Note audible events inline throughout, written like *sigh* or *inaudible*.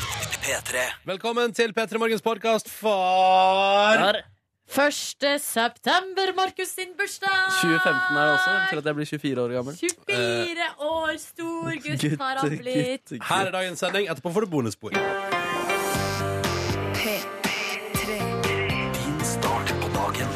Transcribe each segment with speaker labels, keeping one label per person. Speaker 1: P3.
Speaker 2: Velkommen til P3 Morgens podkast for
Speaker 3: Der.
Speaker 4: 1. september, Markus sin bursdag!
Speaker 3: 2015 er det også. Jeg tror at jeg blir 24 år gammel. Eh,
Speaker 4: 24 år stor gutt har han blitt.
Speaker 2: Her er dagens sending. Etterpå får du bonusspor.
Speaker 1: Din start på dagen.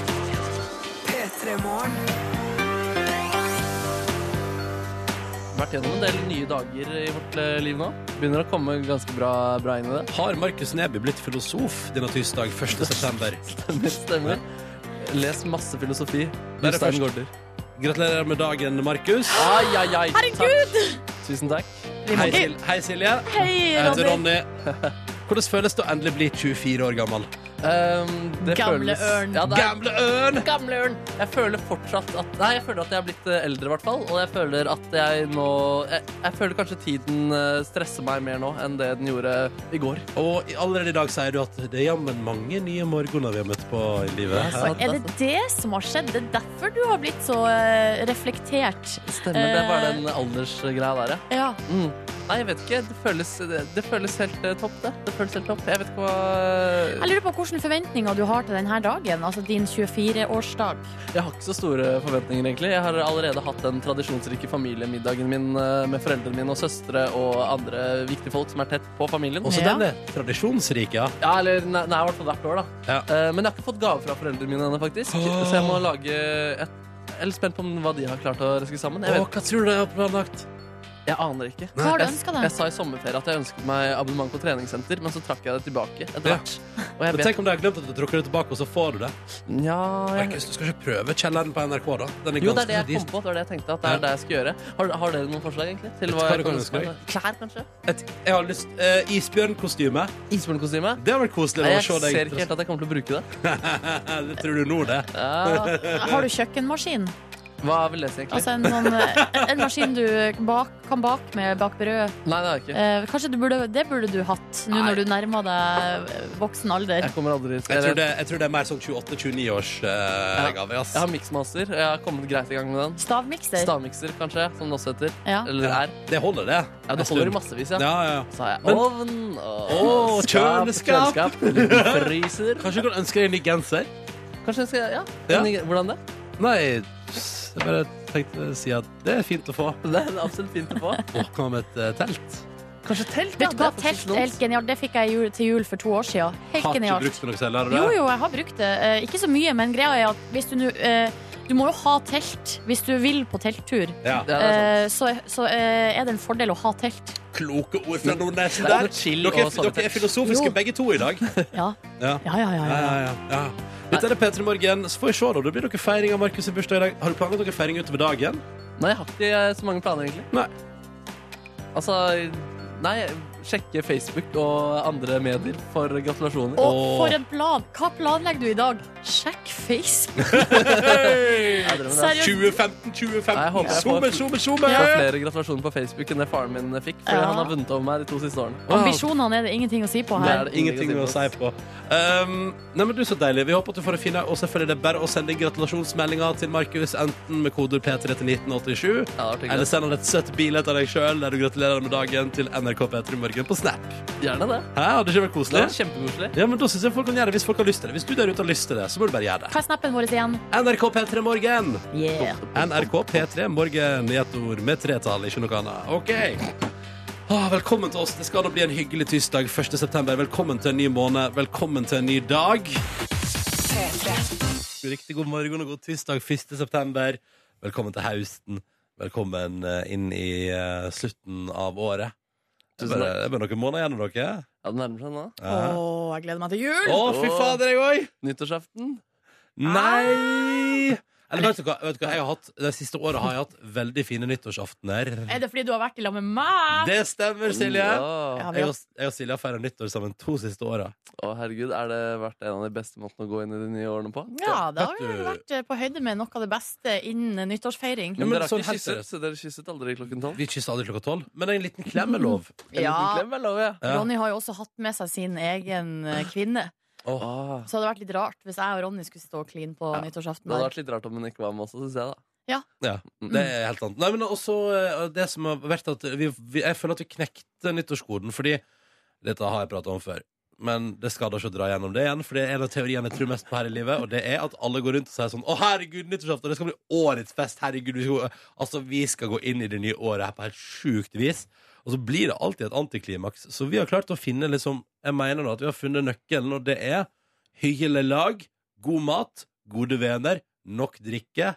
Speaker 3: Vært gjennom en del nye dager i vårt eh, liv nå. Begynner å komme ganske bra, bra inn i det. *laughs*
Speaker 2: Har Markus Neby blitt filosof denne tirsdag 1. september?
Speaker 3: Stemmer. stemmer. Les masse filosofi.
Speaker 2: Der er
Speaker 3: Jostein
Speaker 2: først.
Speaker 3: Gaarder.
Speaker 2: Gratulerer med dagen, Markus.
Speaker 3: Ai, ai, ai.
Speaker 4: Herregud!
Speaker 3: Takk. Tusen takk.
Speaker 2: Hei, Sil Hei Silje.
Speaker 4: Hei,
Speaker 2: Jeg heter
Speaker 4: Ronny.
Speaker 2: Ronny. Hvordan føles det å endelig bli 24 år gammel?
Speaker 3: Um, det
Speaker 4: Gamle
Speaker 3: føles,
Speaker 4: ørn.
Speaker 3: Ja, det er,
Speaker 2: Gamle ørn!
Speaker 3: gamle ørn. Jeg føler fortsatt at Nei, jeg føler at jeg har blitt eh, eldre, i hvert fall. Og jeg føler at jeg nå jeg, jeg føler kanskje tiden eh, stresser meg mer nå enn det den gjorde i går.
Speaker 2: Og i- allerede i dag sier du at det er jammen mange nye morgener vi har møtt på i livet.
Speaker 3: Ja, sant.
Speaker 4: Er det det som har skjedd? Det er derfor du har blitt så eh, reflektert.
Speaker 3: Stemmer, det var
Speaker 4: Eh.
Speaker 3: den aldersgreia der, ja.
Speaker 4: Ja.
Speaker 3: Mm. Nei, jeg vet ikke. Det føles, det, det føles helt eh, topp, det. Det føles helt topp. Jeg vet ikke hva
Speaker 4: Jeg lurer på hvilke forventninger du har til denne dagen, altså din 24-årsdag.
Speaker 3: Jeg har ikke så store forventninger, egentlig. Jeg har allerede hatt den tradisjonsrike familiemiddagen min eh, med foreldrene mine og søstre og andre viktige folk som er tett på familien.
Speaker 2: Også
Speaker 4: Ja.
Speaker 2: den er tradisjonsrik, ja.
Speaker 3: Ja, eller nei, nei, i hvert fall hvert år, da.
Speaker 2: Ja.
Speaker 3: Eh, men jeg har ikke fått gave fra foreldrene mine ennå, faktisk.
Speaker 2: Åh.
Speaker 3: Så jeg må lage et Jeg er litt spent på om hva de har klart å reske sammen. Jeg,
Speaker 2: Og
Speaker 3: vet,
Speaker 2: hva tror du jeg har planlagt?
Speaker 3: jeg aner ikke.
Speaker 4: Hva har du
Speaker 3: Jeg-
Speaker 4: ønska
Speaker 3: Jeg
Speaker 4: deg?
Speaker 3: sa i sommerferie at jeg ønsket meg abonnement på treningssenter, men så trakk jeg det tilbake etter
Speaker 2: Ja.
Speaker 3: hvert. Og jeg
Speaker 2: Men
Speaker 3: vet
Speaker 2: tenk om du har glemt at du har trukket det tilbake, og så får du det.
Speaker 3: ja, jeg,
Speaker 2: Markus, du skal ikke prøve kjelleren på NRK, da? Den er
Speaker 3: Jo, det
Speaker 2: ganske
Speaker 3: er det jeg
Speaker 2: dyr.
Speaker 3: kom på. Det var det jeg tenkte at det
Speaker 2: Ja.
Speaker 3: er det jeg skal gjøre. Har, har dere noen forslag, egentlig? Til
Speaker 2: Vet
Speaker 3: hva
Speaker 2: du hva
Speaker 3: jeg
Speaker 2: du
Speaker 3: kan
Speaker 2: kan
Speaker 3: ønske
Speaker 2: ønske
Speaker 3: meg? Klær, kanskje?
Speaker 2: Et, jeg har lyst eh, Isbjørnkostyme.
Speaker 3: Isbjørnkostyme?
Speaker 2: Det har vært koselig
Speaker 3: Nei,
Speaker 2: å
Speaker 3: Jeg
Speaker 2: se
Speaker 3: ser
Speaker 2: deg.
Speaker 3: ikke helt at jeg kommer til å bruke
Speaker 2: *laughs*
Speaker 3: det.
Speaker 2: det tror du nå, det.
Speaker 3: Ja.
Speaker 4: Har du kjøkkenmaskin?
Speaker 3: Hva vil det si, egentlig?
Speaker 4: Altså en, sånn, eh, en maskin du bak, kan bake med bak brød.
Speaker 3: Nei, det har jeg ikke.
Speaker 4: Eh, kanskje du burde, det burde du hatt nå
Speaker 3: Nei.
Speaker 4: når du nærmer deg eh, voksen alder.
Speaker 3: Jeg kommer aldri til
Speaker 2: Jeg tror det, jeg tror det er mer sånn 28-29 års eh, gave. Ass.
Speaker 3: Jeg har miksmaster. Jeg har kommet greit i gang med den.
Speaker 4: Stavmikser.
Speaker 3: Stavmikser, kanskje, som det også heter.
Speaker 4: Ja.
Speaker 3: Eller er.
Speaker 2: Det holder, det.
Speaker 3: Ja, det
Speaker 2: En
Speaker 3: holder
Speaker 2: stund.
Speaker 3: i massevis, ja.
Speaker 2: Ja, ja.
Speaker 3: Så har
Speaker 2: Men-
Speaker 3: jeg ovn og
Speaker 2: Åh,
Speaker 3: skap,
Speaker 2: kjøleskap!
Speaker 3: kjøleskap, en liten fryser.
Speaker 2: Kanskje du kan ønske deg en ny genser?
Speaker 3: Kanskje jeg skal Ja.
Speaker 2: Ja.
Speaker 3: en- Hvordan det?
Speaker 2: Nei, jeg bare tenkte å si at det er fint å få.
Speaker 3: Det er absolutt fint å få.
Speaker 2: Og hva med et eh, telt?
Speaker 3: Kanskje telt?
Speaker 4: Vet du hva,
Speaker 3: ja, det er faktisk
Speaker 4: telt
Speaker 3: dumt.
Speaker 4: er helt genialt. Det fikk jeg i jul, til jul for to år siden. Helt
Speaker 2: Har ikke
Speaker 4: genialt.
Speaker 2: brukt det noe selv, har du det?
Speaker 4: Jo, jo, jeg har brukt det. Eh, Ikke så mye, men greia er at hvis du nå eh, Du må jo ha telt hvis du vil på telttur.
Speaker 2: Ja.
Speaker 3: Ja, det
Speaker 4: Eh,
Speaker 3: er sant.
Speaker 4: Så, så eh, er det en fordel å ha telt.
Speaker 2: Kloke ord fra noen der.
Speaker 3: Det er noe chill
Speaker 2: Dere,
Speaker 3: og
Speaker 2: er- dere er
Speaker 3: sommertelt.
Speaker 2: filosofiske
Speaker 4: Jo.
Speaker 2: begge to i
Speaker 3: *laughs*
Speaker 2: dag.
Speaker 4: Ja.
Speaker 2: Ja.
Speaker 4: Ja, ja,
Speaker 2: Ja,
Speaker 4: ja. ja,
Speaker 2: ja,
Speaker 4: ja.
Speaker 2: ja. ja. Dette er P3 Morgen. Så får vi se, da. Det blir noe feiring av Markus' sin bursdag i dag. Har du planlagt noe feiring utover dagen?
Speaker 3: Nei, jeg har ikke eh, så mange planer, egentlig.
Speaker 2: Nei.
Speaker 3: Altså Nei, sjekke Facebook og andre medier for gratulasjoner.
Speaker 4: Og
Speaker 2: Åh.
Speaker 4: for en plan! Hva planlegger du i dag? Sjekk Facebook.
Speaker 2: *laughs*
Speaker 3: Jeg drømmer det.
Speaker 4: Seriøst.
Speaker 2: 2015, 2015.
Speaker 3: Nei, jeg håper jeg får-
Speaker 2: Zoomer, zoomer, zoomer!
Speaker 3: Jeg får flere gratulasjoner på Facebook enn det faren min fikk, fordi
Speaker 4: Ja.
Speaker 3: han har vunnet over meg de to siste årene.
Speaker 4: Ambisjonene er det ingenting å si på
Speaker 3: Det er
Speaker 4: her.
Speaker 3: det.
Speaker 2: Ingenting å si på. Um, nei, men du Så deilig. Vi håper at du får det fine. Og selvfølgelig det er bare å sende inn gratulasjonsmeldinger til Markus, enten med koder P3 til 1987,
Speaker 3: Ja, det var
Speaker 2: eller
Speaker 3: Ellers,
Speaker 2: send han et søtt bilde av deg sjøl der du gratulerer med dagen til NRK P3 Morgen på Snap.
Speaker 3: gjerne det.
Speaker 2: Hæ, hadde ikke det vært
Speaker 3: Det
Speaker 2: koselig?
Speaker 3: var kjempekoselig.
Speaker 2: Ja, men da synes jeg folk kan gjøre det hvis folk har lyst til det. Hvis du der ute har lyst til det, så må du bare gjøre det.
Speaker 4: Hva er snappen vår igjen?
Speaker 2: NRK P3 Morgen.
Speaker 4: Yeah.
Speaker 2: NRK P3 Morgen i ett ord med tretall, ikke noe annet. OK. Ah, velkommen til oss. Det skal da bli en hyggelig tirsdag 1. september. Velkommen til en ny måned. Velkommen til en ny dag. Riktig god morgen og god tirsdag 1. september. Velkommen til høsten. Velkommen eh, inn i eh, slutten av året. Det er
Speaker 3: Tusen
Speaker 2: bare,
Speaker 3: takk.
Speaker 2: det er bare noen måneder igjen av dere.
Speaker 3: Ja, det nærmer seg nå.
Speaker 4: Å,
Speaker 2: Ja.
Speaker 4: jeg gleder meg til jul!
Speaker 2: Å, fy fader, jeg òg!
Speaker 3: Nyttårsaften.
Speaker 2: Nei! Ah! Eller vet du hva, vet du hva? Jeg har hatt, det siste året har jeg hatt veldig fine nyttårsaftener.
Speaker 4: Er det fordi du har vært i lag med meg?
Speaker 2: Det stemmer, Silje.
Speaker 3: Ja.
Speaker 4: Ja, vi
Speaker 2: Jeg
Speaker 4: har-
Speaker 2: og, jeg og Silje har feira nyttår sammen to siste åra.
Speaker 3: Å, herregud, er det vært en av de beste måtene å gå inn i de nye årene på?
Speaker 4: Ja, det har
Speaker 2: Vet du-
Speaker 4: jo vært eh, på høyde med noe av det beste innen nyttårsfeiring.
Speaker 2: Ja,
Speaker 3: Men
Speaker 2: men
Speaker 3: dere har
Speaker 2: sånn
Speaker 3: ikke
Speaker 2: helt
Speaker 3: kysset,
Speaker 2: seriøst.
Speaker 3: så dere kysset aldri klokken tolv?
Speaker 2: Vi kysser aldri klokka tolv, men en liten klem er lov.
Speaker 3: En liten klem, vel, lover jeg.
Speaker 2: Ja.
Speaker 4: Ronny har jo også hatt med seg sin egen eh, kvinne.
Speaker 2: Åh.
Speaker 3: Ah,
Speaker 4: Så det hadde vært litt rart hvis jeg og Ronny skulle stå og kline på
Speaker 3: Ja.
Speaker 4: nyttårsaften.
Speaker 3: det hadde
Speaker 4: der.
Speaker 3: vært litt rart om hun ikke var med også, synes jeg, da.
Speaker 2: Ja, det er helt sant. Nei, men også eh, det som har vært at vi, vi, Jeg føler at vi knekte nyttårskoden, fordi Dette har jeg pratet om før. Men det skader ikke å dra gjennom det igjen, for det er en av teoriene jeg tror mest på her i livet, og det er at alle går rundt og sier sånn Å, herregud, nyttårsaften, det skal bli årets fest, herregud. Vi skal gå. Altså, vi skal gå inn i det nye året her på helt sjukt vis. Og så blir det alltid et antiklimaks. Så vi har klart å finne liksom Jeg mener da at vi har funnet nøkkelen, og det er hyggelag, god mat, gode venner, nok drikke,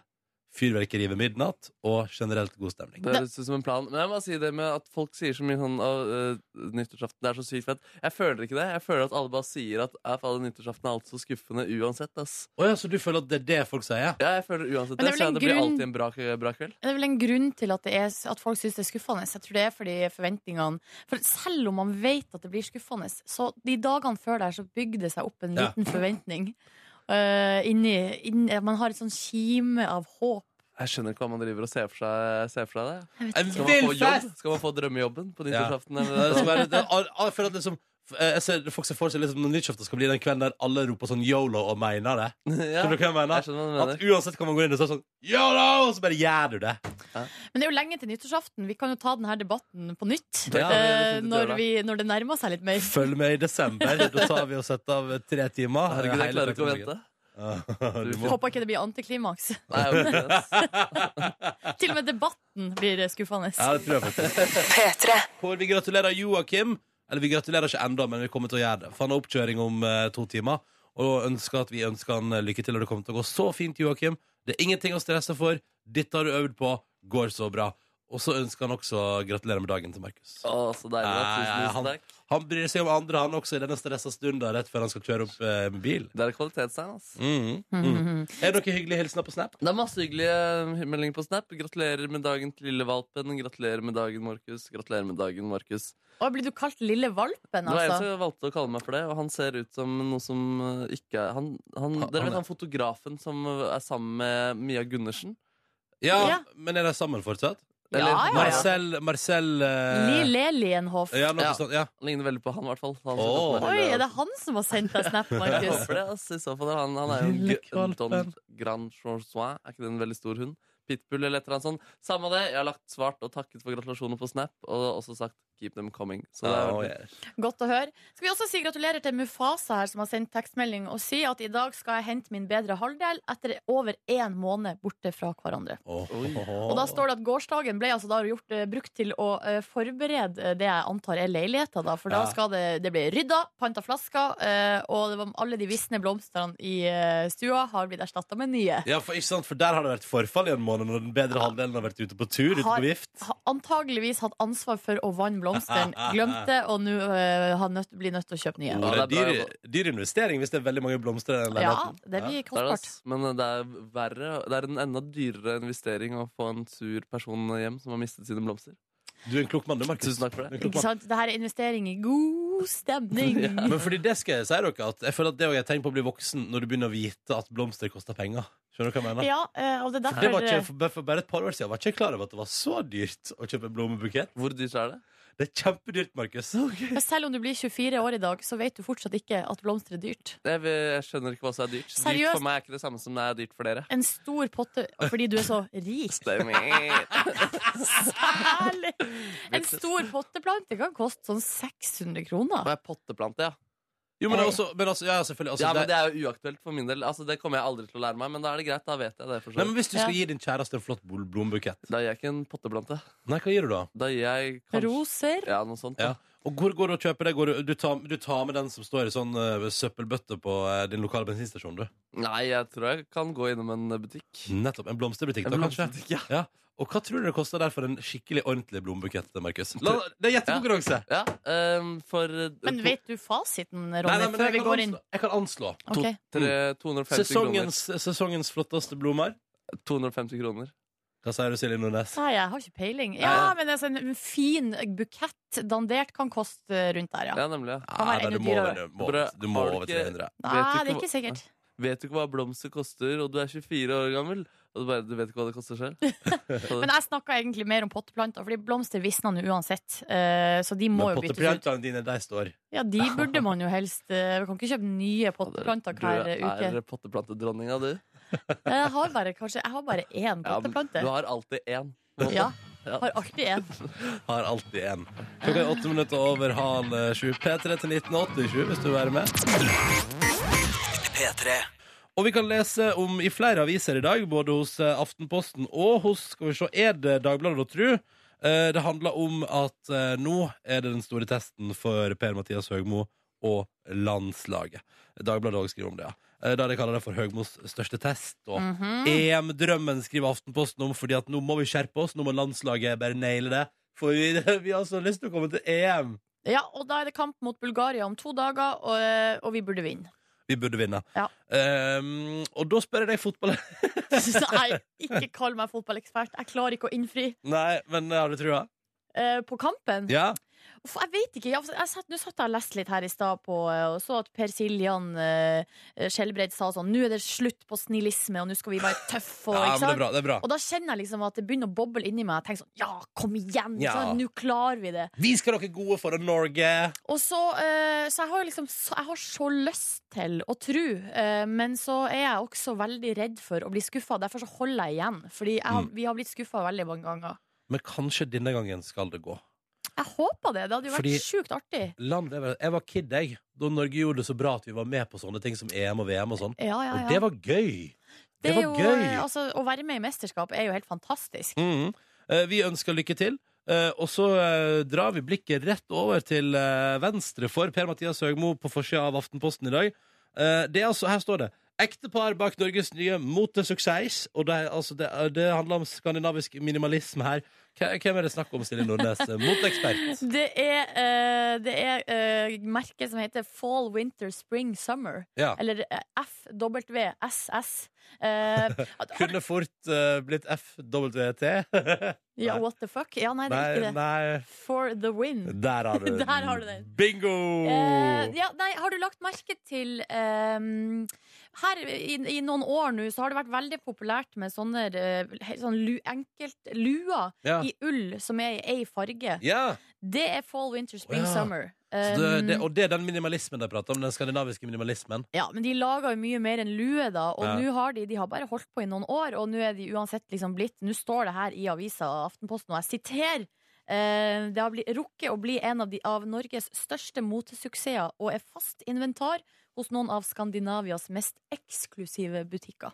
Speaker 2: fyrverkeri ved midnatt og generelt god stemning.
Speaker 3: Det høres ut som en plan. Men jeg må si det med at folk sier så mye sånn av nyttårsaften det er så sykt fett. Jeg føler ikke det. Jeg føler at alle bare sier at «Ja, faen, nyttårsaften er alt så skuffende uansett. ass.
Speaker 2: Å ja, så du føler at det er det folk sier?
Speaker 3: Ja, jeg føler uansett
Speaker 4: Men
Speaker 3: det,
Speaker 4: det er vel
Speaker 3: så
Speaker 4: en
Speaker 3: det blir
Speaker 4: grunn-
Speaker 3: alltid en bra, bra kveld.
Speaker 4: Det er vel en grunn til at, det er, at folk syns det er skuffende. Jeg tror det er fordi forventningene For selv om man vet at det blir skuffende, så de dagene før der så bygde det seg opp en
Speaker 2: Ja.
Speaker 4: liten forventning. Eh, inni, inn- man har et sånn kime av håp.
Speaker 3: Jeg skjønner ikke hva man driver og ser for seg, ser for seg det.
Speaker 2: En
Speaker 3: Skal man, få
Speaker 2: vill
Speaker 3: jobb?
Speaker 2: fest!
Speaker 3: Skal man få drømmejobben på
Speaker 2: Ja.
Speaker 3: nyttårsaften?
Speaker 2: Det
Speaker 3: eller?
Speaker 2: skal være, det, al- al- jeg føler at liksom eh, jeg ser, Folk ser for seg liksom når nyttårsaften skal bli den kvelden der alle roper sånn yolo og mener det.
Speaker 3: Ja,
Speaker 2: Skjønner du hva jeg
Speaker 3: jeg
Speaker 2: mener?
Speaker 3: skjønner hva du
Speaker 2: At
Speaker 3: mener.
Speaker 2: uansett hva man går inn og så er det sånn yolo, og så bare gjør du det.
Speaker 4: Men det er jo lenge til nyttårsaften. Vi kan jo ta denne debatten på nytt
Speaker 2: Ja,
Speaker 4: eh,
Speaker 3: det er fint å gjøre
Speaker 4: når,
Speaker 3: det.
Speaker 4: vi, når det nærmer seg litt mer.
Speaker 2: Følg med i desember. Da tar vi og setter av tre timer. eh,
Speaker 3: Herregud, jeg
Speaker 2: Hele
Speaker 3: klarer ikke å vente.
Speaker 2: teknologien. *laughs* Du må
Speaker 4: Håper ikke det blir antiklimaks.
Speaker 3: Nei, jeg orker ikke det, ass.
Speaker 4: Til og med debatten blir skuffende.
Speaker 2: Ja, det tror jeg faktisk. Hvor vi gratulerer Joakim. Eller vi gratulerer ikke ennå, men vi kommer til å gjøre det. For han har oppkjøring om eh, to timer. Og ønsker at vi ønsker han eh, lykke til, og det kommer til å gå så fint, Joakim. Det er ingenting å stresse for. Dette har du øvd på. Går så bra. Og så ønsker han også gratulerer med dagen til Markus.
Speaker 3: Å, så deilig. da.
Speaker 2: Nei,
Speaker 3: Tusen,
Speaker 2: han-
Speaker 3: tusen takk.
Speaker 2: Han bryr seg om andre, han også, i denne stressa stunden rett før han skal kjøre opp eh, med bil.
Speaker 3: Det er et kvalitetstegn, ass.
Speaker 2: Mm.
Speaker 4: *laughs*
Speaker 2: Mm. Er det noen hyggelige hilsener på Snap?
Speaker 3: Det er masse hyggelige meldinger på Snap. Gratulerer med dagen til lille valpen. Gratulerer med dagen, Markus. Gratulerer med dagen, Markus.
Speaker 4: Og blir du kalt lille valpen,
Speaker 3: Det var en
Speaker 4: altså?
Speaker 3: som valgte å kalle meg for det, og han ser ut som noe som eh, ikke er han, han,
Speaker 2: Han-
Speaker 3: Dere
Speaker 2: han
Speaker 3: vet han fotografen som eh, er sammen med Mia Gundersen?
Speaker 2: Ja,
Speaker 4: Ja.
Speaker 2: men er de sammen fortsatt?
Speaker 4: Ja, ja, ja.
Speaker 2: Marcel, Marcel eh,
Speaker 4: Lille Lienhoff.
Speaker 2: Ja, noe
Speaker 3: Ja.
Speaker 2: sånt. Ja.
Speaker 3: Han ligner veldig på han, i hvert fall. Han
Speaker 2: Åh.
Speaker 4: Oi, er det han som har sendt deg snap,
Speaker 3: Jeg *laughs*
Speaker 4: Markus?
Speaker 3: håper det. ass, i så fall. Han, han er jo en
Speaker 2: Lille
Speaker 3: gu- en
Speaker 2: valpen.
Speaker 3: Don Grand Chorsois. Er ikke det en veldig stor hund? Pitbull eller et eller annet sånt. Samme det, jeg har lagt svart og takket for gratulasjoner på Snap, og også sagt 'keep them coming'. Så det er
Speaker 2: Åh,
Speaker 3: veldig-
Speaker 2: yes.
Speaker 4: Godt å høre. Skal vi også si gratulerer til Mufasa her, som har sendt tekstmelding, og si at i dag skal jeg hente min bedre halvdel etter over én måned borte fra hverandre.
Speaker 2: Åh.
Speaker 3: Oi.
Speaker 4: Og da står det at gårsdagen ble altså da gjort, eh, brukt til å eh, forberede eh, det jeg antar er leiligheter, da. For da
Speaker 2: Ja.
Speaker 4: skal det, det bli rydda, panta flasker, eh, og det var, alle de visne blomstene i eh, stua har blitt erstatta med nye.
Speaker 2: Ja, for, ikke sant? for der har det vært forfall i en måned når den bedre halvdelen har vært ute på tur. Ute på
Speaker 4: Har-
Speaker 2: vift
Speaker 4: Ha, antageligvis hatt ansvar for å vanne
Speaker 2: *laughs*
Speaker 4: blomstene, glemte det, og nå eh, har nødt, blir nødt til å kjøpe nye.
Speaker 2: Og
Speaker 3: Ja, det
Speaker 2: det
Speaker 3: er
Speaker 2: er
Speaker 3: bra
Speaker 2: dyr, dyr investering hvis det er veldig mange blomster i den
Speaker 4: Ja,
Speaker 2: leiligheten.
Speaker 4: det blir
Speaker 3: Det er det,
Speaker 4: kostbart.
Speaker 3: ass. Men eh, det er verre Det er en enda dyrere investering å få en sur person hjem som har mistet sine blomster.
Speaker 2: Ja. Du er en klok mann, du, Markus.
Speaker 3: Tusen takk
Speaker 2: Du
Speaker 3: for
Speaker 2: er
Speaker 3: det.
Speaker 2: en klok
Speaker 4: Ikke
Speaker 2: mann.
Speaker 4: sant? Det her er investering i god
Speaker 2: *laughs*
Speaker 4: stemning.
Speaker 2: Men fordi det skal jeg si dere at Jeg føler at det også jeg tenker på å bli voksen når du begynner å vite at blomster koster penger. Skjønner du hva jeg mener?
Speaker 4: Ja, eh, og det
Speaker 2: For, det
Speaker 4: er derfor
Speaker 2: var ikke, for, for bare et par år siden var jeg ikke klar over at det var så dyrt å kjøpe en blommebukett.
Speaker 3: Hvor dyrt er det?
Speaker 2: Det er kjempedyrt,
Speaker 4: *laughs*
Speaker 2: Markus.
Speaker 4: Men eh, Selv om du blir 24 år i dag, så vet du fortsatt ikke at blomster er dyrt.
Speaker 3: Jeg, vil, jeg skjønner ikke hva som er dyrt.
Speaker 4: Seriøst?
Speaker 3: Dyrt for meg er ikke det samme som det er dyrt for
Speaker 2: *laughs*
Speaker 3: dere.
Speaker 4: En stor potte fordi du er så
Speaker 3: *laughs*
Speaker 4: rik.
Speaker 3: Stemmer.
Speaker 4: Særlig! En stor potteplante kan koste sånn 600
Speaker 3: Og
Speaker 4: kroner.
Speaker 3: jeg potteplante, ja.
Speaker 2: Jo, men også, men altså, ja, selvfølgelig. Altså,
Speaker 3: ja, men
Speaker 2: det,
Speaker 3: det er jo uaktuelt for min del. Altså, det kommer jeg aldri til å lære meg, men da er det greit. Da vet jeg det. For så
Speaker 2: nei, men
Speaker 3: vidt.
Speaker 2: hvis du skal gi din kjæreste en flott bl- blombukett,
Speaker 3: Da gir jeg ikke en potteplante.
Speaker 2: nei, hva gir du da?
Speaker 3: Da gir jeg kanskje
Speaker 4: Roser.
Speaker 3: Ja, noe sånt.
Speaker 2: Ja.
Speaker 3: Ja.
Speaker 2: Og hvor går du og kjøper det? Går du, du, tar, du tar med den som står i sånn eh, søppelbøtte på eh, din lokale bensinstasjon, du?
Speaker 3: Nei, jeg tror jeg kan gå innom en butikk.
Speaker 2: Nettopp. En blomsterbutikk,
Speaker 3: En
Speaker 2: da, kanskje?
Speaker 3: blomsterbutikk, ja.
Speaker 2: Ja. Og hva tror du det koster der for en skikkelig ordentlig blombukett, Markus? La, det er gjettekonkurranse!
Speaker 3: Ja, ehm, for eh,
Speaker 4: Men
Speaker 3: to-
Speaker 4: vet du fasiten,
Speaker 2: Nei, nei,
Speaker 4: Ronny,
Speaker 2: men
Speaker 4: før vi
Speaker 2: jeg,
Speaker 4: går
Speaker 2: kan
Speaker 4: inn?
Speaker 2: anslå, jeg kan anslå.
Speaker 3: to-
Speaker 4: Ok.
Speaker 3: tre- 250 kroner.
Speaker 2: Mm. Sesongens, sesongens flotteste blomster.
Speaker 3: 250 kroner.
Speaker 2: Hva sier du, Silje Nordnes?
Speaker 4: Sa jeg, jeg har ikke peiling.
Speaker 3: Nei,
Speaker 4: Ja,
Speaker 3: ja.
Speaker 4: men altså, en fin bukett dandert kan koste rundt der, ja.
Speaker 3: Ja, nemlig. ja.
Speaker 4: kan være
Speaker 2: Nei,
Speaker 4: enda
Speaker 2: du må
Speaker 4: dyrere.
Speaker 2: over, du må,
Speaker 3: Bra.
Speaker 2: du må
Speaker 3: Har du
Speaker 2: over
Speaker 3: ikke-
Speaker 2: 300.
Speaker 4: Nei,
Speaker 3: Vet
Speaker 4: det
Speaker 3: du
Speaker 4: er
Speaker 3: ikke
Speaker 4: ikke sikkert.
Speaker 3: Vet du ikke hva blomster koster, og du er 24 år gammel? Og du, bare, du vet ikke hva det koster
Speaker 4: *laughs*
Speaker 3: selv? Så
Speaker 4: Men jeg snakka egentlig mer om potteplanter, fordi blomster visner nå uansett. eh, Så de må
Speaker 2: Men
Speaker 4: jo byttes ut.
Speaker 2: potteplantene dine, de står.
Speaker 4: Ja, de burde man jo helst eh, Vi kan ikke kjøpe nye potteplanter hver
Speaker 3: Du
Speaker 4: uke.
Speaker 3: er potteplantedronninga, du.
Speaker 4: Jeg har bare, kanskje, jeg har bare én
Speaker 3: Ja, men
Speaker 4: potteplante.
Speaker 3: du har alltid én.
Speaker 4: Ja,
Speaker 3: Ja.
Speaker 4: Har alltid en.
Speaker 2: Har alltid en. Klokka er åtte minutter over halv eh, sju. P3 til 1987 hvis du vil være med.
Speaker 1: P3.
Speaker 2: Og vi kan lese om i flere aviser i dag, både hos eh, Aftenposten og hos skal vi se, er det Dagbladet og Tru. Eh, Det handler om at eh, nå er det den store testen for Per-Mathias Høgmo og landslaget. Dagbladet også skriver om det, ja. Eh, Der de kaller det for Høgmos største test. Og EM-drømmen skriver Aftenposten om, fordi at nå må vi skjerpe oss. Nå må landslaget bare naile det. For vi, vi har så lyst til å komme til EM.
Speaker 4: Ja, og da er det kamp mot Bulgaria om to dager, og, eh, og vi burde vinne. *laughs*
Speaker 2: Vi burde vinne.
Speaker 4: Ja.
Speaker 2: Ehm, og da spør jeg deg, fotball... *laughs*
Speaker 4: Så Nei, ikke kall meg fotballekspert. Jeg klarer ikke å innfri.
Speaker 2: Nei, men har du trua?
Speaker 4: Eh, på kampen?
Speaker 2: Ja?
Speaker 4: Uff, jeg vet ikke. Jeg, jeg satt, nå satt jeg og leste litt her i stad på, eh, og så at Per Siljan eh, Skjelbreid sa sånn Nå er det slutt på snillisme, og nå skal vi være tøffe. Og,
Speaker 2: ja,
Speaker 4: ikke
Speaker 2: men det er
Speaker 4: sant?
Speaker 2: bra. Det er bra.
Speaker 4: og da kjenner jeg liksom at det begynner å boble inni meg. Jeg tenker sånn Ja, kom igjen!
Speaker 2: Ja.
Speaker 4: sånn, Nå klarer vi det.
Speaker 2: Vi skal være gode for Norge!
Speaker 4: Og så, eh, så jeg har liksom så, Jeg har så lyst til å tro, eh, men så er jeg også veldig redd for å bli skuffa. Derfor så holder jeg igjen. Fordi jeg,
Speaker 2: Mm.
Speaker 4: har- vi har blitt skuffa veldig mange ganger.
Speaker 2: Men kanskje denne gangen skal det gå.
Speaker 4: Jeg håper det. Det hadde jo vært
Speaker 2: Fordi-
Speaker 4: sjukt artig.
Speaker 2: Land, jeg var- jeg var kid, jeg, da Norge gjorde det så bra at vi var med på sånne ting som EM og VM og sånn.
Speaker 4: Ja, ja, ja.
Speaker 2: Og det var gøy! Det,
Speaker 4: Det er
Speaker 2: var
Speaker 4: jo,
Speaker 2: gøy!
Speaker 4: eh, Altså, å være med i mesterskap er jo helt fantastisk.
Speaker 2: Mhm. Eh, Vi ønsker lykke til. Eh, og så eh, drar vi blikket rett over til eh, venstre for Per-Mathias Høgmo på forsida av Aftenposten i dag. Eh, det er altså, her står det Ektepar bak Norges nye motesuksess. Og det, er altså, det, er- det handler om skandinavisk minimalisme her. Hva- Hvem er det snakk om, Silje
Speaker 4: *laughs*
Speaker 2: Nordnes? Eh, Moteekspert.
Speaker 4: Det er, eh, det er eh, merket som heter Fall, Winter, Spring, Summer.
Speaker 2: Ja.
Speaker 4: Eller eh, FWSS.
Speaker 2: *laughs*
Speaker 4: Eh, at-
Speaker 2: Kunne fort eh, blitt
Speaker 4: *laughs*
Speaker 2: FWT.
Speaker 4: ja,
Speaker 2: nei.
Speaker 4: what the fuck? Ja, nei, det er
Speaker 2: nei,
Speaker 4: ikke det.
Speaker 2: nei,
Speaker 4: For the win.
Speaker 2: der har du den.
Speaker 4: *laughs* Der har du den.
Speaker 2: Bingo!
Speaker 4: Eh, ja, nei, har du lagt merke til ehm, Her i, i noen år nå så har det vært veldig populært med sånne, eh, he- sånn lu, enkelt luer
Speaker 2: ja.
Speaker 4: i ull som er i ei farge.
Speaker 2: ja.
Speaker 4: Det er fall, winter, spring,
Speaker 2: Å, ja.
Speaker 4: summer.
Speaker 2: Så det,
Speaker 4: Um,
Speaker 2: det, og det er den minimalismen de prater om, den skandinaviske minimalismen.
Speaker 4: ja, men de laga jo mye mer enn lue, da. Og
Speaker 2: Ja.
Speaker 4: nå har de, de har bare holdt på i noen år, og nå er de uansett liksom blitt Nå står det her i avisa Aftenposten, og jeg siterer. eh, det har bli, rukket å bli en av, de, av Norges største motesuksesser og er fast inventar hos noen av Skandinavias mest eksklusive butikker.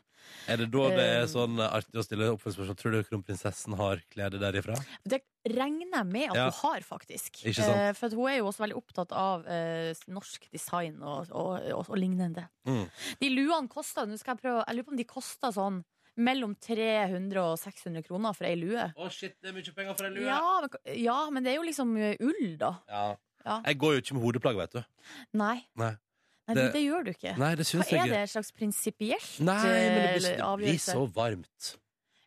Speaker 2: Er det da det er sånn artig å stille oppfølgingsspørsmål? Tror du kronprinsessen har klede derifra?
Speaker 4: Det regner jeg med at
Speaker 2: Ja.
Speaker 4: hun har, faktisk.
Speaker 2: Ikke sant?
Speaker 4: Eh, for at hun er jo også veldig opptatt av eh, norsk design og, og, og, og lignende.
Speaker 2: Mm.
Speaker 4: De luene kosta Nå skal jeg prøve Jeg lurer på om de kosta sånn mellom 300 og 600 kroner for ei lue.
Speaker 2: Å, shit, det er mye penger for ei
Speaker 4: Ja men, ja, men det er jo liksom eh, ull, da. Ja.
Speaker 2: Jeg går jo ikke med hodeplagg, vet du.
Speaker 4: Nei.
Speaker 2: Nei.
Speaker 4: Nei, det,
Speaker 2: Det-
Speaker 4: det gjør du ikke.
Speaker 2: Nei, det
Speaker 4: Hva
Speaker 2: syns
Speaker 4: er
Speaker 2: jeg
Speaker 4: det?
Speaker 2: ikke.
Speaker 4: Et slags prinsipielt
Speaker 2: Nei, men det blir,
Speaker 4: eh,
Speaker 2: det blir
Speaker 4: avgjørelse?
Speaker 2: så varmt.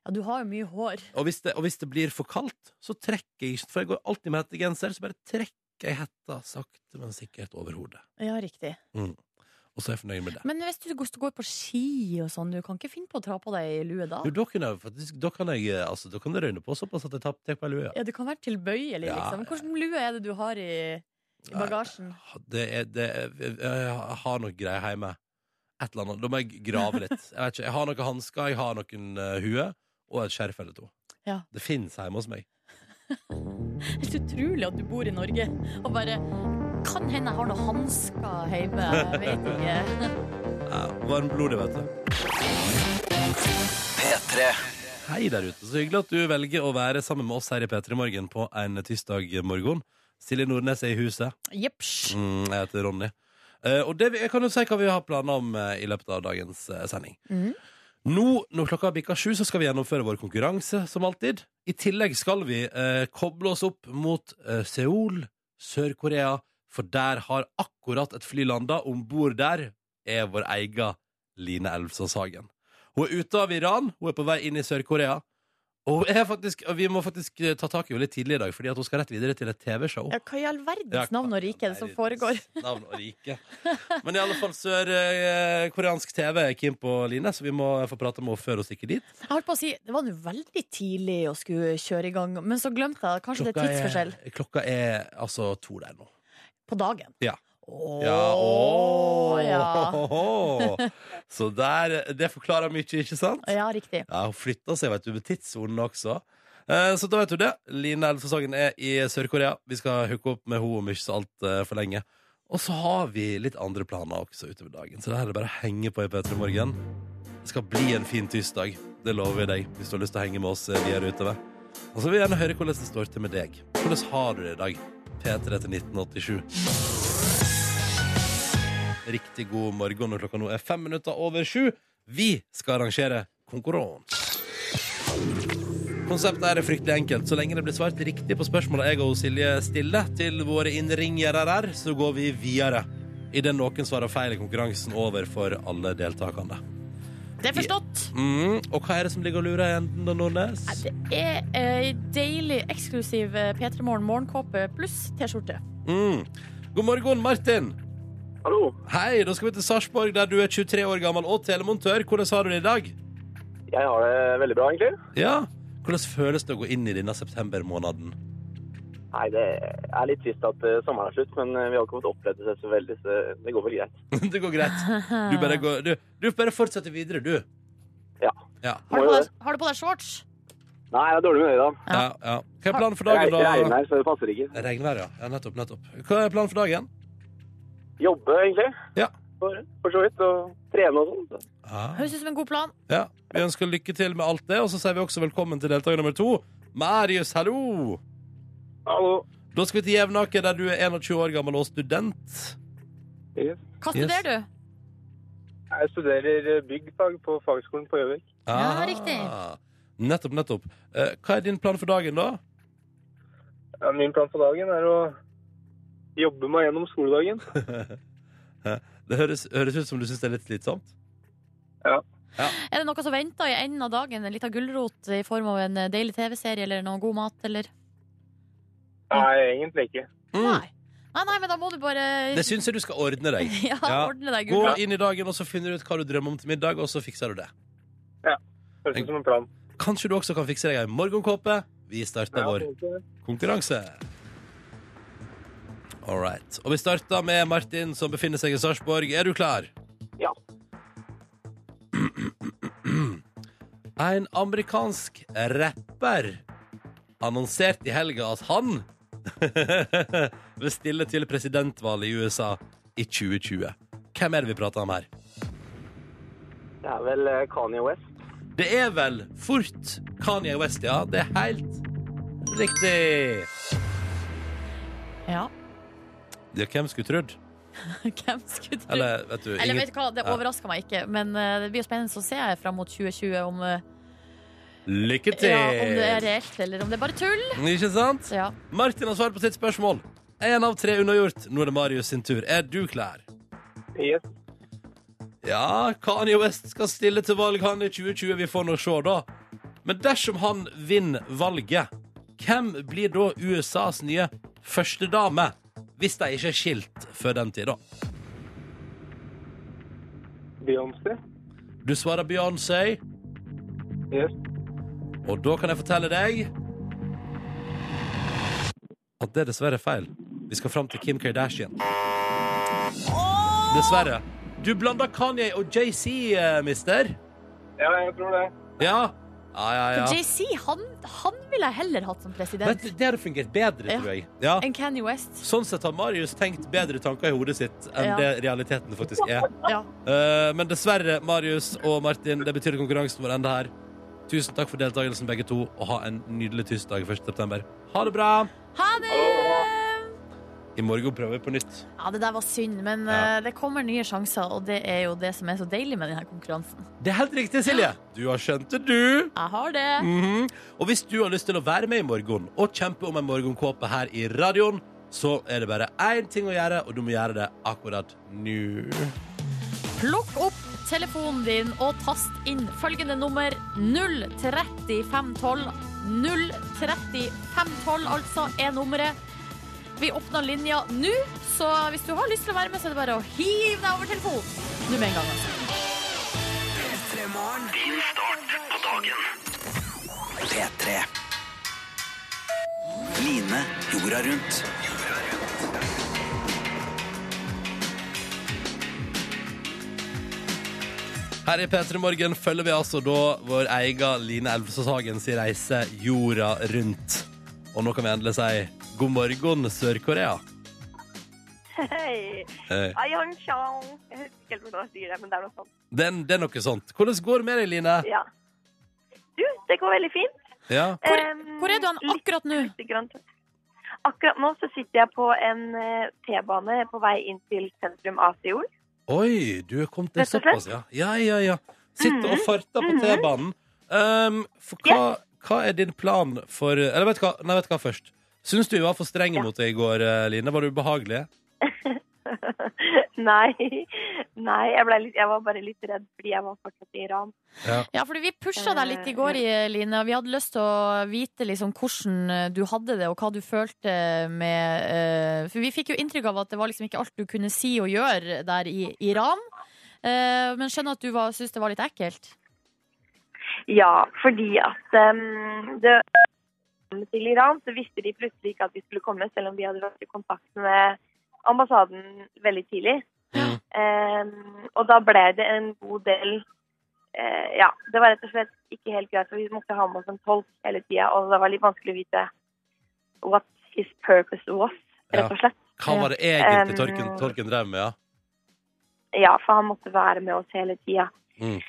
Speaker 4: Ja, du har jo mye hår.
Speaker 2: Og hvis, det, og hvis det blir for kaldt, så trekker jeg ikke For jeg går alltid med hettegenser, så bare trekker jeg hetta sakte, men sikkert over hodet.
Speaker 4: Ja, riktig.
Speaker 2: Og så er jeg fornøyd med det.
Speaker 4: Men hvis du går på ski og sånn, du kan ikke finne på å ta på deg lue da?
Speaker 2: Jo, da, kunne jeg, faktisk, da kan jeg eh, altså, Da kan det røyne på såpass at jeg tar tar på ei lue.
Speaker 4: Ja, du kan være tilbøyelig,
Speaker 2: Ja,
Speaker 4: liksom. Hvilken lue er det du har i, i
Speaker 2: Nei,
Speaker 4: bagasjen?
Speaker 2: Det er, det er, jeg har noe greier hjemme. Et eller annet. Da må jeg grave litt. Jeg, vet ikke, jeg har noen hansker, jeg har noen eh, hue og et skjerf eller to.
Speaker 4: Ja.
Speaker 2: Det fins hjemme hos meg.
Speaker 4: Helt utrolig at du bor i Norge og bare Kan hende jeg har noen hansker hjemme, jeg vet
Speaker 2: *laughs*
Speaker 4: ikke.
Speaker 2: Ja, Varmblodig, vet du.
Speaker 1: P3.
Speaker 2: Hei der ute. Så hyggelig at du velger å være sammen med oss her i P3 Morgen på en tirsdag morgen. Silje Nordnes er i huset.
Speaker 4: Jepsj.
Speaker 2: Mm, jeg heter Ronny. Eh, og det, vi- jeg kan jo si hva vi har planer om eh, i løpet av dagens eh, sending.
Speaker 4: Mhm.
Speaker 2: Nå, når klokka bikker sju, så skal vi gjennomføre vår konkurranse, som alltid. I tillegg skal vi eh, koble oss opp mot eh, Seoul, Sør-Korea, for der har akkurat et fly landa. Om bord der er vår egen Line Elvsås Hagen. Hun er ute av Iran, hun er på vei inn i Sør-Korea. Og hun er faktisk, og vi må faktisk eh, ta tak i henne litt tidlig i dag, fordi at hun skal rett videre til et TV-show.
Speaker 4: Ja, hva i all
Speaker 2: Ja,
Speaker 4: verdens navn og rike er det som foregår?
Speaker 2: Navn og rike. Men i alle fall sør-koreansk eh, TV er Kim på line, så vi må få prate med henne før hun stikker dit.
Speaker 4: Jeg holdt på å si det var nå veldig tidlig å skulle kjøre i gang, men så glemte jeg kanskje det er tidsforskjell
Speaker 2: er, klokka er altså to der nå.
Speaker 4: på dagen.
Speaker 2: Ja.
Speaker 4: Åh,
Speaker 2: åh.
Speaker 4: ja.
Speaker 2: Så der, det forklarer mye, ikke sant?
Speaker 4: Ja, riktig.
Speaker 2: Ja, hun flytter seg, vet du, med tidssonen også. Eh, Så da vet du det. Line Elvsåshagen er i Sør-Korea. Vi skal hooke opp med henne om ikke så altfor lenge. Og så har vi litt andre planer også utover dagen, så det her er bare å henge på i P3 Morgen. Det skal bli en fin tirsdag. Det lover vi deg, hvis du har lyst til å henge med oss eh, videre utover. Og så vil vi gjerne høre hvordan det står til med deg. Hvordan har du det i dag? P3 til 1987. Riktig god morgen når klokka nå er fem minutter over sju. Vi skal arrangere konkurranse. Konseptet her er fryktelig enkelt. Så lenge det blir svart riktig på spørsmålet jeg og Silje stiller til våre innringere her, så går vi videre. Idet noen svarer feil, er konkurransen over for alle deltakerne.
Speaker 4: Det er forstått.
Speaker 2: Mm, og hva er det som ligger og lurer i enden, da, Nordnes?
Speaker 4: Nei, Det er ei deilig, eksklusiv eh, P3 Morgen morgenkåpe pluss T-skjorte.
Speaker 2: Mm. God morgen, Martin.
Speaker 1: Hallo.
Speaker 2: Hei, da skal vi til Sarpsborg, der du er 23 år gammel og telemontør. Hvordan har du det i dag?
Speaker 1: Jeg har det veldig bra, egentlig.
Speaker 2: Ja, Hvordan føles det å gå inn i denne septembermåneden? *laughs*
Speaker 1: Nei, det er litt trist at eh, sommeren er slutt, men eh, vi har ikke fått oppleve det så veldig, så det går vel greit.
Speaker 2: det går greit.
Speaker 4: *laughs*
Speaker 2: Du bare, går, du, du bare fortsetter videre, du.
Speaker 1: Ja.
Speaker 2: Ja,
Speaker 4: Har du på deg, har du på deg shorts?
Speaker 1: Nei, det er dårlig med øyet,
Speaker 2: ja, ja. Hva er planen for
Speaker 1: da.
Speaker 2: dagen,
Speaker 1: Det regner
Speaker 2: da?
Speaker 1: her, så det passer ikke.
Speaker 2: Regnvær, ja. ja. Nettopp, nettopp. Hva er planen for dagen?
Speaker 1: Jobbe, egentlig.
Speaker 2: Ja.
Speaker 1: For, for så vidt. Og trene og sånn. så.
Speaker 2: Ah.
Speaker 4: Høres ut som en god plan.
Speaker 2: Ja. Vi ønsker lykke til med alt det, og så sier vi også velkommen til deltaker nummer to. Marius, hallo!
Speaker 1: Hallo.
Speaker 2: Da skal vi til Jevnaker, der du er 21 år gammel og student.
Speaker 1: Yes.
Speaker 4: Hva
Speaker 2: Yes.
Speaker 4: studerer du?
Speaker 1: Jeg studerer byggfag på fagskolen på Gjøvik.
Speaker 4: Ja, riktig.
Speaker 2: Ah. Nettopp, nettopp. Eh, hva er din plan for dagen, da?
Speaker 1: Min plan for dagen er å jobbe meg gjennom skoledagen.
Speaker 2: Det høres, høres ut som du syns det er litt slitsomt.
Speaker 4: Er det noe som venter i enden av dagen? En liten gulrot i form av en eh, deilig TV-serie eller noe god mat, eller?
Speaker 1: Nei, egentlig ikke.
Speaker 2: Mm.
Speaker 4: Nei. Nei, nei, men da må du bare
Speaker 2: Det syns jeg du skal ordne deg.
Speaker 4: *laughs* ja,
Speaker 2: Ja.
Speaker 4: ordne deg
Speaker 2: Gå
Speaker 4: gulrot.
Speaker 2: inn i dagen, og så finner du ut hva du drømmer om til middag, og så fikser du det.
Speaker 1: Høres ut som en plan.
Speaker 2: Kanskje du også kan fikse deg ei morgenkåpe? Vi starter vår konkurranse. All right. Og vi starter med Martin, som befinner seg i Sarpsborg. Er du klar?
Speaker 1: Ja.
Speaker 2: En amerikansk rapper annonserte i helga at han *laughs* vil stille til presidentvalget i USA i 2020. Hvem er det vi prater om her?
Speaker 1: Det er vel eh, Kanye West.
Speaker 2: Det er vel fort Kanye West, ja. Det er helt riktig.
Speaker 4: Ja. *laughs*
Speaker 2: Ja, hvem skulle trodd?
Speaker 4: Hvem skulle tro Eller,
Speaker 2: Eller, vet du, ingen-
Speaker 4: vet du hva, det
Speaker 2: Ja.
Speaker 4: overrasker meg ikke, men eh, det blir jo spennende å se fram mot 2020 om, eh,
Speaker 2: Lykke til!
Speaker 4: ja, om det er reelt, eller om det er bare tull.
Speaker 2: Ikke sant?
Speaker 4: Ja.
Speaker 2: Martin har svart på sitt spørsmål. Én av tre unnagjort. Nå er det Marius sin tur. Er du klar?
Speaker 1: Yes.
Speaker 2: Ja, Kanye West skal stille til valg han i 2020. Vi får nå se, da. Men dersom han vinner valget, hvem blir da USAs nye førstedame? Hvis de ikke er skilt før den tid, da.
Speaker 1: Beyoncé.
Speaker 2: Du svarer Beyoncé,
Speaker 1: Yes.
Speaker 2: og da kan jeg fortelle deg at det er dessverre feil. Vi skal fram til Kim Kardashian. Dessverre. Du blanda Kanye og JC, eh, mister.
Speaker 1: Ja, jeg tror det.
Speaker 2: Ja. Ja, ja, ja.
Speaker 4: JC, han, han ville jeg heller hatt som
Speaker 2: Vet
Speaker 4: president
Speaker 2: du, det hadde fungert bedre,
Speaker 4: Ja.
Speaker 2: tror jeg. Ja.
Speaker 4: enn Kanye West.
Speaker 2: Sånn sett har Marius tenkt bedre tanker i hodet sitt enn
Speaker 4: Ja.
Speaker 2: det realiteten faktisk er.
Speaker 4: Ja.
Speaker 2: Eh, men dessverre, Marius og Martin, det betyr at konkurransen vår ender her. Tusen takk for deltakelsen, begge to, og ha en nydelig tirsdag 1. september. Ha det bra!
Speaker 4: Ha det!
Speaker 2: I morgen prøver vi på nytt.
Speaker 4: Ja, det der var synd, men
Speaker 2: Ja.
Speaker 4: eh, det kommer nye sjanser, og det er jo det som er så deilig med denne konkurransen.
Speaker 2: Det er helt riktig, Silje. *gasps* Du har skjønt det, du.
Speaker 4: Jeg har det.
Speaker 2: Mhm. Og hvis du har lyst til å være med i morgen og kjempe om en morgenkåpe her i radioen, så er det bare én ting å gjøre, og du må gjøre det akkurat nå.
Speaker 4: Plukk opp telefonen din og tast inn følgende nummer 03512. 03512, altså, er nummeret. Vi åpner linja nå, så hvis du har lyst til å være med, så er det bare å hive deg over telefonen nå med en gang. altså.
Speaker 5: P3. Line jorda rundt.
Speaker 2: Her i P3 Morgen følger vi altså da vår egen Line Elvsås Hagen sin reise jorda rundt. Og nå kan vi endelig si god morgen, Sør-Korea.
Speaker 6: Hei.
Speaker 2: Eh,
Speaker 6: Ayon Chang. Jeg husker ikke helt hvordan jeg sier det, men det er noe sånt.
Speaker 2: Det, er- det er noe sånt. Hvordan går det med deg, Line?
Speaker 6: Ja. Du, det går veldig fint.
Speaker 2: Ja.
Speaker 4: Hvor-
Speaker 6: Em,
Speaker 4: Hvor er du han
Speaker 6: litt
Speaker 4: akkurat nå?
Speaker 6: grann. Akkurat nå så sitter jeg på en eh, T-bane på vei inn til sentrum av Seoul. *laughs*
Speaker 2: Oi, du er kommet til
Speaker 6: Rett og slett.
Speaker 2: såpass,
Speaker 6: Mhm.
Speaker 2: ja. Ja, ja, ja. Sitte og farta på T-banen. Um, for hva, hva er din plan for Eller vet du hva, nei, vet du hva først. Syns du vi var for strenge
Speaker 6: Ja.
Speaker 2: mot deg i går, eh, Line? Var du ubehagelig?
Speaker 6: Nei. Nei, jeg, ble litt, jeg var bare litt redd fordi jeg var fortsatt i Iran.
Speaker 4: Ja, fordi vi pusha deg litt i går, Line. Vi hadde lyst til å vite liksom hvordan du hadde det, og hva du følte med eh, For vi fikk jo inntrykk av at det var liksom ikke alt du kunne si og gjøre der i Iran. Eh, Men skjønner at du var- syntes det var litt ekkelt.
Speaker 6: Ja, fordi at em, det til Iran, så visste de plutselig ikke at vi skulle komme, selv om vi hadde vært i kontakt med ambassaden veldig tidlig.
Speaker 2: Mm.
Speaker 6: Em, og da ble det en god del eh, Ja, det var rett og slett ikke helt greit, for vi måtte ha med oss en tolk hele tida, og det var litt vanskelig å vite what his purpose was,
Speaker 2: Ja.
Speaker 6: rett og slett.
Speaker 2: Hva var det egentlig
Speaker 6: Um,
Speaker 2: Torken, Torken drev med? Ja?
Speaker 6: Ja, for han måtte være med oss hele tida.
Speaker 2: Mm.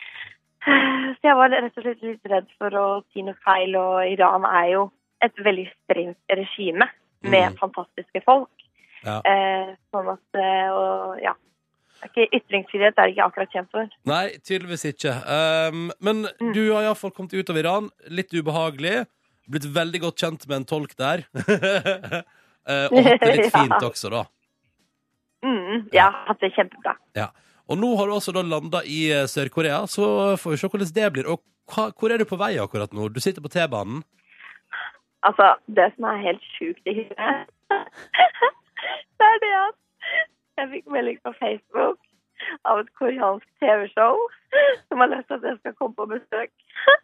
Speaker 6: Så jeg var rett og slett litt redd for å si noe feil, og Iran er jo et veldig strengt regime med
Speaker 2: Mm.
Speaker 6: fantastiske folk.
Speaker 2: Ja.
Speaker 6: Eh, sånn at eh, Og ja. Ok, ytringsfrihet er det ikke akkurat kjent for.
Speaker 2: Nei, tydeligvis ikke. Um, men
Speaker 6: Mm.
Speaker 2: du har iallfall kommet ut av Iran. Litt ubehagelig. Blitt veldig godt kjent med en tolk der. *laughs* Eh, og hatt det litt
Speaker 6: *laughs* Ja.
Speaker 2: fint også, da.
Speaker 6: Mm, ja, at det er kjempebra.
Speaker 2: Og nå har du altså da landa i eh, Sør-Korea, så får vi se hvordan det blir. Og hva, hvor er du på vei akkurat nå? Du sitter på T-banen.
Speaker 6: Altså, det som er helt sjukt i huet, *laughs* det er det at jeg fikk melding på Facebook av et koreansk TV-show som har lyst til at jeg skal komme på besøk. *laughs*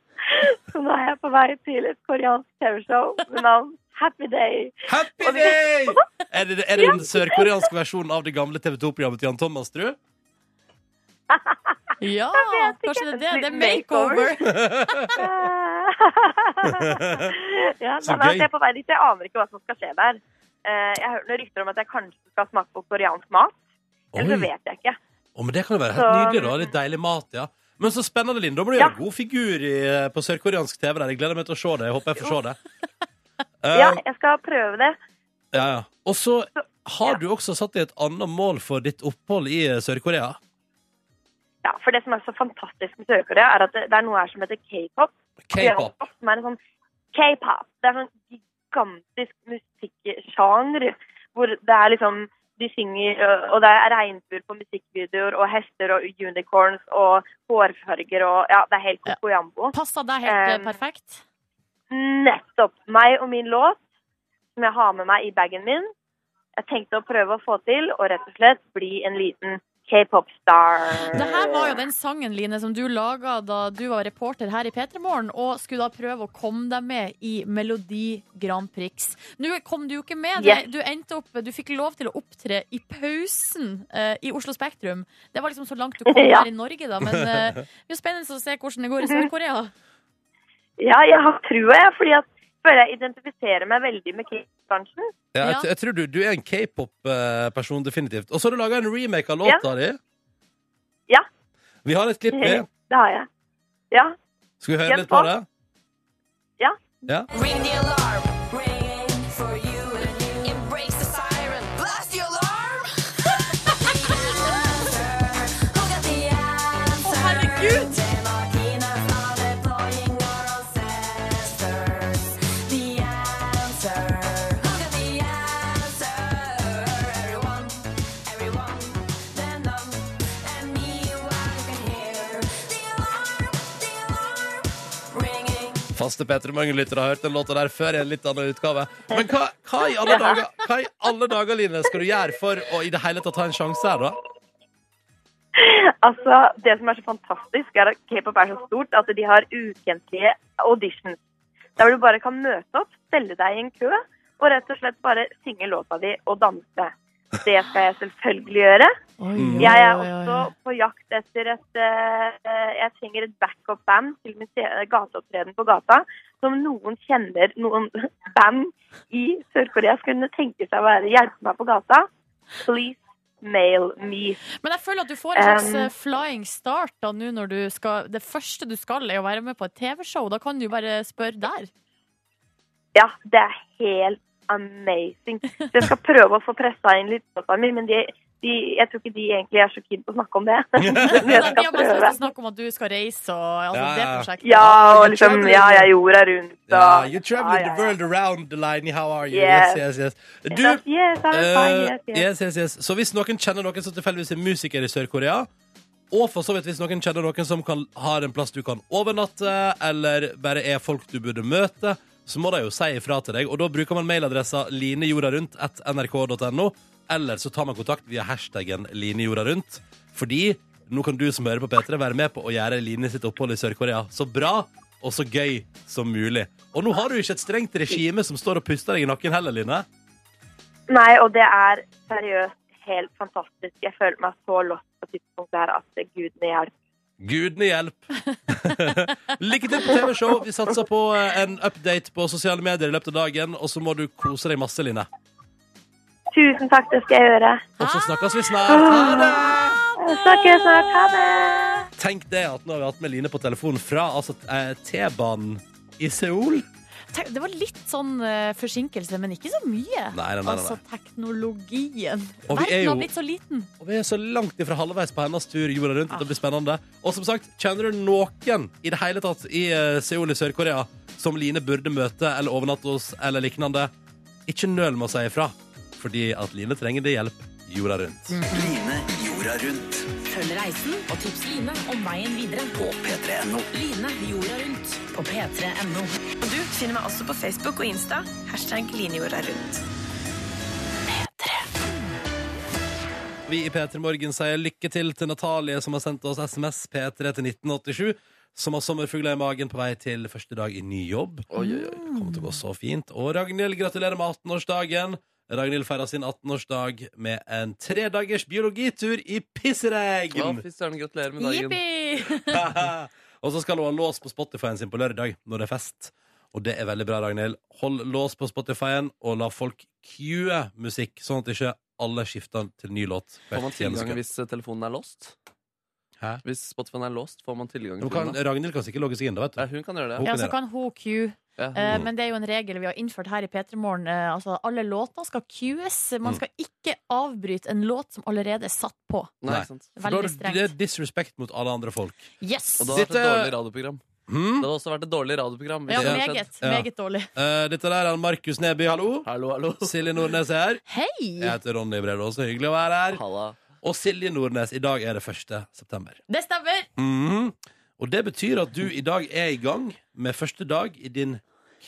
Speaker 6: Så nå er jeg på vei til et koreansk TV-show med navn Happy Day. *laughs*
Speaker 2: Happy
Speaker 6: Og vi-
Speaker 2: day! Er det, er det den sørkoreanske versjonen av det gamle TV2-programmet til Jan Thomas, tror du?
Speaker 4: Ja,
Speaker 6: Jeg vet ikke.
Speaker 4: kanskje det er det. Det er
Speaker 6: Litt
Speaker 4: makeover.
Speaker 6: makeover. ja,
Speaker 2: Så
Speaker 6: nei, nei,
Speaker 2: gøy.
Speaker 6: jeg er på vei dit. Jeg aner ikke hva som skal skje der. Eh, Jeg har hørt noen rykter om at jeg kanskje skal smake på koreansk mat.
Speaker 2: Oi.
Speaker 6: Eller så vet jeg ikke.
Speaker 2: Å, men det kan jo være helt
Speaker 6: Så-
Speaker 2: nydelig, da. Litt deilig mat, ja. Men så spennende, Linn. Da må du
Speaker 6: Ja.
Speaker 2: gjøre god figur i, eh, på sørkoreansk TV der. Jeg gleder meg til å se det. Jeg håper jeg får se det.
Speaker 6: *laughs* Ja,
Speaker 2: Eh,
Speaker 6: jeg skal prøve det.
Speaker 2: ja, ja. Og så
Speaker 6: Ja.
Speaker 2: har du også satt deg et annet mål for ditt opphold i eh, Sør-Korea.
Speaker 6: Ja, for det som er så fantastisk med Sør-Korea, er at det, det er noe her som heter k-pop.
Speaker 2: K-pop.
Speaker 6: Som er en sånn K-pop. Det er en sånn gigantisk musikksjanger hvor det er liksom de synger, ø, og det er regnbuer på musikkvideoer, og hester og unicorns og hårfarger og Ja, det er helt koko jambo.
Speaker 4: Passa deg helt eh,
Speaker 6: Um,
Speaker 4: perfekt.
Speaker 6: Nettopp. Meg og min låt, som jeg har med meg i bagen min. Jeg tenkte å prøve å få til, og rett og slett bli en liten k-pop-star.
Speaker 4: Det her var jo den sangen, Line, som du laga da du var reporter her i P3 Morgen, og skulle da prøve å komme deg med i Melodi Grand Prix. Nå kom du jo ikke med.
Speaker 6: Yes.
Speaker 4: Du, endte opp, du fikk lov til å opptre i pausen eh, i Oslo Spektrum. Det var liksom så langt du kom
Speaker 6: Ja.
Speaker 4: her i Norge, da, men
Speaker 6: *laughs*
Speaker 4: eh, det blir spennende å se hvordan det går i Sør-Korea.
Speaker 6: Ja, jeg har trua, jeg. Fordi at jeg føler jeg identifiserer meg veldig med K-bransjen.
Speaker 2: Ja, jeg,
Speaker 4: Ja.
Speaker 2: t- jeg tror du, du er en k-pop-person, definitivt. Og så har du laga en remake av låta di.
Speaker 6: Ja.
Speaker 2: Vi har et klipp med.
Speaker 6: Det har jeg. Ja.
Speaker 2: Skal vi høre
Speaker 6: Ja,
Speaker 2: litt på det?
Speaker 6: Ja.
Speaker 2: ja.
Speaker 7: Ring the alarm. Ringing for you. Embrace the siren. Blast the alarm. *laughs* Who got the answer?
Speaker 4: Å, herregud!
Speaker 7: Det var Tinas navle, plåginger og sisters. The answer. Who got the answer? Everyone, everyone, then none. And meanwhile, you can hear the alarm, the alarm ringing.
Speaker 2: Faste Petter Morgen-lyttere har hørt den låta der før i en litt annen utgave. Men hva, hva, i
Speaker 6: *laughs*
Speaker 2: alle dager, hva i alle dager, Line, skal du gjøre for å i det hele tatt ta en sjanse her, da?
Speaker 6: Altså, det som er så fantastisk, er at K-pop er så stort at de har ukentlige auditions. Der du bare kan møte opp, stelle deg i en kø og rett og slett bare synge låta di og danse. Det skal jeg selvfølgelig gjøre.
Speaker 4: Oi,
Speaker 2: Mm.
Speaker 4: oi,
Speaker 6: Jeg er
Speaker 4: oi, oi.
Speaker 6: også på jakt etter et eh, Jeg trenger et backup-band til min te- gateopptreden på gata. Som noen kjenner noen *laughs* band i Sør-Korea som kunne tenke seg å være hjelpe meg på gata. Please mail me.
Speaker 4: Men jeg føler at du får en slags
Speaker 6: Um.
Speaker 4: eh, flying start da nå når du skal Det første du skal, er å være med på et TV-show. Da kan du jo bare spørre der.
Speaker 6: Ja, det er helt amazing. Så Jeg skal prøve å få pressa inn litt låta mi, men de, de, jeg tror ikke de egentlig er så keen på å snakke om det. *laughs* Men
Speaker 4: De
Speaker 6: jeg
Speaker 4: har
Speaker 6: skal
Speaker 4: mest lyst til
Speaker 6: prøve.
Speaker 4: å snakke om at du skal reise og altså,
Speaker 2: Ja,
Speaker 4: det
Speaker 2: ja.
Speaker 4: prosjektet.
Speaker 6: Ja, og liksom Ja, jeg jorda rundt, og
Speaker 2: Yeah, you're traveling
Speaker 6: Ja,
Speaker 2: the
Speaker 6: ja, ja.
Speaker 2: world around, Delaney. How are you?
Speaker 6: Yes.
Speaker 2: Yes, yes, yes. Du,
Speaker 6: Yes, yes, I'm fine, yes,
Speaker 2: Eh,
Speaker 6: yes.
Speaker 2: yes, yes, yes. Så hvis noen kjenner noen som tilfeldigvis er musiker i Sør-Korea, og for så vidt hvis noen kjenner noen som kan, har en plass du kan overnatte, eller bare er folk du burde møte, så må de jo si ifra til deg. Og da bruker man mailadressa linejordarundt.nrk.no, eller så tar man kontakt via hashtaggen linejordarundt. Fordi nå kan du som hører på P3, være med på å gjøre Line sitt opphold i Sør-Korea så bra og så gøy som mulig. Og nå har du ikke et strengt regime som står og puster deg i nakken heller, Line.
Speaker 6: Nei, og det er seriøst helt fantastisk. Jeg føler meg så lost på tidspunktet her at gudene hjelp.
Speaker 2: Gudene hjelp. *laughs* Lykke til på TV-show. Vi satser på eh, en update på sosiale medier i løpet av dagen. Og så må du kose deg masse, Line.
Speaker 6: Tusen takk, det skal jeg gjøre.
Speaker 2: Og så snakkes vi snart. Ha det!
Speaker 6: Jeg snakkes snart. Ha det!
Speaker 2: Tenk det at nå har vi hatt med Line på telefonen fra altså, eh, T-banen i Seoul.
Speaker 4: Tenk, Det var litt sånn eh, forsinkelse, men ikke så mye.
Speaker 2: Nei, nei, nei, nei.
Speaker 4: Altså teknologien.
Speaker 2: Og vi er
Speaker 4: Verden
Speaker 2: jo-
Speaker 4: har blitt så liten.
Speaker 2: Og vi er så langt ifra halvveis på hennes tur jorda rundt. at Det blir spennende. Og som sagt, kjenner du noen i det hele tatt i eh, Seoul i Sør-Korea som Line burde møte eller overnatte hos eller lignende, ikke nøl med å si ifra, fordi at Line trenger det hjelp jorda rundt.
Speaker 5: Line jorda rundt
Speaker 8: Følg reisen og tips Line om veien videre.
Speaker 5: på p3.no.
Speaker 8: Line jorda rundt på p3.no.
Speaker 9: Og du finner meg også på Facebook og Insta. Hashtag linjorda rundt.
Speaker 2: Vi i P3 Morgen sier lykke til til Natalie, som har sendt oss SMS P3 til 1987. Som har sommerfugler i magen på vei til første dag i ny jobb. Oi, oi, oi. Det kommer til å gå så fint. Og Ragnhild, gratulerer med 18-årsdagen. Ragnhild feirer sin 18-årsdag med en tredagers biologitur i
Speaker 3: Ja,
Speaker 2: pissregn!
Speaker 3: fy søren, gratulerer med dagen.
Speaker 4: Jippi!
Speaker 2: *laughs* og så skal hun ha lås på Spotify-en sin på lørdag når det er fest. Og det er veldig bra, Ragnhild. Hold lås på Spotify-en, og la folk cue musikk, sånn at ikke alle skifter til ny låt. hvert
Speaker 3: Får man
Speaker 2: tiende
Speaker 3: tilgang
Speaker 2: sekund.
Speaker 3: hvis eh, telefonen er låst?
Speaker 2: Hæ?
Speaker 3: Hvis Spotify er låst, får man tilgang
Speaker 2: Hun
Speaker 3: til
Speaker 2: kan, eh,
Speaker 3: den? da?
Speaker 2: Ragnhild kan sikkert logge seg inn, da, vet
Speaker 3: Ja,
Speaker 2: du.
Speaker 3: hun kan gjøre det.
Speaker 2: Hun
Speaker 4: Ja,
Speaker 2: kan
Speaker 4: så
Speaker 2: gjøre.
Speaker 4: kan hun cue.
Speaker 3: Ja.
Speaker 4: Eh,
Speaker 2: Mm.
Speaker 4: Men det er jo en regel vi har innført her i P3 Morgen. eh, Altså, alle låter skal cues. Man
Speaker 2: Mm.
Speaker 4: skal ikke avbryte en låt som allerede er satt på.
Speaker 3: Nei,
Speaker 2: Nei.
Speaker 3: ikke sant.
Speaker 2: For da
Speaker 4: Veldig
Speaker 2: er det
Speaker 4: strengt.
Speaker 2: disrespect mot alle andre folk.
Speaker 4: Yes!
Speaker 3: Og det hadde vært et
Speaker 2: Dette-
Speaker 3: dårlig radioprogram. Det
Speaker 2: Hmm?
Speaker 3: hadde også vært et dårlig radioprogram. hvis
Speaker 4: Ja,
Speaker 3: det hadde skjedd.
Speaker 4: meget,
Speaker 2: Ja.
Speaker 4: meget dårlig.
Speaker 2: Eh, dette der er Markus Neby, hallo.
Speaker 3: Hallo, hallo.
Speaker 2: Silje Nordnes er her. Jeg
Speaker 4: Hei!
Speaker 2: heter Ronny Bredås, så hyggelig å være her.
Speaker 3: Halla.
Speaker 2: Og Silje Nordnes, i dag er det 1. september.
Speaker 4: Det stemmer!
Speaker 2: Mhm. Og det betyr at du i dag er i gang med første dag i din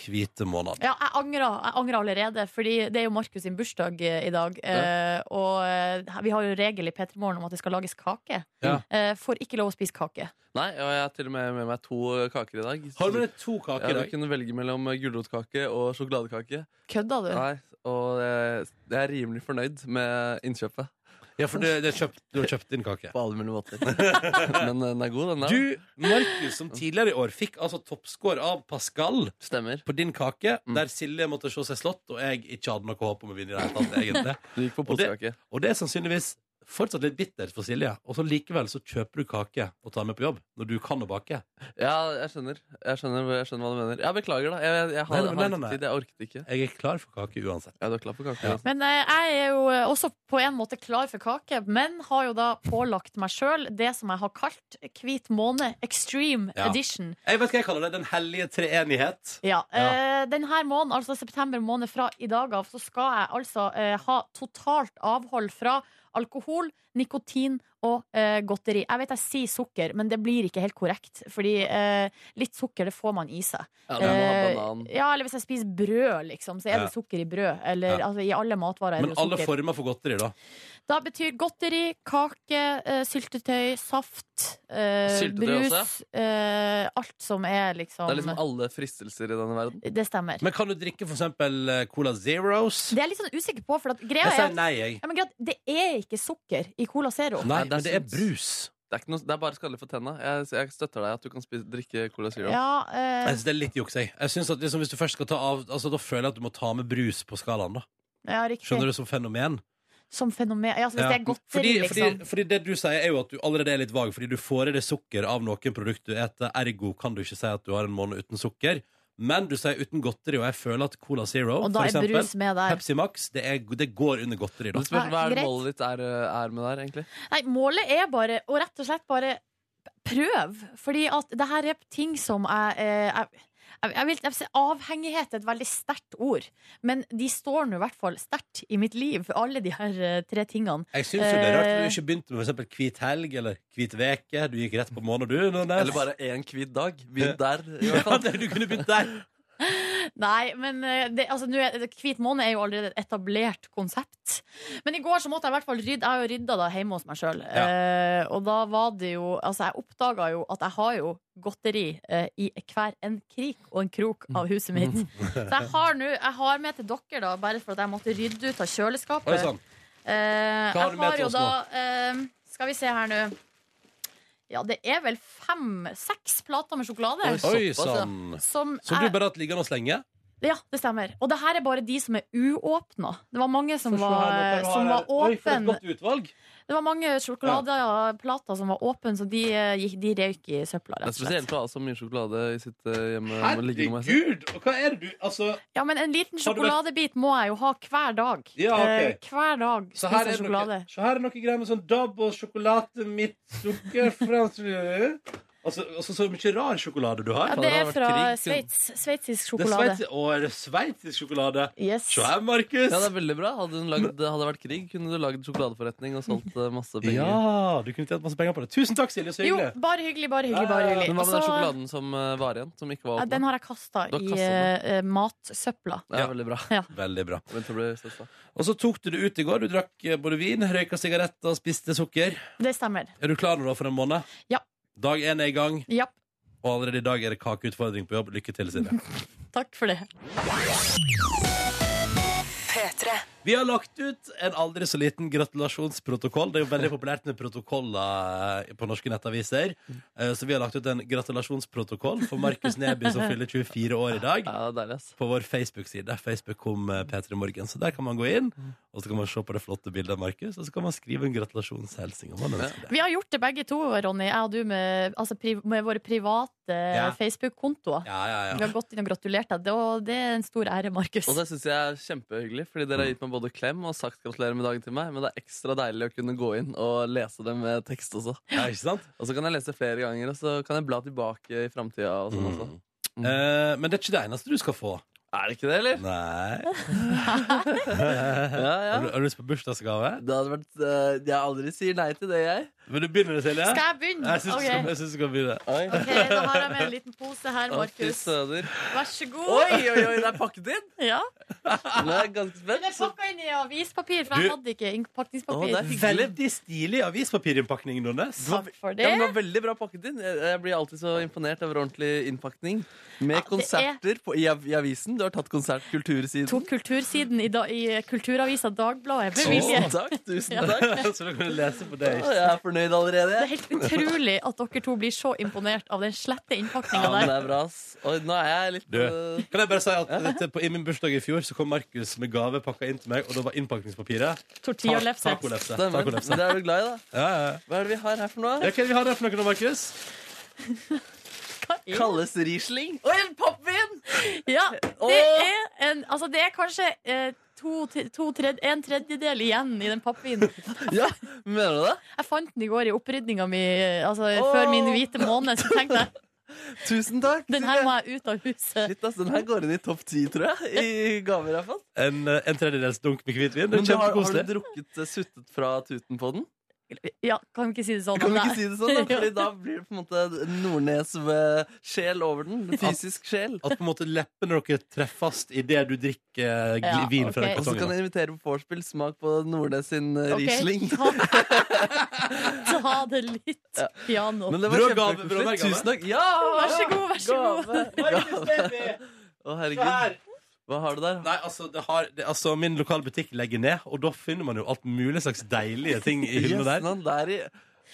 Speaker 2: hvite måned.
Speaker 4: Ja, jeg angrer, jeg angrer allerede, fordi det er jo Markus sin bursdag eh, i dag. eh, Og eh, vi har jo regel i P3 Morgen om at det skal lages kake.
Speaker 2: Ja.
Speaker 4: Eh, Får ikke lov å spise kake.
Speaker 3: Nei, og jeg har til og med med meg to kaker i dag.
Speaker 2: Har du med deg to
Speaker 3: Ja,
Speaker 2: kaker i
Speaker 3: du
Speaker 2: dag?
Speaker 3: kunne velge mellom eh, gulrotkake og sjokoladekake.
Speaker 4: Kødda du?
Speaker 3: Nei, og jeg, jeg er rimelig fornøyd med innkjøpet.
Speaker 2: Ja, for det, det er kjøpt, du har kjøpt din kake.
Speaker 3: *laughs* På alle mulige måter. *laughs* Men eh, den er god, den der.
Speaker 2: Du, Markus, som tidligere i år fikk altså toppscore av Pascal.
Speaker 3: Stemmer.
Speaker 2: på din kake,
Speaker 3: Mm.
Speaker 2: der Silje måtte se seg slått, og jeg ikke hadde noe håp om å vinne i det hele tatt, egentlig.
Speaker 3: Du gikk for
Speaker 2: Og det-
Speaker 3: postkake.
Speaker 2: Og det er sannsynligvis fortsatt litt bittert for Silje, og så likevel så kjøper du kake og tar med på jobb, når du kan å bake.
Speaker 3: Ja, jeg skjønner. Jeg skjønner, jeg skjønner hva du mener. Ja, beklager, da. Jeg, jeg, jeg har,
Speaker 2: Nei, nei, nei, nei,
Speaker 3: har
Speaker 2: nei.
Speaker 3: ikke tid. Jeg orket ikke.
Speaker 2: Jeg er klar for kake uansett.
Speaker 3: Ja, du er klar for kake?
Speaker 2: Ja.
Speaker 3: altså.
Speaker 4: Men eh, jeg er jo eh, også på en måte klar for kake, men har jo da pålagt meg sjøl det som jeg har kalt Hvit måne extreme
Speaker 2: Ja.
Speaker 4: edition.
Speaker 2: Jeg vet hva jeg kaller det, den hellige treenighet.
Speaker 4: Ja, eh, Denne måneden, altså september måned fra i dag av, så skal jeg altså eh, ha totalt avhold fra alkohol, nikotin og eh, godteri. Jeg vet jeg sier sukker, men det blir ikke helt korrekt. Fordi eh, litt sukker, det får man i seg.
Speaker 3: Ja, du må ha
Speaker 4: Eh,
Speaker 3: banan.
Speaker 4: Ja, eller hvis jeg spiser brød, liksom, så er
Speaker 2: Ja.
Speaker 4: det sukker i brød. Eller
Speaker 2: Ja.
Speaker 4: altså, i alle matvarer er det
Speaker 2: Men
Speaker 4: jo
Speaker 2: alle
Speaker 4: sukker.
Speaker 2: former for godteri, da.
Speaker 4: Da betyr godteri, kake, eh, syltetøy, saft, eh,
Speaker 3: Syltetøy
Speaker 4: brus
Speaker 3: også,
Speaker 4: eh, Alt som er liksom
Speaker 3: Det er liksom alle fristelser i denne verden.
Speaker 4: Det stemmer.
Speaker 2: Men kan du drikke for eksempel eh, Cola Zeros?
Speaker 4: Det er jeg litt sånn usikker på, for at greia
Speaker 2: Jeg
Speaker 4: er
Speaker 2: sier
Speaker 4: at
Speaker 2: nei, jeg.
Speaker 4: ja, men greit, det er ikke sukker i Cola Zero.
Speaker 2: Nei,
Speaker 3: det
Speaker 2: men
Speaker 3: er
Speaker 2: sånn det er
Speaker 3: sunt.
Speaker 2: brus.
Speaker 3: Det er, ikke noe, det er bare skadelig for tenna. Jeg, jeg støtter deg at du kan spise, drikke Cola Zero.
Speaker 4: Ja, eh,
Speaker 2: Jeg synes det er litt juks, jeg. jeg synes at liksom, hvis du først skal ta av altså, Da føler jeg at du må ta med brus på skalaen, da.
Speaker 4: ja, riktig.
Speaker 2: Skjønner du, som fenomen.
Speaker 4: Som fenomen. Ja, altså, hvis
Speaker 2: Ja.
Speaker 4: det er godteri,
Speaker 2: fordi,
Speaker 4: liksom.
Speaker 2: fordi, fordi det du sier, er jo at du allerede er litt vag, fordi du får i deg sukker av noen produkter du eter, ergo kan du ikke si at du har en måned uten sukker. Men du sier uten godteri, og jeg føler at Cola Zero,
Speaker 4: Og da
Speaker 2: for
Speaker 4: er
Speaker 2: eksempel,
Speaker 4: brus med der.
Speaker 2: Pepsi Max, det, er, det går under godteri, da.
Speaker 3: Det spørs
Speaker 4: Ja,
Speaker 3: hva er det
Speaker 4: greit.
Speaker 3: målet ditt er, eh, er med der, egentlig.
Speaker 4: Nei, målet er bare å rett og slett bare prøv. Fordi at det her er ting som jeg eh, jeg, jeg, jeg vil, jeg, vil si avhengighet er et veldig sterkt ord, men de står nå i hvert fall sterkt i mitt liv, alle de her eh, tre tingene.
Speaker 2: Jeg syns jo det er rart at
Speaker 4: Eh.
Speaker 2: du ikke begynte med for eksempel Hvit helg eller Hvit veke. Du gikk rett på måned, du. Nordnes.
Speaker 3: Eller bare én hvit dag. Begynn der. i
Speaker 2: *laughs*
Speaker 3: hvert
Speaker 2: ja,
Speaker 3: fall.
Speaker 2: det, Du kunne begynt der.
Speaker 4: Nei, men eh, det, altså, nå er, det- Hvit måned er jo allerede et etablert konsept. Men i går så måtte jeg i hvert fall rydde. Jeg har jo rydda da hjemme hos meg sjøl. Eh, og da var det jo Altså, jeg oppdaga jo at jeg har jo godteri eh, i hver en krik og en krok av huset mitt.
Speaker 2: Mm.
Speaker 4: Så jeg har nå Jeg har med til dere, da, bare for at jeg måtte rydde ut av kjøleskapet.
Speaker 2: Oi sånn. sann. Hva
Speaker 4: Eh,
Speaker 2: har
Speaker 4: jeg
Speaker 2: du med
Speaker 4: har
Speaker 2: til
Speaker 4: jo
Speaker 2: oss
Speaker 4: da eh, Skal vi se her nå. Ja, det er vel fem-seks plater med sjokolade.
Speaker 2: Oi
Speaker 3: såpass, ja.
Speaker 2: sann.
Speaker 4: Som
Speaker 2: Som
Speaker 4: jeg-
Speaker 2: du bare har hatt liggende og slenge?
Speaker 4: ja, det stemmer. Og det her er bare de som er uåpna. Det var mange som
Speaker 2: Få se her
Speaker 4: var,
Speaker 2: nå, hva du har
Speaker 4: som var
Speaker 2: her. Oi, for et
Speaker 4: åpen
Speaker 2: godt utvalg.
Speaker 4: Det var mange sjokoladeplater som var åpne, så de, eh, gikk- de røyk i søpla,
Speaker 3: Det er
Speaker 4: rett og slett.
Speaker 3: spesielt å ha så mye sjokolade i sitt eh, hjemme. liggende med seg.
Speaker 2: Herregud! Og hva er det du Altså,
Speaker 4: Ja, men en liten
Speaker 2: Har du vært-
Speaker 4: sjokoladebit må jeg jo ha hver dag.
Speaker 2: Ja, ok.
Speaker 4: Eh, Hver dag
Speaker 2: så her
Speaker 4: spiser jeg
Speaker 2: er det noe,
Speaker 4: sjokolade.
Speaker 2: så her er noe greier med sånn dab og sjokolade mitt
Speaker 4: *laughs*
Speaker 2: sukker fransk Altså, altså så mye rar sjokolade du
Speaker 4: Ja,
Speaker 2: har.
Speaker 4: det
Speaker 3: det
Speaker 4: er
Speaker 3: har vært
Speaker 4: fra
Speaker 3: krig siden-
Speaker 4: Sveits. Sveitsisk
Speaker 2: Det er
Speaker 4: sjokolade.
Speaker 2: sveits- Å, er det sveitsisk sjokolade?
Speaker 4: Yes.
Speaker 2: Se her, Markus!
Speaker 3: Ja, det er veldig bra. Hadde, hun lagd, hadde det vært krig, kunne du lagd sjokoladeforretning og solgt eh, masse penger.
Speaker 2: Ja, du kunne tjent masse penger på det. Tusen takk, Silje. Så
Speaker 4: Jo,
Speaker 2: hyggelig.
Speaker 4: bare hyggelig, bare hyggelig. bare
Speaker 2: Ja, ja, ja.
Speaker 4: hyggelig
Speaker 3: Men
Speaker 4: Og
Speaker 3: hva med den
Speaker 4: så-
Speaker 3: sjokoladen som eh, var igjen? Som ikke
Speaker 4: Altså-
Speaker 3: var
Speaker 4: ja, Den
Speaker 3: åpna?
Speaker 4: har jeg kasta
Speaker 3: Du har
Speaker 4: i
Speaker 3: kastet
Speaker 4: eh, matsøpla.
Speaker 3: Det er veldig bra.
Speaker 2: Veldig bra.
Speaker 3: Vent til å bli stressa.
Speaker 2: Og så tok du det ut i går. Du drakk eh, både vin, røyka sigaretter og spiste sukker.
Speaker 4: Det stemmer.
Speaker 2: Er du klar nå da for en måned?
Speaker 4: Ja.
Speaker 2: Dag én er i gang,
Speaker 4: Ja.
Speaker 2: og allerede i dag er det kakeutfordring på jobb. Lykke til, Silje.
Speaker 4: Takk for det.
Speaker 2: Vi har lagt ut en aldri så liten gratulasjonsprotokoll. Det er jo veldig populært med protokoller eh, på norske nettaviser. Eh, Så vi har lagt ut en gratulasjonsprotokoll for Markus Neby, som fyller 24 år i dag.
Speaker 3: Ja, det er deilig, ass.
Speaker 2: På vår Facebook-side. Facebook kom P3 Morgen. Så der kan man gå inn, og så kan man se på det flotte bildet av Markus, og så kan man skrive en gratulasjonshilsing om man ønsker det.
Speaker 4: Vi har gjort det begge to, Ronny. Jeg og du med, altså, pri med våre private
Speaker 2: Ja.
Speaker 4: Facebook-kontoer.
Speaker 2: Ja, ja, ja.
Speaker 4: Vi har gått inn og gratulert deg. Det, og det er en stor ære, Markus.
Speaker 3: Og det syns jeg er kjempehyggelig, fordi dere har gitt meg både klem og sagt gratulerer med dagen til meg, men det er ekstra deilig å kunne gå inn og lese det med tekst også.
Speaker 2: Ja, ikke sant?
Speaker 3: Og så kan jeg lese flere ganger, og så kan jeg bla tilbake i framtida og sånn også. Mm.
Speaker 2: Eh, men det er ikke det eneste du skal få.
Speaker 3: Er det ikke det,
Speaker 2: *laughs*
Speaker 3: eller?
Speaker 2: Nei.
Speaker 3: Ja, ja.
Speaker 2: Har, du, har du lyst på bursdagsgave?
Speaker 3: Det hadde vært, eh, jeg aldri sier nei til det, jeg.
Speaker 2: Vil du begynne, Silje?
Speaker 4: Skal jeg begynne?
Speaker 2: Jeg syns du skal-
Speaker 4: Ok.
Speaker 2: jeg syns du skal begynne.
Speaker 4: Ok, Da har jeg med en liten pose her,
Speaker 3: Å, Fy
Speaker 4: Markus.
Speaker 3: søder.
Speaker 4: Vær så god.
Speaker 3: Oi, oi, oi, det er pakket inn!
Speaker 4: Ja.
Speaker 3: Nå er jeg ganske
Speaker 4: Den er
Speaker 3: spent.
Speaker 4: pakka inn i avispapir, for jeg
Speaker 2: Du-
Speaker 4: hadde ikke
Speaker 3: Å, det er
Speaker 4: innpakningspapir.
Speaker 3: hyggelig.
Speaker 2: Veldig stilig avispapirinnpakning, Nordnes.
Speaker 3: *laughs*
Speaker 4: Takk for
Speaker 3: Ja,
Speaker 4: det.
Speaker 3: men det var veldig bra pakket inn. Jeg jeg blir alltid så imponert over ordentlig innpakning. Med
Speaker 4: Ja, det er-
Speaker 3: konserter på, i, av- i avisen. Du har tatt konsert kultursiden.
Speaker 4: Tok kultursiden i, da, i Kulturavisa Dagbladet med vilje.
Speaker 3: Tusen takk. Tusen takk.
Speaker 2: Så da kan du lese på det.
Speaker 3: Å, Jeg er fornøyd allerede.
Speaker 4: Det er
Speaker 3: jeg.
Speaker 4: helt utrolig at dere to blir så imponert av den slette
Speaker 3: Ja,
Speaker 4: innpakninga der.
Speaker 3: men det er bra, ass. Oi, nå er jeg litt
Speaker 2: Du,
Speaker 3: øh,
Speaker 2: kan jeg bare si at dette, på, I min bursdag i fjor så kom Markus med gave pakka inn til meg, og da var innpakningspapiret ta-
Speaker 4: Tortillalefse.
Speaker 2: tacolefse.
Speaker 3: stemmen.
Speaker 2: Tacolefse.
Speaker 3: Det er du glad i, da.
Speaker 2: Ja, ja, ja.
Speaker 3: Hva er det vi har her for
Speaker 2: Ja,
Speaker 3: noe?
Speaker 2: Hva er det vi har der for noe, nå, Markus?
Speaker 3: Kalles Riesling. Oi, en pappvin!
Speaker 4: Ja,
Speaker 3: Åh!
Speaker 4: det er, en, altså det er kanskje eh, to, to tred, en tredjedel igjen i den pappvinen.
Speaker 3: Ja, mener du det?
Speaker 4: Jeg fant den i går i opprydninga mi eh, altså,
Speaker 3: Åh!
Speaker 4: før min hvite måned. Så tenkte jeg
Speaker 3: Tusen takk.
Speaker 4: den her må jeg ut av huset.
Speaker 3: Shit, ass, den her går inn i topp ti, tror jeg. I gaver, i hvert fall.
Speaker 2: En, eh, en tredjedels dunk med hvitvin. Det er
Speaker 3: Men du har, har du
Speaker 2: Kjempekoselig.
Speaker 3: drukket eh, suttet fra tuten på den?
Speaker 4: Ja, kan vi ikke si det sånn?
Speaker 3: Kan vi
Speaker 4: Nei.
Speaker 3: ikke si
Speaker 4: *laughs*
Speaker 3: det sånn? da? Fordi da blir det på en måte Nordnes-sjel over den. Fysisk sjel.
Speaker 2: At på en måte leppene dere treffes idet du drikker eh, gl-
Speaker 4: Ja,
Speaker 2: vin fra
Speaker 4: ok.
Speaker 2: den
Speaker 3: Og så kan
Speaker 2: kartongen.
Speaker 3: jeg invitere på vorspiel. Smak på Nordnes sin eh,
Speaker 4: Ok, *laughs*
Speaker 3: Riesling.
Speaker 4: Ta, ta det *laughs* litt piano.
Speaker 3: Men
Speaker 2: Du
Speaker 3: det var
Speaker 2: har gave, bra, det er gave.
Speaker 3: kjempekoselig. Tusen takk. Ja!
Speaker 4: Vær så god, vær så god. *laughs*
Speaker 3: Gave. *laughs* Å, herregud. Hva har du der?
Speaker 2: Nei, altså, det har, det, altså Min lokale butikk legger ned, og da finner man jo alt mulig slags deilige ting i hyllene der.
Speaker 3: Jøssen, der i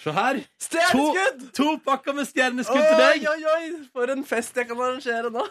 Speaker 2: Se her! To,
Speaker 3: Stjerneskudd!
Speaker 2: to pakker med stjerneskudd til
Speaker 3: Oi,
Speaker 2: deg!
Speaker 3: oi, oi! For en fest jeg kan arrangere nå!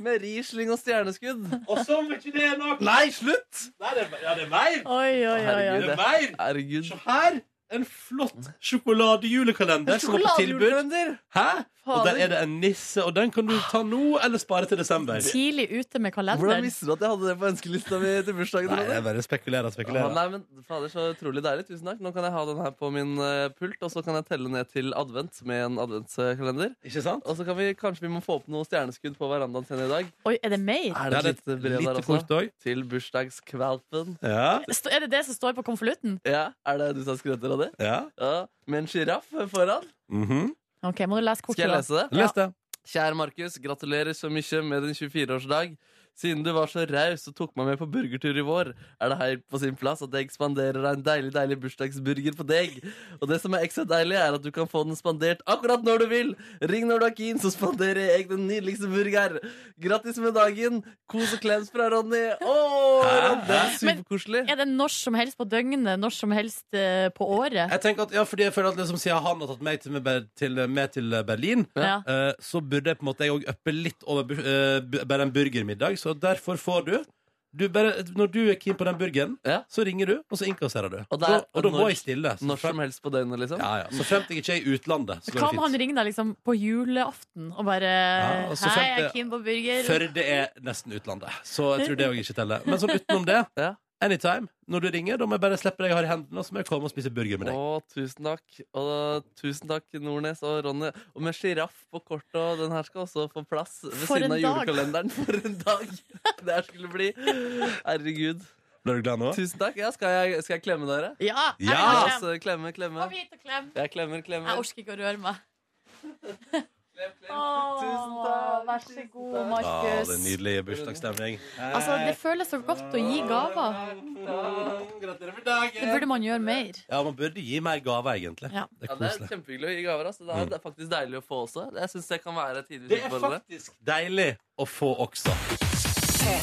Speaker 3: *laughs* Med Riesling og stjerneskudd.
Speaker 2: Og som ikke det er nok
Speaker 3: Nei, slutt!
Speaker 2: Nei, det er, ja, det er mer!
Speaker 4: Oi, oi, oi. oi.
Speaker 3: Herregud.
Speaker 2: Det er mer!
Speaker 3: Herregud.
Speaker 2: Se her! En flott sjokoladejulekalender som er på tilbud.
Speaker 3: Sjokoladejulekalender!
Speaker 2: Hæ? Og
Speaker 3: Fader.
Speaker 2: der er det en nisse, og den kan du ta nå eller spare til desember.
Speaker 4: Tidlig ute med
Speaker 3: Hvordan
Speaker 4: kalenderen.
Speaker 3: visste du at jeg hadde det på ønskelista mi til bursdagen?
Speaker 2: Nei,
Speaker 3: Ronny?
Speaker 2: jeg bare spekulerer og
Speaker 3: Ah,
Speaker 2: spekulerer.
Speaker 3: nei, men fader, så utrolig deilig. Tusen takk. Nå kan jeg ha den her på min eh, pult, og så kan jeg telle ned til advent med en adventskalender.
Speaker 2: Ikke sant?
Speaker 3: Og så kan vi kanskje vi må få opp noen stjerneskudd på verandaen sin i dag.
Speaker 4: Oi, er det mer?
Speaker 3: Er
Speaker 2: Ja,
Speaker 3: det et
Speaker 2: det er
Speaker 3: lite
Speaker 2: et
Speaker 3: brev
Speaker 2: lite
Speaker 3: der
Speaker 2: kort
Speaker 3: også?
Speaker 2: også.
Speaker 3: Til bursdagskvalpen.
Speaker 2: Ja,
Speaker 4: Sto- Er det det som står på konvolutten?
Speaker 3: Ja, er det du som skrøter av det?
Speaker 2: ja.
Speaker 3: Ja, Med en sjiraff foran.
Speaker 2: Mhm.
Speaker 4: Ok, må du lese kortet.
Speaker 3: Skal jeg
Speaker 4: da.
Speaker 3: lese det?
Speaker 2: Les det.
Speaker 3: Kjære Markus, gratulerer så mye med din 24-årsdag. Siden du var så raus og tok meg med på burgertur i vår, er det helt på sin plass at jeg ekspanderer en deilig deilig bursdagsburger på deg. Og det som er ekstra deilig, er at du kan få den spandert akkurat når du vil. Ring når du er keen, så spanderer jeg den nydeligste burger. Grattis med dagen. Kos og klems fra Ronny. Å, Ronny, det er
Speaker 4: Men-
Speaker 3: superkoselig.
Speaker 4: Er det når som helst på døgnet, når som helst eh, på året?
Speaker 2: Jeg tenker at, ja, fordi jeg føler at liksom, Siden han har tatt meg til, med, til, med til Berlin,
Speaker 4: Ja.
Speaker 2: eh, så burde jeg på en måte jeg òg uppe litt over bu- eh, bu- bare en burgermiddag. Så derfor får du, du bare, Når du er keen på den burgeren,
Speaker 3: Ja.
Speaker 2: så ringer du, og så innkasserer du.
Speaker 3: Og
Speaker 2: Og,
Speaker 3: der-
Speaker 2: da, og da
Speaker 3: når-
Speaker 2: må jeg stille. Så
Speaker 3: Når som
Speaker 2: frem,
Speaker 3: helst på døgnet, liksom.
Speaker 2: ja, ja. så fremt jeg ikke er i utlandet, så går
Speaker 4: Kan
Speaker 2: det
Speaker 4: han
Speaker 2: fint.
Speaker 4: ringe deg liksom på julaften og bare
Speaker 2: Ja, og så
Speaker 4: Hei,
Speaker 2: sendte-
Speaker 4: jeg er keen på burger.
Speaker 2: Førde er nesten utlandet, så jeg tror det òg ikke teller. Men sånn utenom det,
Speaker 3: Ja.
Speaker 2: anytime. Når du ringer, da må jeg bare slippe deg jeg har i hendene, og så må jeg komme og spise burger med deg.
Speaker 3: Å, tusen takk. Og tusen takk, Nordnes og Ronny. Og med sjiraff på kortet, og den her skal også få plass ved
Speaker 4: For
Speaker 3: siden av
Speaker 4: en dag.
Speaker 3: julekalenderen. *laughs* For en dag! Det her skulle bli. Herregud.
Speaker 2: Blir du glad nå?
Speaker 3: Tusen takk. Ja, skal, jeg, skal jeg klemme dere?
Speaker 4: Ja! Jeg, vil
Speaker 2: Ja.
Speaker 4: ha
Speaker 3: Ja,
Speaker 4: klem.
Speaker 3: altså, klemme, klemme.
Speaker 4: Kom hit og klem.
Speaker 3: Jeg klemmer,
Speaker 4: Jeg
Speaker 3: klemmer.
Speaker 4: orker ikke å røre meg.
Speaker 3: Klem, klem. Tusen
Speaker 4: Åh,
Speaker 3: takk.
Speaker 4: Vær så
Speaker 3: tusen
Speaker 4: god,
Speaker 3: takk.
Speaker 2: Ja, det er
Speaker 4: Markus.
Speaker 2: nydelig bursdagsstemning.
Speaker 4: Altså, det føles så godt å gi gaver.
Speaker 2: Gratulerer med dagen!
Speaker 4: Det burde man gjøre mer.
Speaker 2: Ja, man burde gi mer gaver, egentlig.
Speaker 4: Ja.
Speaker 2: Det
Speaker 3: Ja,
Speaker 2: er
Speaker 3: det er
Speaker 2: koselig. Mm.
Speaker 3: kjempehyggelig å gi gaver. Altså. Det, er, det er faktisk deilig å få også. Jeg syns det kan være tidvis
Speaker 2: Det er
Speaker 3: utfordrende.
Speaker 2: faktisk deilig å få også.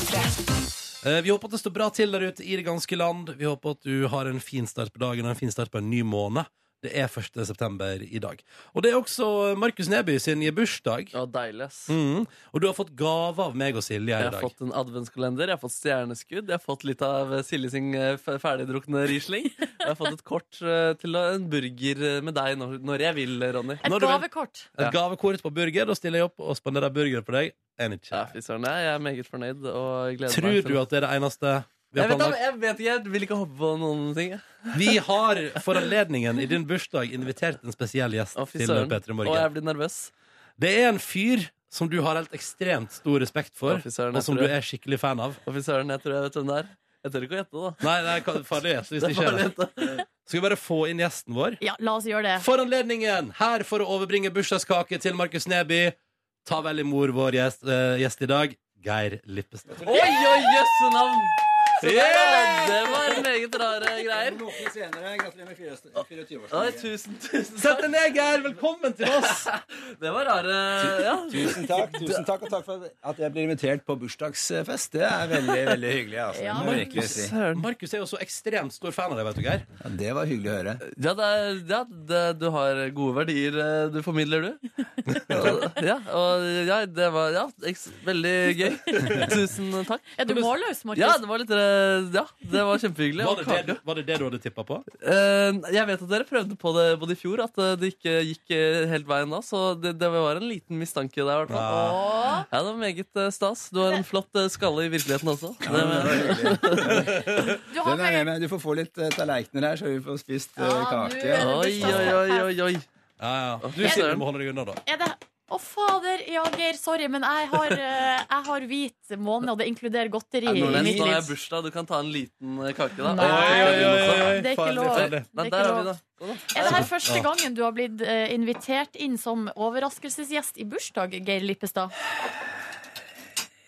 Speaker 2: Eh, Vi håper at det står bra til der ute i det ganske land. Vi håper at du har en fin start på dagen og en fin start på en ny måned. Det er 1. september i dag. Og det er også Markus Neby sin bursdag.
Speaker 3: Ja, deilig, ass.
Speaker 2: Mhm. Og du har fått gave av meg og Silje her i
Speaker 3: Jeg har
Speaker 2: dag.
Speaker 3: fått en adventskalender, jeg har fått stjerneskudd, jeg har fått litt av Silje sin eh, f- ferdigdrukne Riesling. og Jeg har fått et kort eh, til å- en burger eh, med deg når, når jeg vil, Ronny.
Speaker 4: Et
Speaker 2: Når du vil.
Speaker 4: gavekort.
Speaker 2: Et gavekort på burger. Da stiller jeg opp og spanderer burger på deg.
Speaker 3: Ja,
Speaker 2: Anytime.
Speaker 3: fy søren, jeg jeg er meget fornøyd og gleder
Speaker 2: Tror
Speaker 3: meg. til-
Speaker 2: du at det er det eneste vi har
Speaker 3: jeg
Speaker 2: planlagt?
Speaker 3: vet, da, jeg vet ikke, jeg vil ikke hoppe på noen ting. jeg.
Speaker 2: Vi har for anledningen i din bursdag invitert en spesiell gjest
Speaker 3: Å, fy
Speaker 2: til
Speaker 3: søren.
Speaker 2: P3
Speaker 3: Og jeg
Speaker 2: Morgen.
Speaker 3: blir nervøs.
Speaker 2: Det er en fyr som du har helt ekstremt stor respekt for,
Speaker 3: Å, fy søren,
Speaker 2: og som
Speaker 3: jeg
Speaker 2: du
Speaker 3: tror
Speaker 2: er skikkelig fan av.
Speaker 3: Å, fy søren, jeg tror jeg vet hvem det er. Jeg tør ikke å gjette, da.
Speaker 2: Nei, det er ka- farlig å gjette hvis
Speaker 3: *laughs* Det
Speaker 2: det ikke
Speaker 3: er
Speaker 2: er
Speaker 3: bare
Speaker 2: det.
Speaker 3: å gjette.
Speaker 2: Skal vi bare få inn gjesten vår?
Speaker 4: Ja, la oss gjøre det.
Speaker 2: For anledningen, her for å overbringe bursdagskake til Markus Neby, ta vel i mor vår gjest, eh, gjest i dag, Geir Lippestad.
Speaker 3: Oi, oi, jøsse navn! Så der,
Speaker 2: Yeah!
Speaker 3: ja, Det var meget rare greier.
Speaker 10: Noe senere. Gratulerer med 24-årsdagen.
Speaker 3: Oi, tusen, tusen
Speaker 2: Sett
Speaker 3: takk.
Speaker 2: deg ned, Geir! Velkommen til oss!
Speaker 3: *laughs* Det var rare ja.
Speaker 10: Tusen takk, tusen takk, og takk for at jeg blir invitert på bursdagsfest. Det er veldig veldig hyggelig. Altså.
Speaker 4: Ja,
Speaker 10: Det må jeg virkelig si.
Speaker 3: Søren.
Speaker 2: Markus er jo så ekstremt stor fan av deg, vet du, Geir.
Speaker 10: Ja, det var hyggelig å høre.
Speaker 3: Ja, det er, ja det, du har gode verdier eh, du formidler, du. Og- ja, og ja, det var ja, eks- veldig gøy. Tusen takk.
Speaker 4: Er du målløs, Markus?
Speaker 3: Ja, det var litt eh, Ja, det var kjempehyggelig.
Speaker 2: Var
Speaker 3: Og
Speaker 2: det det,
Speaker 3: kake.
Speaker 2: du- var det, det du hadde tippa på?
Speaker 3: Eh, jeg vet at dere prøvde på det både i fjor, at eh, det ikke gikk eh, helt veien da. Så det, det var en liten mistanke der, i hvert fall.
Speaker 4: Åh,
Speaker 3: Ja, det var meget eh, stas. Du har en flott eh, skalle i virkeligheten også.
Speaker 10: Ja, det var hyggelig.
Speaker 4: Du har
Speaker 10: Den er
Speaker 4: med
Speaker 10: med meg. Du får få litt eh, tallerkener her, så vi får spist eh,
Speaker 4: Ja, du
Speaker 10: kake.
Speaker 4: er-
Speaker 10: Ja.
Speaker 3: Oi, oi, oi, oi, oi.
Speaker 2: Ja, ja. Du
Speaker 3: Ja.
Speaker 2: Silje, du må holde deg unna, da.
Speaker 4: Er det Å, fader, Jager, sorry, men jeg har, eh, jeg har hvit måned, og det inkluderer godteri.
Speaker 3: Er det
Speaker 4: i
Speaker 3: noe
Speaker 4: mitt
Speaker 3: vent, nå har jeg
Speaker 4: liv.
Speaker 3: bursdag, du kan ta en liten eh, kake, da.
Speaker 4: Nei.
Speaker 3: Oi, oi, oi, oi, oi.
Speaker 4: Det er ikke
Speaker 3: Farlig,
Speaker 4: lov.
Speaker 3: farlig.
Speaker 4: Det er
Speaker 3: Nei,
Speaker 4: ikke
Speaker 3: der har vi
Speaker 4: lov.
Speaker 3: det. Gå da.
Speaker 4: Er det her første
Speaker 3: Ja.
Speaker 4: gangen du har blitt eh, invitert inn som overraskelsesgjest i bursdag, Geir Lippestad?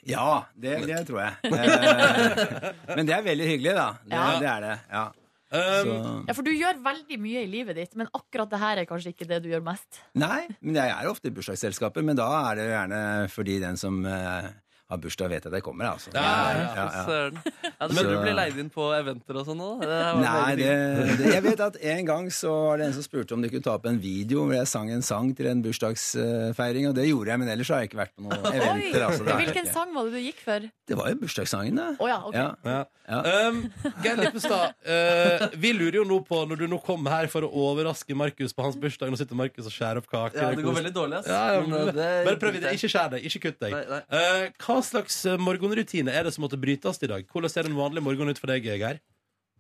Speaker 10: Ja, det, det tror jeg. Eh, Men det er veldig hyggelig, da. Det,
Speaker 4: Ja.
Speaker 10: det er det. Ja. Så-
Speaker 4: Ja, for du gjør veldig mye i livet ditt, men akkurat det her er kanskje ikke det du gjør mest.
Speaker 10: Nei, men jeg er ofte i bursdagsselskaper, men da er det jo gjerne fordi den som eh, har bursdag, vet at jeg kommer, altså.
Speaker 3: Ja, fy Søren. Ja, men
Speaker 10: Så-
Speaker 3: du blir leid inn på eventer og sånn nå? da? Det her var veldig
Speaker 10: Nei, det,
Speaker 3: fint.
Speaker 10: det, jeg vet at en gang så var det en som spurte om de kunne ta opp en video hvor jeg sang en sang til en bursdagsfeiring, og det gjorde jeg, men ellers har jeg ikke vært på noen eventer. Altså, det, er
Speaker 4: Hvilken
Speaker 10: ikke.
Speaker 4: sang var det du gikk for?
Speaker 10: det var jo bursdagssangen, det.
Speaker 4: Å ja, ok.
Speaker 10: Ja.
Speaker 2: Um, Geir Lippestad, eh, vi lurer jo nå på når du nå kommer her for å overraske Markus på hans bursdag. Nå sitter Markus og skjærer opp kaker.
Speaker 3: Ja, det går
Speaker 2: kos-
Speaker 3: veldig dårlig, ass.
Speaker 2: Ja, ja,
Speaker 3: Men,
Speaker 2: men,
Speaker 3: eh, det-
Speaker 2: bare prøv det. Ikke skjær deg. Ikke kutt deg. Eh, hva slags eh, morgenrutine er det som måtte brytes i dag? Hvordan ser en vanlig morgen ut for deg, Geir?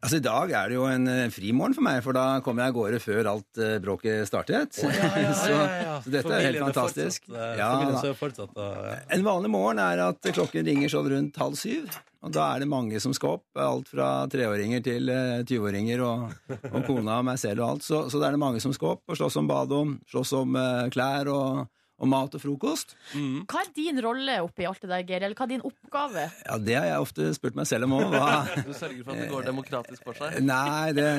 Speaker 10: Altså, I dag er det jo en eh, frimorgen for meg, for da kommer jeg av gårde før alt eh, bråket startet. så, *laughs* så dette er helt
Speaker 2: Familien
Speaker 10: fantastisk.
Speaker 2: Fortsatt, eh,
Speaker 10: Ja,
Speaker 2: familien
Speaker 10: da.
Speaker 2: ser fortsatt, eh,
Speaker 10: En vanlig morgen er at klokken ringer sånn rundt halv syv. Og da er det mange som skal opp. Alt fra treåringer til eh, tyveåringer og, og kona og meg selv og alt. Så, så da er det mange som skal opp og slåss om badet, og slåss om eh, klær og, og mat og frokost.
Speaker 4: Hva er din rolle oppi alt det der, Geir? Eller hva er din oppgave?
Speaker 10: Ja, det har jeg ofte spurt meg selv om òg.
Speaker 3: Du sørger for at det går demokratisk for seg?
Speaker 10: *laughs* Eh, Nei, det,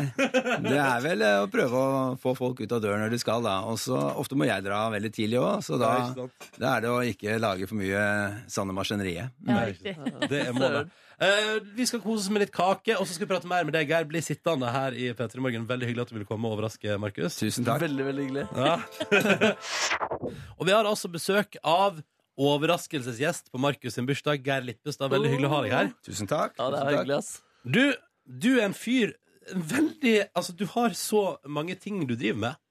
Speaker 10: det er vel eh, å prøve å få folk ut av døren når de skal, da. Og så ofte må jeg dra veldig tidlig òg, så da,
Speaker 2: Ja, ikke
Speaker 10: da er det å ikke lage for mye sanne maskineriet.
Speaker 2: Nei, ikke sant. Det er målet. Eh, vi skal kose oss med litt kake, og så skal vi prate mer med deg, Geir. Bli sittende her i P3 Morgen. Veldig hyggelig at du ville komme og overraske, Markus.
Speaker 10: Tusen takk.
Speaker 3: Veldig, veldig hyggelig.
Speaker 2: Ja. *laughs* og vi har altså besøk av overraskelsesgjest på Markus sin bursdag, Geir Lippestad. Veldig hyggelig å ha deg her.
Speaker 10: Tusen takk.
Speaker 3: Ja, det er
Speaker 10: Tusen takk.
Speaker 3: hyggelig, ass.
Speaker 2: Du, du er en fyr en Veldig Altså, du har så mange ting du driver med.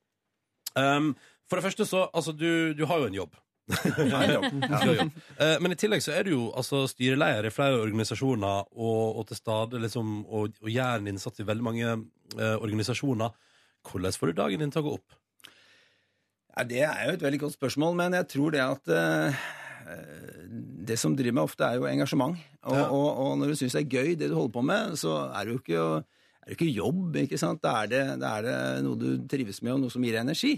Speaker 2: Um, for det første så Altså, du, du har jo en jobb. Du har jobb. Eh, Men i tillegg så er du jo altså, styreleder i flere organisasjoner og, og til stede liksom, og, og gjør en innsats i veldig mange eh, organisasjoner. Hvordan får du dagen din til å gå opp?
Speaker 10: Ja, det er jo et veldig godt spørsmål, men jeg tror det at eh, det som driver meg ofte, er jo engasjement. Og, og, og når du syns det er gøy, det du holder på med, så er det jo ikke, er det jo ikke jobb. ikke sant? Da er det, da er det noe du trives med, og noe som gir deg energi.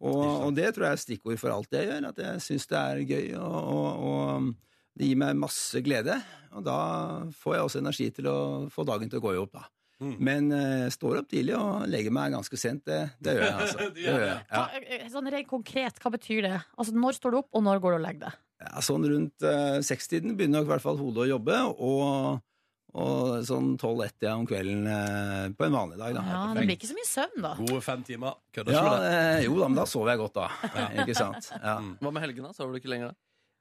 Speaker 10: Og, og det tror jeg er stikkord for alt jeg gjør. At jeg syns det er gøy, og, og, og det gir meg masse glede. Og da får jeg også energi til å få dagen til å gå opp, da. Men eh, jeg står opp tidlig og legger meg ganske sent. Det, det gjør jeg, altså. Det gjør jeg. Ja.
Speaker 4: Hva, eh, sånn rent konkret, hva betyr det? Altså, når står du opp, og når går du og legger deg?
Speaker 10: Ja, sånn rundt eh, sekstiden begynner nok i hvert fall hodet å jobbe, og, og sånn tolv-ett om kvelden eh, på en vanlig dag, da.
Speaker 4: Ja, det blir ikke så mye søvn, da.
Speaker 2: Gode fem timer. Kødder
Speaker 10: Ja,
Speaker 2: ikke med det.
Speaker 10: eh, jo da, men da sover jeg godt,
Speaker 4: *laughs*
Speaker 10: da. Ikke sant? Ja.
Speaker 4: Mm.
Speaker 3: Hva med helgene? Sover du ikke lenger da?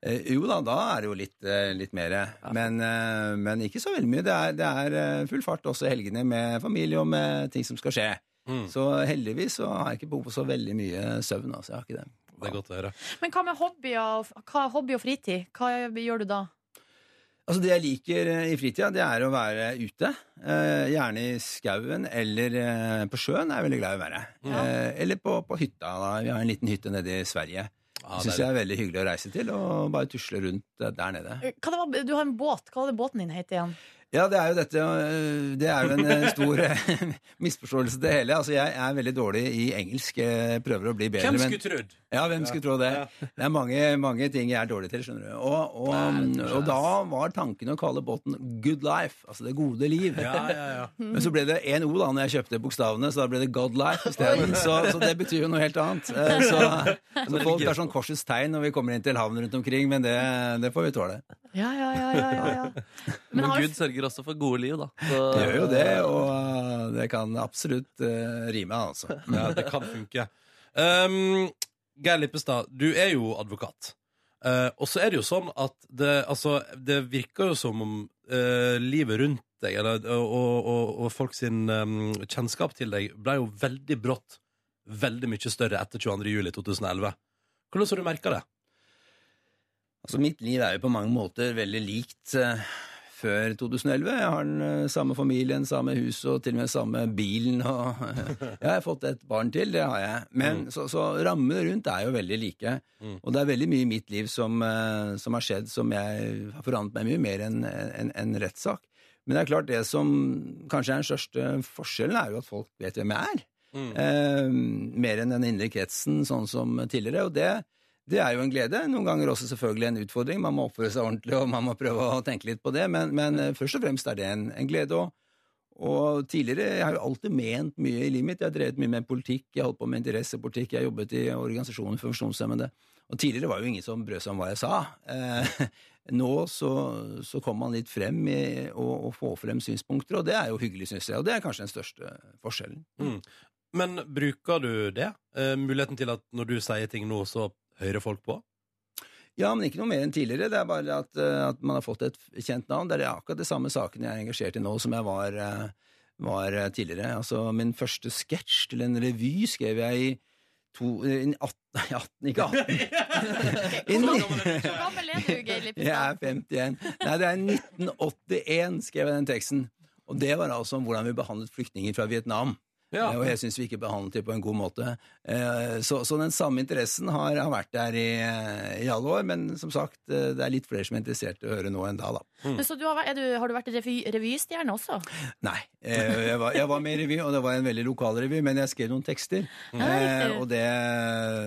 Speaker 10: Eh, jo da, da er det jo litt, eh, litt mer. Men, eh, men ikke så veldig mye. Det er, det er eh, full fart også i helgene med familie og med ting som skal skje.
Speaker 2: Mm,
Speaker 4: Mm.
Speaker 10: Så heldigvis så har jeg ikke behov for så veldig mye søvn. altså, jeg har ikke det.
Speaker 2: Det er godt å høre.
Speaker 4: Men hva med hobbyer og, hva, hobby og fritid? Hva gjør du da?
Speaker 10: Altså Det jeg liker eh, i fritida, det er å være ute. Eh, gjerne i skauen eller eh, på sjøen er jeg veldig glad i å være. Eh, eller på, på hytta. da. Vi har en liten hytte nede i Sverige. Det syns
Speaker 2: det er-
Speaker 10: jeg er veldig hyggelig å reise til og bare tusle rundt eh, der nede.
Speaker 4: Hva det var, du har en båt. Hva var det båten din het igjen?
Speaker 10: Ja, det er jo dette øh, Det er jo en øh, stor øh, *laughs* misforståelse, det hele. Altså, jeg er veldig dårlig i engelsk. Jeg prøver å bli bedre.
Speaker 2: Hvem
Speaker 10: men-
Speaker 2: skulle
Speaker 10: *laughs*
Speaker 2: trodd?
Speaker 10: Ja, hvem skulle tro det? Det er mange, mange ting jeg er dårlig til, skjønner du. Og, og, og da var tanken å kalle båten Good Life, altså det gode liv.
Speaker 2: Ja, ja, ja.
Speaker 10: Men så ble det én O da når jeg kjøpte bokstavene, så da ble det God Life isteden. Så, så det betyr jo noe helt annet. Eh, Så, så folk er sånn korsets tegn når vi kommer inn til havnen rundt omkring, men det, det får vi tåle.
Speaker 4: Ja, ja, ja, ja, ja, ja. *laughs* Men
Speaker 3: Men
Speaker 4: har-
Speaker 3: Gud sørger også for gode liv, da. Så,
Speaker 10: Det gjør jo det, og eh, det kan absolutt eh, rime, altså.
Speaker 2: ja det kan funke. Um, Geir Lippestad, du er jo advokat. Eh, og så er det jo sånn at det, altså, det virker jo som om eh, livet rundt deg eller, og, og, og folk sin em, kjennskap til deg ble jo veldig brått veldig mye større etter 22. juli 2011. Hvordan har du merka det?
Speaker 10: Altså, mitt liv er jo på mange måter veldig likt eh, før 2011. Jeg har den eh, samme familien, samme hus og til og med samme bilen. Og, eh, jeg har fått et barn til, det har jeg. Men,
Speaker 11: Mm.
Speaker 10: så, så rammene rundt er jo veldig like.
Speaker 11: Mm.
Speaker 10: Og det er veldig mye i mitt liv som, eh, som har skjedd som jeg har forandret meg mye mer enn en, en rettssak. Men det er klart det som kanskje er den største forskjellen, er jo at folk vet hvem jeg er.
Speaker 2: Mm.
Speaker 10: Eh, mer enn den indre kretsen, sånn som tidligere. Og det, det er jo en glede. Noen ganger også selvfølgelig en utfordring. Man må oppføre seg ordentlig, og man må prøve å tenke litt på det. Men, men eh, først og fremst er det en, en glede. Og, og tidligere Jeg har jo alltid ment mye i livet mitt. Jeg har drevet mye med politikk, jeg holdt på med interessepolitikk, jeg jobbet i organisasjoner for funksjonshemmede. Og tidligere var jo ingen som brød seg om hva jeg sa. Eh, *laughs* nå så, så kommer man litt frem i, og, og får frem synspunkter, og det er jo hyggelig, syns jeg. Og det er kanskje den største forskjellen.
Speaker 2: Mm. Men bruker du det? Eh, muligheten til at når du sier ting nå, så hører folk på?
Speaker 10: Ja, men ikke noe mer enn tidligere. Det er bare at, eh, at man har fått et kjent navn. Det er akkurat de samme sakene jeg er engasjert i nå som jeg var, eh, var eh, tidligere. Altså, min første sketsj til en revy skrev jeg i to, eh, i 18, *laughs* nei, 18 ikke
Speaker 4: *laughs*
Speaker 10: 18. I ni-
Speaker 4: gammel er du, Geir
Speaker 10: *laughs* jeg er
Speaker 4: Lippestad?
Speaker 10: 51. Nei, det er 1981 skrev jeg den teksten. Og det var altså om hvordan vi behandlet flyktninger fra Vietnam.
Speaker 2: Ja.
Speaker 10: Eh, Og jeg syns vi ikke behandlet dem på en god måte. Eh, Så, så den samme interessen har, har vært der i, eh, i alle år, men som sagt, eh, det er litt flere som er interessert i å høre nå enn da, da.
Speaker 4: Men så du har, vært- er du, har du vært revy, revystjerne også?
Speaker 10: Nei. eh, Jeg var, jeg var med i revy, og det var en veldig lokal revy, men jeg skrev noen tekster. eh, Og det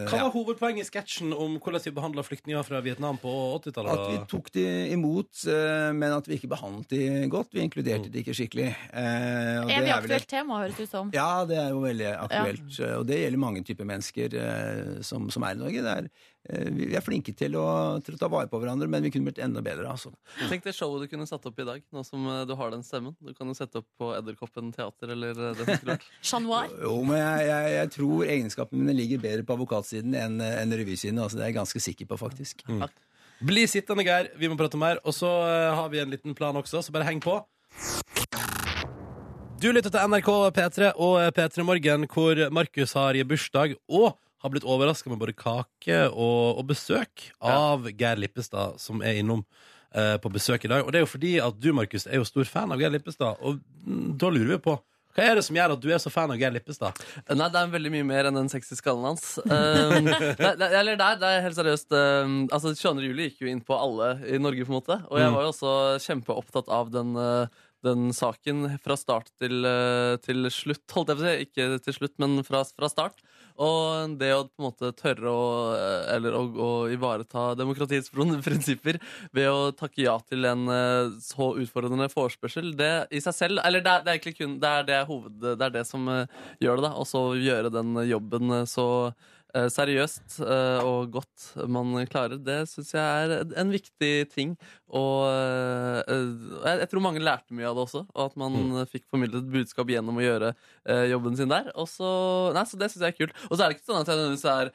Speaker 2: Hva
Speaker 10: ja.
Speaker 2: var hovedpoenget i sketsjen om hvordan vi behandla flyktninger fra Vietnam på
Speaker 10: At vi
Speaker 2: 80-tallet?
Speaker 10: tok de imot, eh, men at vi ikke behandlet de godt. Vi inkluderte de ikke skikkelig. Eh, og det
Speaker 4: Evig
Speaker 10: er vel et-
Speaker 4: aktuelt tema, høres det ut som.
Speaker 10: Ja, det er jo veldig aktuelt. Og det gjelder mange typer mennesker eh, som, som er i Norge. Det er, eh, vi vi er flinke til å, til å ta vare på hverandre, men vi kunne blitt enda bedre. Altså.
Speaker 3: Tenk det showet du kunne satt opp i dag, nå som eh, du har den stemmen. Du kan jo sette opp på Edderkoppen teater eller eh, det som skulle vært.
Speaker 4: Chat noir?
Speaker 10: Jo, men jeg, jeg, jeg tror egenskapene mine ligger bedre på advokatsiden enn, enn revysiden. Altså, det er jeg ganske sikker på, faktisk.
Speaker 2: Bli sittende, Geir. Vi må prate mer. Og så eh, har vi en liten plan også, så bare heng på. Du lytter til NRK P3 og eh, P3 Morgen, hvor Markus har bursdag og har blitt overraska med både kake og, og besøk av Geir Lippestad, som er innom eh, på besøk i dag. Og det er jo fordi at du, Markus, er jo stor fan av Geir Lippestad, og mm, da lurer vi på hva er det som gjør at du er så fan av Geir Lippestad?
Speaker 3: Nei, det er veldig mye mer enn den sexy skallen hans. Um, nei, nei, eller der, det er helt seriøst um, Altså, 22. juli gikk jo inn på alle i Norge, på en måte. Og jeg
Speaker 2: Mm.
Speaker 3: var jo også kjempeopptatt av den, uh, den saken fra start til, uh, til slutt, holdt jeg på å si. Ikke til slutt, men fra, fra start. Og det å på en måte tørre å, eh, eller, å, å ivareta demokratiets prinsipper ved å takke ja til en eh, så utfordrende forespørsel, det i seg selv Eller det er, det er egentlig kun det er det, hoved, det er det som eh, gjør det, da. Og så gjøre den jobben eh, så eh, seriøst eh, og godt man klarer. Det syns jeg er en viktig ting. Og eh, eh, jeg, jeg tror mange lærte mye av det også, og at man eh, fikk formidlet et budskap gjennom å gjøre eh, jobben sin der. Og så, nei, så det syns jeg er kult. Og så er det ikke sånn at jeg nødvendigvis er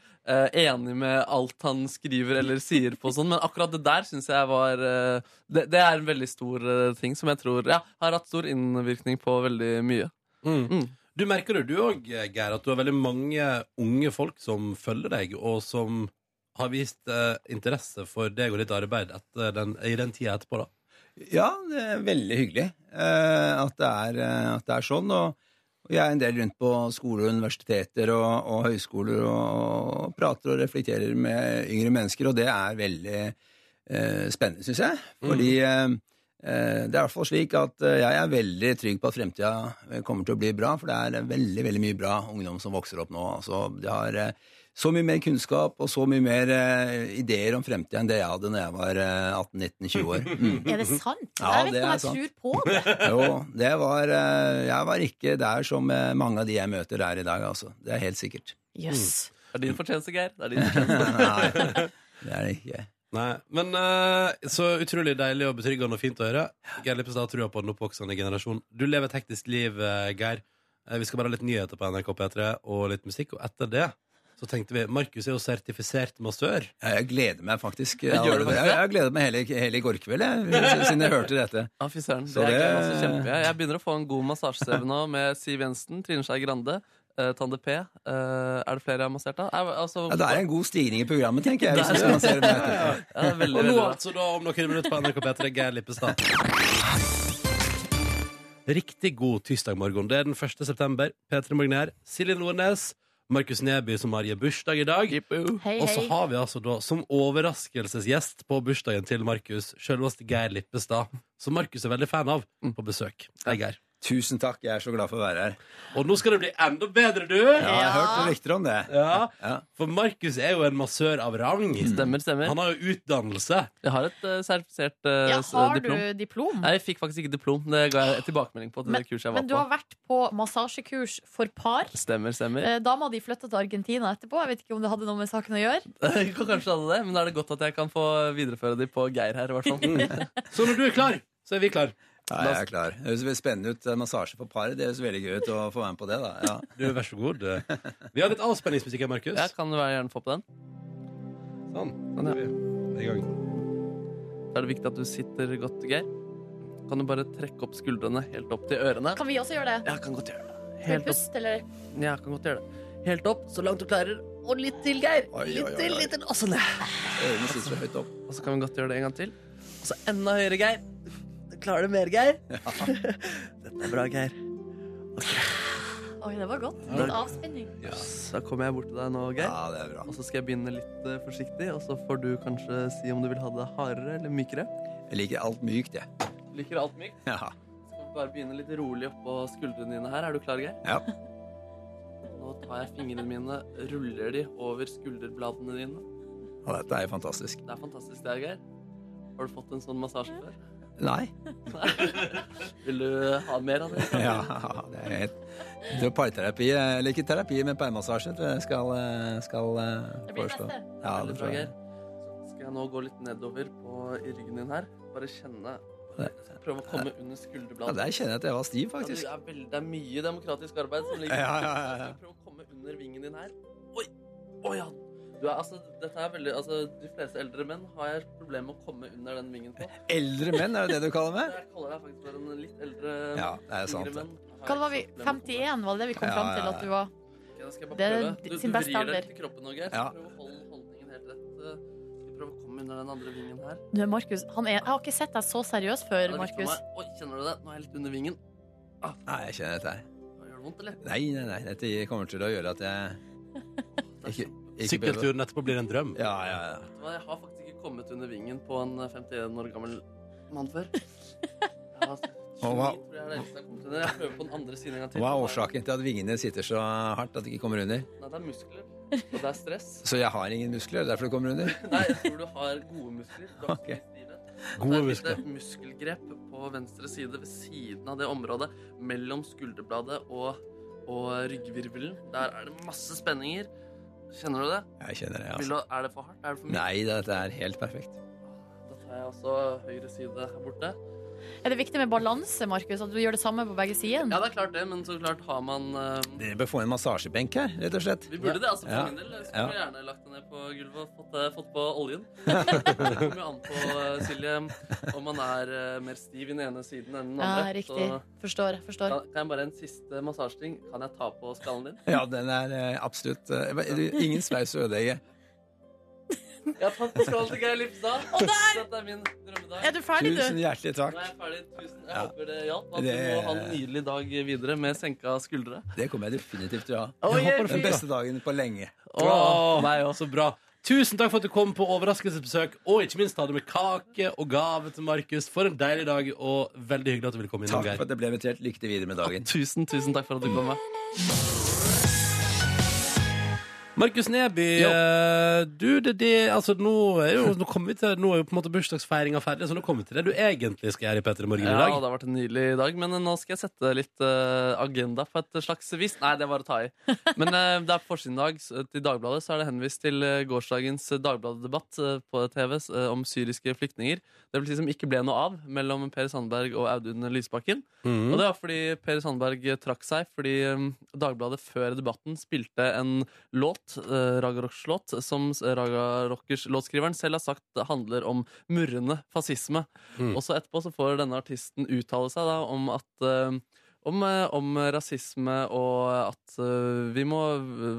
Speaker 3: eh, enig med alt han skriver eller sier på sånn, men akkurat det der syns jeg var eh, det, det er en veldig stor eh, ting som jeg tror ja, har hatt stor innvirkning på veldig mye.
Speaker 2: Du merker det, du òg, Geir, at du har veldig mange unge folk som følger deg, og som har vist eh, interesse for deg og ditt arbeid etter den, i den tida etterpå, da.
Speaker 10: Ja, det er veldig hyggelig eh, at, det er, eh, at det er sånn. Og, og jeg er en del rundt på skoler og universiteter og, og høyskoler og, og prater og reflekterer med yngre mennesker, og det er veldig eh, spennende, syns jeg. Fordi eh, eh, det er i hvert fall slik at eh, jeg er veldig trygg på at fremtida kommer til å bli bra, for det er veldig, veldig mye bra ungdom som vokser opp nå. Altså, de har eh, så mye mer kunnskap og så mye mer eh, ideer om fremtida enn det jeg hadde når jeg var eh, 18-19-20 år. Mm.
Speaker 4: Er det sant?
Speaker 10: Ja,
Speaker 4: jeg vet ikke om
Speaker 10: det er
Speaker 4: jeg
Speaker 10: sant.
Speaker 4: tror på det.
Speaker 10: Jo, det var eh, Jeg var ikke der som eh, mange av de jeg møter er i dag, altså. Det er helt sikkert. eh,
Speaker 4: Jøss.
Speaker 3: Det er din fortjeneste, Geir. Det er din fortjeneste.
Speaker 10: Nei, det er det ikke.
Speaker 2: Nei, Men eh, så utrolig deilig og betryggende og fint å høre. Geir Lippestad har trua på den oppvoksende generasjon. Du lever et hektisk liv, eh, Geir. Eh, vi skal bare ha litt nyheter på NRK P3 og litt musikk, og etter det så tenkte vi Markus er jo sertifisert massør.
Speaker 10: Ja, Jeg gleder meg faktisk.
Speaker 2: Ja, gjør du
Speaker 10: allerede.
Speaker 2: faktisk
Speaker 10: jeg,
Speaker 2: det?
Speaker 10: jeg gleder meg hele, hele i går kveld, jeg, siden jeg hørte dette.
Speaker 3: Ja, fy søren.
Speaker 10: Så
Speaker 3: Det
Speaker 10: det-
Speaker 3: er jeg også kjempe. Jeg- Jeg begynner å få en god massasjeseve nå med Siv Jensen, Trine Skei Grande, eh, Tande P. Eh, er det flere jeg har massert, da? Er, altså,
Speaker 10: Ja, det er en god stigning i programmet, tenker jeg. Hvis
Speaker 3: Det
Speaker 10: du
Speaker 3: er-
Speaker 10: skal se det
Speaker 3: Ja, det
Speaker 2: og
Speaker 3: er veldig,
Speaker 2: nå
Speaker 3: veldig bra.
Speaker 2: altså da om noen minutter på NRK P3, Geir Lippestad. Riktig god tirsdag morgen. Det er den 1. september. P3 Morgen er her. Silje Nordnes. Markus Neby, som har gitt bursdag i dag.
Speaker 4: Hei,
Speaker 2: Og så
Speaker 4: hei.
Speaker 2: har vi altså da som overraskelsesgjest på bursdagen til Markus, selveste Geir Lippestad, som Markus er veldig fan av, på besøk. Hei, Geir.
Speaker 10: Tusen takk, jeg er så glad for å være her.
Speaker 2: Og nå skal det bli enda bedre, du!
Speaker 10: Ja, jeg har hørt rykter om det.
Speaker 2: Ja, For Markus er jo en massør av rang. Stemmer, stemmer Han har jo utdannelse.
Speaker 3: Jeg har et eh, sertifisert eh,
Speaker 4: Ja,
Speaker 3: s-
Speaker 4: har
Speaker 3: diplom.
Speaker 4: du diplom?
Speaker 3: Nei, jeg fikk faktisk ikke diplom. Det ga jeg tilbakemelding på. til det kurset jeg var
Speaker 4: Men du
Speaker 3: på.
Speaker 4: har vært på massasjekurs for par.
Speaker 3: Stemmer, stemmer. *laughs*
Speaker 4: Eh, Dama di flytta til Argentina etterpå. Jeg vet ikke om det hadde noe med saken å gjøre.
Speaker 3: Kanskje hadde det, men da er det godt at jeg kan få videreføre de på Geir her. i
Speaker 4: *laughs*
Speaker 3: hvert fall.
Speaker 2: Så når du er klar, så er vi klar.
Speaker 10: Ja, jeg er klar. Det høres veldig spennende ut. eh, Massasje for par, det høres veldig gøy ut å få være med på det, da. Ja.
Speaker 2: Du, vær så god. Vi har litt avspenningsmusikk her, Markus.
Speaker 3: Ja, kan du være- gjerne få på den?
Speaker 2: Sånn.
Speaker 3: ja.
Speaker 2: I gang.
Speaker 3: Da er det viktig at du sitter godt, Geir. Kan du bare trekke opp skuldrene helt opp til ørene?
Speaker 4: Kan vi også gjøre det?
Speaker 3: Ja, kan godt gjøre det.
Speaker 4: Med
Speaker 3: Helt opp.
Speaker 4: pust, eller?
Speaker 3: Ja, kan godt gjøre det. Helt opp, så langt du klarer. Og litt til, Geir. Litt til, litt til. Og så ned.
Speaker 10: Ørene sitter så høyt opp.
Speaker 3: Og så kan vi godt gjøre det en gang til. Og så enda høyere, Geir. Du klarer det mer, Geir. *laughs* Dette er bra, Geir.
Speaker 4: Oi, det var godt.
Speaker 3: Ja.
Speaker 4: Litt avspenning.
Speaker 3: Da kommer jeg bort til deg nå, Geir.
Speaker 10: Ja, det er bra.
Speaker 3: Og så skal jeg begynne litt eh, forsiktig, og så får du kanskje si om du vil ha det hardere eller mykere.
Speaker 10: Jeg liker alt mykt, jeg.
Speaker 3: Liker alt mykt.
Speaker 10: Ja.
Speaker 3: Skal vi bare begynne litt rolig oppå skuldrene dine her. Er du klar, Geir?
Speaker 10: ja.
Speaker 3: *laughs* Nå tar jeg fingrene mine, ruller de over skulderbladene dine.
Speaker 10: Ja, dette er jo fantastisk.
Speaker 3: Det er fantastisk, det her, Geir. Har du fått en sånn massasje før? *laughs*
Speaker 10: Nei.
Speaker 3: Nei. Vil du ha mer av det?
Speaker 10: *laughs* Ja, det er helt Det er parterapi, eh, eller ikke terapi, men parmassasje tror jeg skal, eh, skal
Speaker 4: Det blir
Speaker 10: foreslå.
Speaker 4: neste.
Speaker 10: Ja,
Speaker 3: Veldig
Speaker 10: det
Speaker 3: bra,
Speaker 10: tror jeg.
Speaker 3: Geir. Så skal jeg nå gå litt nedover på, i ryggen din her. Bare kjenne Prøve å komme under
Speaker 10: Ja,
Speaker 3: skulderbladene.
Speaker 10: der kjenner jeg at jeg var stiv, faktisk.
Speaker 3: Ja, det, er veldig, det er mye demokratisk arbeid som ligger
Speaker 10: Ja, ja, ja, ja.
Speaker 3: Prøv å komme under vingen din her. Oi! Å ja! Du er, altså, dette er veldig, altså, de fleste eldre menn har jeg problemer med å komme under den vingen på.
Speaker 10: Eldre menn, er det det du kaller
Speaker 3: *laughs*
Speaker 10: meg?
Speaker 3: Jeg kaller deg faktisk for en litt eldre
Speaker 10: Ja, det er sant,
Speaker 3: yngre
Speaker 10: det.
Speaker 3: menn. Har
Speaker 4: Hva var vi?
Speaker 3: jeg ikke så problemer med å komme-
Speaker 4: 51, var det det vi kom
Speaker 10: Ja,
Speaker 4: fram
Speaker 10: ja,
Speaker 4: til
Speaker 10: ja.
Speaker 4: at du var?
Speaker 3: Ok, da skal jeg bare
Speaker 4: Det er
Speaker 3: prøve.
Speaker 4: ditt-
Speaker 3: Du,
Speaker 4: sin
Speaker 3: du
Speaker 4: beste
Speaker 3: vrir deg
Speaker 4: alder.
Speaker 3: litt i kroppen nå, Geir.
Speaker 10: Ja.
Speaker 3: Prøv å holde holdningen helt rett. Skal prøve å komme under den andre vingen her.
Speaker 4: Du, Markus, han er, jeg har ikke sett deg så seriøs
Speaker 3: Ja,
Speaker 4: før,
Speaker 3: det virker på
Speaker 4: Markus.
Speaker 3: meg. Oi, kjenner du det? Nå er jeg litt under vingen.
Speaker 10: Nei, jeg kjenner dette her.
Speaker 3: Gjør det vondt, eller?
Speaker 10: Nei, nei, nei, dette kommer til å gjøre at
Speaker 3: *laughs*
Speaker 10: jeg ikke, ikke behøver-
Speaker 2: Sykkelturen etterpå blir en drøm.
Speaker 10: Ja, ja, ja.
Speaker 3: Vet du hva, Jeg har faktisk ikke kommet under vingen på en 51 år gammel mann før. Jeg har 29,
Speaker 10: Og hva-
Speaker 3: tror jeg er det eneste jeg har kommet under. Jeg prøver på den andre siden en gang til.
Speaker 10: Hva er årsaken til at vingene sitter så hardt at de ikke kommer under?
Speaker 3: Nei, det er muskler. Og det er stress. *laughs*
Speaker 10: Så jeg har ingen muskler, det er derfor det *laughs* kommer under?
Speaker 3: Nei, jeg tror du har gode muskler. Du har
Speaker 10: Ok.
Speaker 3: ikke stive.
Speaker 2: Gode
Speaker 3: Det er
Speaker 2: muskler.
Speaker 3: et lite muskelgrep på venstre side ved siden av det området mellom skulderbladet og, og ryggvirvelen. Der er det masse spenninger. Kjenner du det?
Speaker 10: Jeg kjenner det,
Speaker 3: Vil
Speaker 10: altså.
Speaker 3: du, er det for hardt? Er det for mye?
Speaker 10: Nei, dette er helt perfekt.
Speaker 3: Da tar jeg også høyre side her borte.
Speaker 4: Er det viktig med balanse, Markus? At du gjør det samme på begge
Speaker 3: Ja,
Speaker 4: sider?
Speaker 3: det er klart det, men så klart har man eh,
Speaker 10: Dere bør få en massasjebenk her, rett og slett.
Speaker 3: Vi burde det, altså. For
Speaker 10: Ja.
Speaker 3: min del jeg
Speaker 10: Ja.
Speaker 3: skulle gjerne lagt det ned på gulvet og fått, eh, fått på
Speaker 10: *laughs*
Speaker 3: oljen. Det kommer jo an på, eh, Silje, om man er eh, mer stiv i den ene siden enn den
Speaker 4: Ja,
Speaker 3: andre.
Speaker 4: riktig.
Speaker 3: Så
Speaker 4: Forstår. forstår.
Speaker 3: Kan, kan jeg bare en siste massasjeting? Kan jeg ta på skallen din?
Speaker 10: Ja, den er eh, absolutt eh, du, Ingen sveis å ødelegge.
Speaker 3: Jeg tar på skallen til Geir Lipstad. Dette er min drømmedag.
Speaker 4: Er du ferdig,
Speaker 10: Tusen
Speaker 4: du?
Speaker 3: Nå
Speaker 10: hjertelig
Speaker 3: er
Speaker 10: takk.
Speaker 3: jeg ferdig. Tusen. Jeg
Speaker 10: Ja.
Speaker 3: håper det hjalp. At du
Speaker 10: Det-
Speaker 3: må ha en nydelig dag videre med senka skuldre.
Speaker 10: Det kommer jeg definitivt til å ha.
Speaker 3: Oi,
Speaker 2: håper det
Speaker 10: Den
Speaker 2: funker.
Speaker 10: beste dagen på lenge.
Speaker 2: Åh, så bra. Tusen takk for at du kom på overraskelsesbesøk, og ikke minst hadde med kake og gave til Markus. For en deilig dag, og veldig hyggelig at du ville komme innom,
Speaker 10: Takk
Speaker 2: Geir.
Speaker 10: for at jeg ble invitert. Lykke til videre med dagen.
Speaker 3: Tusen, tusen takk for at du kom. Med.
Speaker 2: Markus Neby,
Speaker 3: Jo.
Speaker 2: eh, du, det, det altså nå er jo Nå kommer vi til Nå er jo på en måte bursdagsfeiringa ferdig, så nå kommer vi til det du egentlig skal gjøre i P3 Morgen i
Speaker 3: Ja,
Speaker 2: dag.
Speaker 3: det har vært en nydelig dag, men nå skal jeg sette litt eh, agenda på et slags vis. Nei, det var å ta i. Men eh, det er forsiden i dag så til Dagbladet, så er det henvist til eh, gårsdagens Dagbladet-debatt eh, på TV s- eh, om syriske flyktninger. Det vil si som ikke ble noe av mellom Per Sandberg og Audun Lysbakken.
Speaker 2: Mhm.
Speaker 3: Og det var fordi Per Sandberg eh, trakk seg fordi um, Dagbladet før debatten spilte en låt, uh, Raga Rockers låt, som s- Raga Rockers låtskriveren selv har sagt handler om murrende fascisme.
Speaker 2: Mm.
Speaker 3: Og så etterpå så får denne artisten uttale seg da om at um, om, eh, om rasisme og at eh, vi må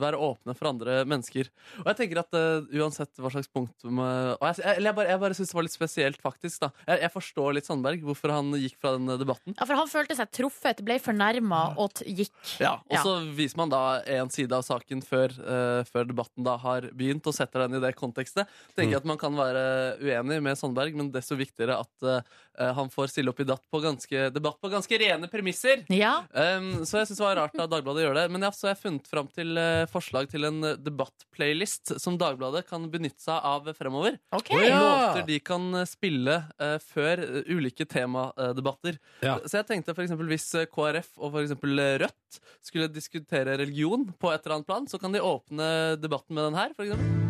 Speaker 3: være åpne for andre mennesker. Og jeg tenker at eh, uansett hva slags punkt med, og jeg, eller jeg bare, jeg bare syns det var litt spesielt, faktisk. da jeg, jeg forstår litt Sandberg, hvorfor han gikk fra den debatten.
Speaker 4: Ja, for han følte seg truffet, ble fornærma og t gikk.
Speaker 3: Ja, og så viser man da en side av saken før, eh, før debatten da har begynt, og setter den i det kontekstet. Tenker jeg at Man kan være uenig med Sandberg, men desto viktigere at eh, han får stille opp i datt på ganske, debatt på ganske rene premisser. Um, så jeg synes det var rart at Dagbladet gjør det. Men ja, så har jeg funnet fram til eh, forslag til en eh, debattplaylist som Dagbladet kan benytte seg av fremover.
Speaker 4: Ok.
Speaker 3: Og
Speaker 4: Ja.
Speaker 3: Låter de kan eh, spille eh, før eh, ulike temadebatter. Så jeg tenkte for eksempel hvis eh, KrF og for eksempel eh, Rødt skulle diskutere religion på et eller annet plan, så kan de åpne debatten med den her, for eksempel.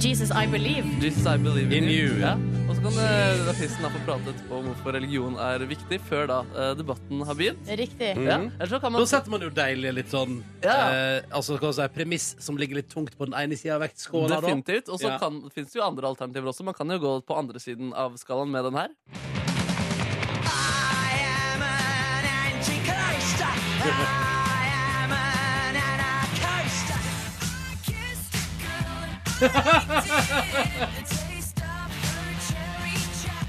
Speaker 4: Jesus, I believe.
Speaker 3: Jesus, I believe
Speaker 2: In
Speaker 3: in, you.
Speaker 2: you,
Speaker 3: Ja.
Speaker 2: ja.
Speaker 3: Og så kan eh, artisten da få prate etterpå om hvorfor religion er viktig, før da eh, debatten har begynt.
Speaker 4: Riktig.
Speaker 3: Ja. Eller så kan man
Speaker 2: Da Mhm. setter man jo deilig litt sånn eh, Altså, hva skal jeg si, premiss som ligger litt tungt på den ene sida av vektskåla. da.
Speaker 3: Definitivt. Og så
Speaker 2: Ja.
Speaker 3: kan- finnes det jo andre alternativer også. Man kan jo gå på andre siden av skalaen med den her. Så kan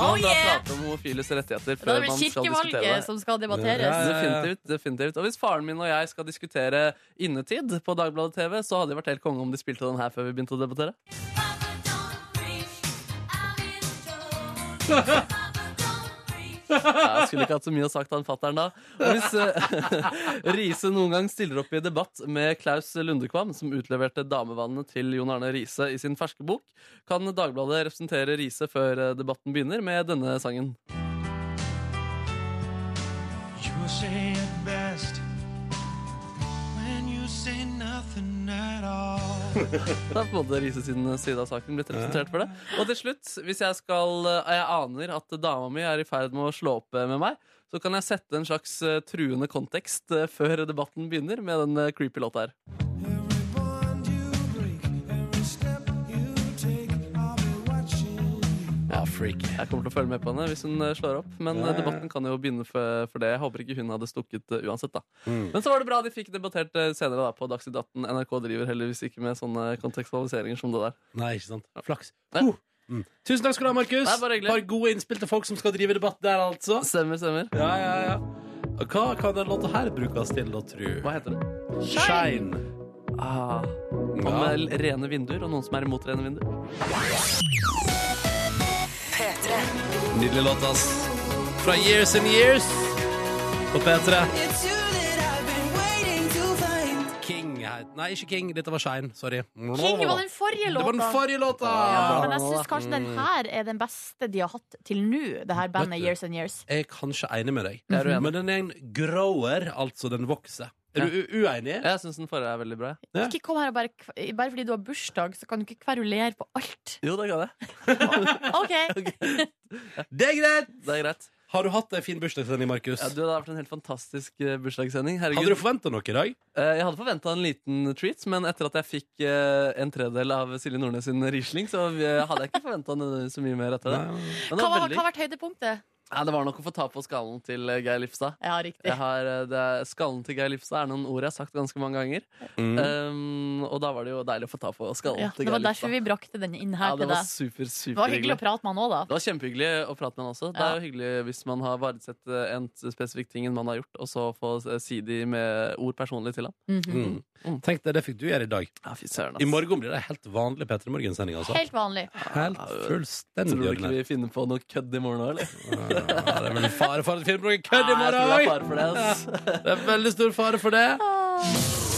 Speaker 4: Oh,
Speaker 3: man da
Speaker 4: yeah!
Speaker 3: prate om homofiles rettigheter
Speaker 4: Da er
Speaker 3: før
Speaker 4: det
Speaker 3: man
Speaker 4: vel
Speaker 3: skal diskutere det.
Speaker 4: kirkevalget som skal debatteres.
Speaker 3: Definitivt, definitivt. Og hvis faren min og jeg skal diskutere innetid på Dagbladet TV, så hadde det vært helt konge om de spilte den her før vi begynte å debattere. Ja, Jeg skulle ikke hatt så mye å sagt han fatteren da. Og hvis eh, *laughs* Riise noen gang stiller opp i debatt med Klaus Lundekvam, som utleverte damevannet til Jon Arne Riise i sin ferske bok, kan Dagbladet representere Riise før eh, debatten begynner med denne sangen.
Speaker 11: You say it best when you say nothing at all.
Speaker 3: Da har på en måte Riise sin side av saken blitt representert for det. Og til slutt, hvis jeg skal eh, Jeg aner at dama mi er i ferd med å slå opp eh, med meg, så kan jeg sette en slags eh, truende kontekst eh, før debatten begynner med den eh, creepy låta her. Ja, freak. Jeg kommer til å følge med på henne hvis hun eh, slår opp. Men
Speaker 11: Ja,
Speaker 3: eh,
Speaker 11: ja, ja.
Speaker 3: debatten kan jo begynne for, for det. Jeg håper ikke hun hadde stukket eh, uansett, da.
Speaker 11: Mm.
Speaker 3: Men så var det bra de fikk debattert eh, senere da, på Dagsnytt 18. NRK driver heldigvis ikke med sånne kontekstualiseringer som det der.
Speaker 2: Nei, ikke sant. Flaks. Huh. Mm. Tusen takk skal du ha, Markus.
Speaker 3: Nei, bare hyggelig.
Speaker 2: Har gode innspill til folk som skal drive debatt der, altså.
Speaker 3: Stemmer, stemmer.
Speaker 2: Ja, ja, ja. Og Hva kan den låta her brukes til, da, tru?
Speaker 3: Hva heter det?
Speaker 2: Shine.
Speaker 3: Ah, om
Speaker 2: Ja.
Speaker 3: eh, rene vinduer, og noen som er imot rene vinduer.
Speaker 2: Nydelig låt, ass. Fra Years and Years på P3. King het Nei, ikke King. Dette var Shine. Sorry.
Speaker 4: King var den forrige låta.
Speaker 2: Det var den forrige låta.
Speaker 4: Ja, men jeg syns kanskje den
Speaker 2: Mm.
Speaker 4: her er den beste de har hatt til nå, det her bandet
Speaker 2: Vet du.
Speaker 4: Years and Years.
Speaker 2: Jeg er kanskje enig med deg,
Speaker 3: Jeg er uenig.
Speaker 2: men den er en grower, altså den vokser. Er du u- uenig?
Speaker 3: Jeg syns den forrige er veldig bra. jeg.
Speaker 4: Ikke kom her og bare, kv- bare fordi du har bursdag, så kan du ikke kverulere på
Speaker 3: *laughs*
Speaker 4: alt.
Speaker 3: Jo, det kan jeg.
Speaker 4: OK.
Speaker 2: Det er greit!
Speaker 3: Det er greit.
Speaker 2: Har du hatt en fin bursdagssending, Markus?
Speaker 3: Ja, du, det har vært en helt fantastisk eh, bursdagssending. Herregud.
Speaker 2: Hadde du forventa noe i dag?
Speaker 3: Eh, Jeg hadde forventa en liten treat, men etter at jeg fikk eh, en tredel av Silje Nordnes sin Riesling, så eh, hadde jeg ikke forventa så mye mer etter det.
Speaker 4: Hva
Speaker 3: Men det, var
Speaker 4: var- hva
Speaker 3: veldig...
Speaker 4: har vært høydepunktet?
Speaker 3: Nei, det var nok å få ta på skallen til eh, Geir Lifstad.
Speaker 4: Ja, riktig.
Speaker 3: Jeg har, eh, det er, skallen til Geir Lifstad er noen ord jeg har sagt ganske mange ganger.
Speaker 2: Mm.
Speaker 3: Um, og da var det jo deilig å få ta på skallen
Speaker 4: Ja,
Speaker 3: til
Speaker 4: det var
Speaker 3: Geir
Speaker 4: derfor
Speaker 3: Lifstad.
Speaker 4: vi brakte den inn
Speaker 3: Ja,
Speaker 4: her til
Speaker 3: det var
Speaker 4: deg.
Speaker 3: super,
Speaker 4: Det
Speaker 3: super
Speaker 4: var hyggelig å prate med han òg, da.
Speaker 3: Det var kjempehyggelig å prate med han også. Det
Speaker 4: Ja.
Speaker 3: er jo hyggelig hvis man har verdsett eh, en spesifikk ting en man har gjort, og så få eh, si de med ord personlig til ham.
Speaker 2: Mm. Tenk deg, det fikk du gjøre i dag.
Speaker 3: Ja, fy søren, ass.
Speaker 2: I morgen blir det helt vanlig P3 Morgen-sending, altså.
Speaker 4: Helt vanlig.
Speaker 2: Helt fullstendig
Speaker 3: Tror du ikke
Speaker 2: ordinær.
Speaker 3: vi finner på noe kødd i morgen òg, eller?
Speaker 2: Ja, det er vel fare for at Filmbroken kødder i
Speaker 3: Ja, jeg
Speaker 2: morgen
Speaker 3: tror det er
Speaker 2: oi!
Speaker 3: fare Ah. for det, ass.
Speaker 2: Det er veldig stor fare for det.